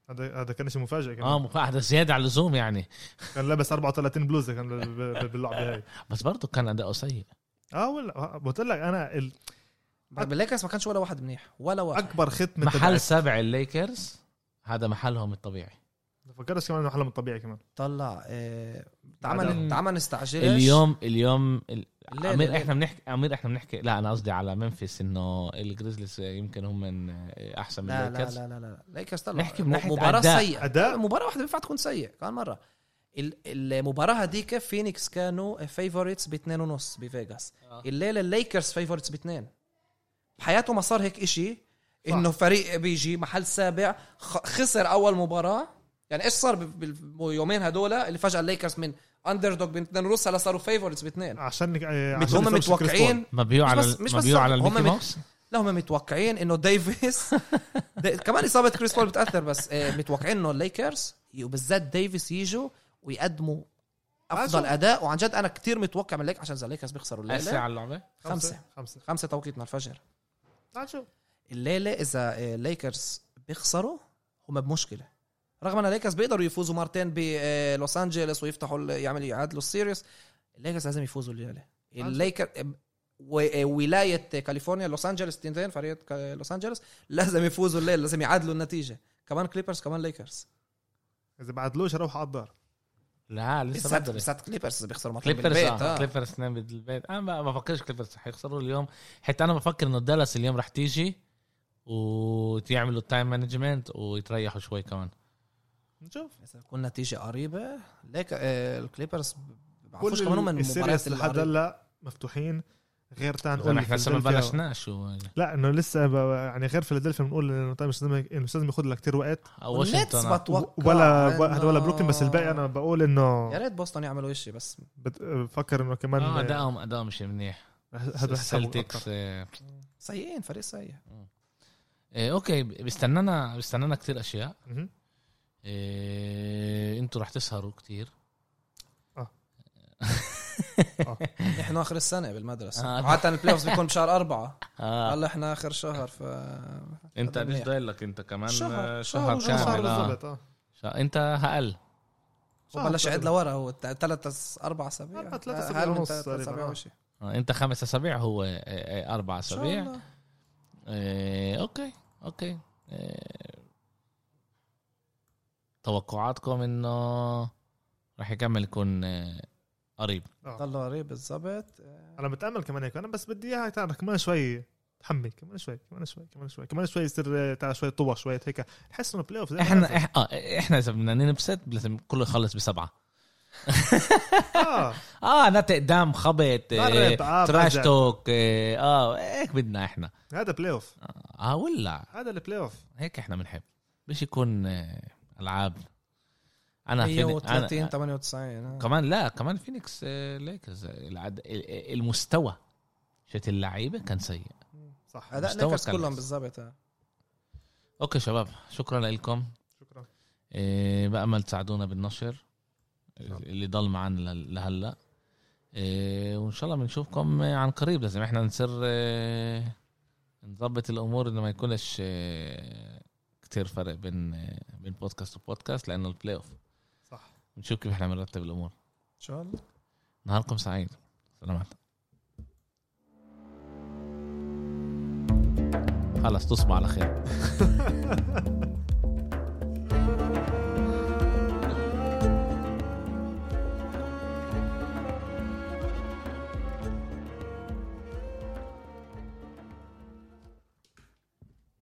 Speaker 3: هذا هذا كان شيء مفاجئ كمان
Speaker 1: اه مفاعلة زيادة على اللزوم يعني
Speaker 3: كان لابس 34 بلوزه كان بال- بال- باللعبه
Speaker 4: [LAUGHS]
Speaker 3: هاي
Speaker 1: بس برضه كان أداؤه سيء
Speaker 3: اه ولا بقول لك انا ال-
Speaker 4: بالليكرز ما كانش ولا واحد منيح ولا واحد
Speaker 3: اكبر ختمه
Speaker 1: محل
Speaker 3: تبعت-
Speaker 1: سبع الليكرز هذا محلهم الطبيعي
Speaker 3: ما فكرش كمان انه حلم الطبيعي كمان
Speaker 4: طلع آه،
Speaker 1: بعدهم.
Speaker 4: تعمل تعمل نستعجلش
Speaker 1: اليوم اليوم ال-
Speaker 4: الليلة-
Speaker 1: امير
Speaker 4: الليلة.
Speaker 1: احنا بنحكي امير احنا بنحكي لا انا قصدي على منفس انه الجريزليز يمكن هم من احسن من
Speaker 4: لا لا
Speaker 1: الليكرز
Speaker 4: لا لا لا ليكرز طلع
Speaker 1: نحكي من ناحية
Speaker 4: مباراة
Speaker 1: أداء.
Speaker 4: سيئة
Speaker 3: أداء.
Speaker 4: مباراة واحدة بينفع تكون سيئة كمان مرة ال- المباراة هذيك فينيكس كانوا فيفوريتس باثنين ونص بفيغاس
Speaker 1: آه.
Speaker 4: الليلة الليكرز فيفوريتس باثنين بحياته ما صار هيك إشي انه فريق بيجي محل سابع خ- خسر اول مباراة يعني ايش صار باليومين هدول اللي فجأة الليكرز من اندر دوج باثنين ونص هلا صاروا فيفوريتس باثنين
Speaker 3: عشان نك- آه، عشان
Speaker 4: هم
Speaker 3: يصير كريس بول.
Speaker 4: متوقعين
Speaker 1: مبيو
Speaker 4: مش
Speaker 1: على
Speaker 4: بس- مش بس
Speaker 1: مبيو على
Speaker 4: هم
Speaker 1: الميكي
Speaker 4: من-
Speaker 1: ماوس
Speaker 4: لا هم متوقعين انه ديفيس دي كمان اصابه كريس بول بتاثر بس آه، متوقعين انه الليكرز وبالذات ديفيس يجوا ويقدموا افضل اداء وعن جد انا كتير متوقع من الليك عشان اذا الليكرز بيخسروا
Speaker 1: أسرع
Speaker 4: الليله
Speaker 1: على اللعبة
Speaker 4: خمسة.
Speaker 3: خمسه
Speaker 4: خمسة توقيتنا الفجر
Speaker 3: تعال شوف
Speaker 4: الليله اذا آه، الليكرز بيخسروا هم بمشكله رغم ان الليكرز بيقدروا يفوزوا مرتين بلوس انجلوس ويفتحوا ال- يعملوا يعادلوا السيريس الليكرز لازم يفوزوا الليله الليكر و- ولايه كاليفورنيا لوس انجلوس تنتين فريق ك- لوس انجلوس [LAUGHS] لازم يفوزوا الليله لازم يعادلوا النتيجه كمان كليبرز كمان ليكرز
Speaker 3: اذا بعدلوش اروح على الدار
Speaker 1: لا لسه
Speaker 4: بالذات
Speaker 1: بدري
Speaker 4: بالذات كليبرز اذا بيخسروا ماتش
Speaker 1: كليبرز
Speaker 4: بالبيت
Speaker 1: آه.
Speaker 4: آه.
Speaker 1: كليبرز اثنين بالبيت انا ما ما بفكرش كليبرز رح يخسروا اليوم حتى انا بفكر انه دالاس اليوم رح تيجي وتعملوا التايم مانجمنت ويتريحوا شوي كمان
Speaker 3: نشوف
Speaker 4: اذا تكون نتيجه قريبه ليك آه، الكليبرز بعرفوش
Speaker 3: كل
Speaker 4: كمان هم من المباريات
Speaker 3: السيريس
Speaker 4: اللي
Speaker 3: لحد
Speaker 4: قريبة.
Speaker 3: هلا مفتوحين غير تايم
Speaker 1: ونحن احنا لسه ما بلشناش و-
Speaker 3: لا انه لسه ب- يعني غير فيلادلفيا بنقول انه طيب مش لازم انه مش لازم ياخذ لك كثير وقت
Speaker 1: أو
Speaker 4: والنتس
Speaker 1: واشنطن آه.
Speaker 4: بتوقع
Speaker 3: ولا
Speaker 4: إنه-
Speaker 3: هذا ولا بروكلين بس الباقي انا بقول انه
Speaker 4: يا ريت بوسطن يعملوا شيء بس
Speaker 3: بت- بفكر انه كمان
Speaker 1: اه
Speaker 3: هذا
Speaker 1: ادائهم اداء مش منيح
Speaker 3: السلتكس
Speaker 1: السلتكس آه.
Speaker 4: سيئين فريق سيء
Speaker 1: آه، اوكي بيستنانا بيستنانا كتير اشياء آه. انتوا رح تسهروا كتير
Speaker 4: نحن اخر السنه بالمدرسه
Speaker 1: آه.
Speaker 4: عاده البلاي اوف بيكون بشهر اربعه
Speaker 1: [LAUGHS] آه.
Speaker 4: هلا احنا اخر شهر ف
Speaker 1: انت
Speaker 4: هذا
Speaker 1: ليش
Speaker 4: منيح.
Speaker 1: ضايل لك انت كمان
Speaker 4: شهر.
Speaker 1: آه،
Speaker 4: شهر
Speaker 1: شهر,
Speaker 4: وشهر
Speaker 1: كامل آه.
Speaker 3: بالضبط اه
Speaker 1: شهر- انت اقل
Speaker 4: هو بلش
Speaker 3: شهر
Speaker 4: يعد
Speaker 3: تقريباً.
Speaker 4: لورا هو ثلاث اربع اسابيع
Speaker 3: أربع- ثلاث أسابيع
Speaker 4: أقل من
Speaker 3: ونص
Speaker 4: ثلاث
Speaker 3: تقريباً،
Speaker 4: اسابيع
Speaker 3: آه.
Speaker 4: وشي.
Speaker 1: آه، انت خمس اسابيع هو آه، آه، اربع
Speaker 4: إن شاء
Speaker 1: اسابيع
Speaker 4: الله.
Speaker 1: إيه، اوكي اوكي إيه، توقعاتكم انه راح يكمل يكون إيه، قريب
Speaker 4: ضلوا قريب بالضبط آه،
Speaker 3: انا متامل كمان هيك انا بس بدي اياها تعال كمان شوي تحمل كمان شوي كمان شوي كمان شوي كمان شوي يصير تعال شوي طوى شوي هيك حس انه بلاي اوف
Speaker 1: احنا [LAUGHS] إح- آه، احنا اذا بدنا ننبسط لازم كله يخلص بسبعه
Speaker 3: اه
Speaker 1: اه نتق دم خبط إيه،
Speaker 3: درب، آه،
Speaker 1: تراش
Speaker 3: بجد.
Speaker 1: توك إيه، اه هيك بدنا احنا
Speaker 3: هذا بلاي اوف
Speaker 1: اه ولا
Speaker 3: هذا البلاي اوف
Speaker 1: هيك احنا بنحب مش يكون إيه، العاب انا فيني-
Speaker 4: 130
Speaker 1: آه، أنا
Speaker 4: 98 آه.
Speaker 1: كمان لا كمان فينيكس آه، ليكرز العد... ال- المستوى شت اللعيبه كان سيء
Speaker 3: صح
Speaker 4: اداء
Speaker 1: مستوى
Speaker 4: ليكرز
Speaker 1: كان
Speaker 4: كلهم
Speaker 1: بس.
Speaker 4: بالضبط آه.
Speaker 1: اوكي شباب شكرا لكم
Speaker 3: شكرا
Speaker 1: إيه بأمل تساعدونا بالنشر
Speaker 3: شاء الله.
Speaker 1: اللي ضل معنا ل- لهلا إيه وان شاء الله بنشوفكم آه، عن قريب لازم احنا نصير آه، نظبط الامور انه ما يكونش آه، كتير فرق بين آه، بين بودكاست وبودكاست لانه البلاي اوف
Speaker 3: صح
Speaker 1: نشوف كيف احنا بنرتب الامور
Speaker 4: ان شاء الله
Speaker 1: نهاركم سعيد سلامات خلص تصبح على خير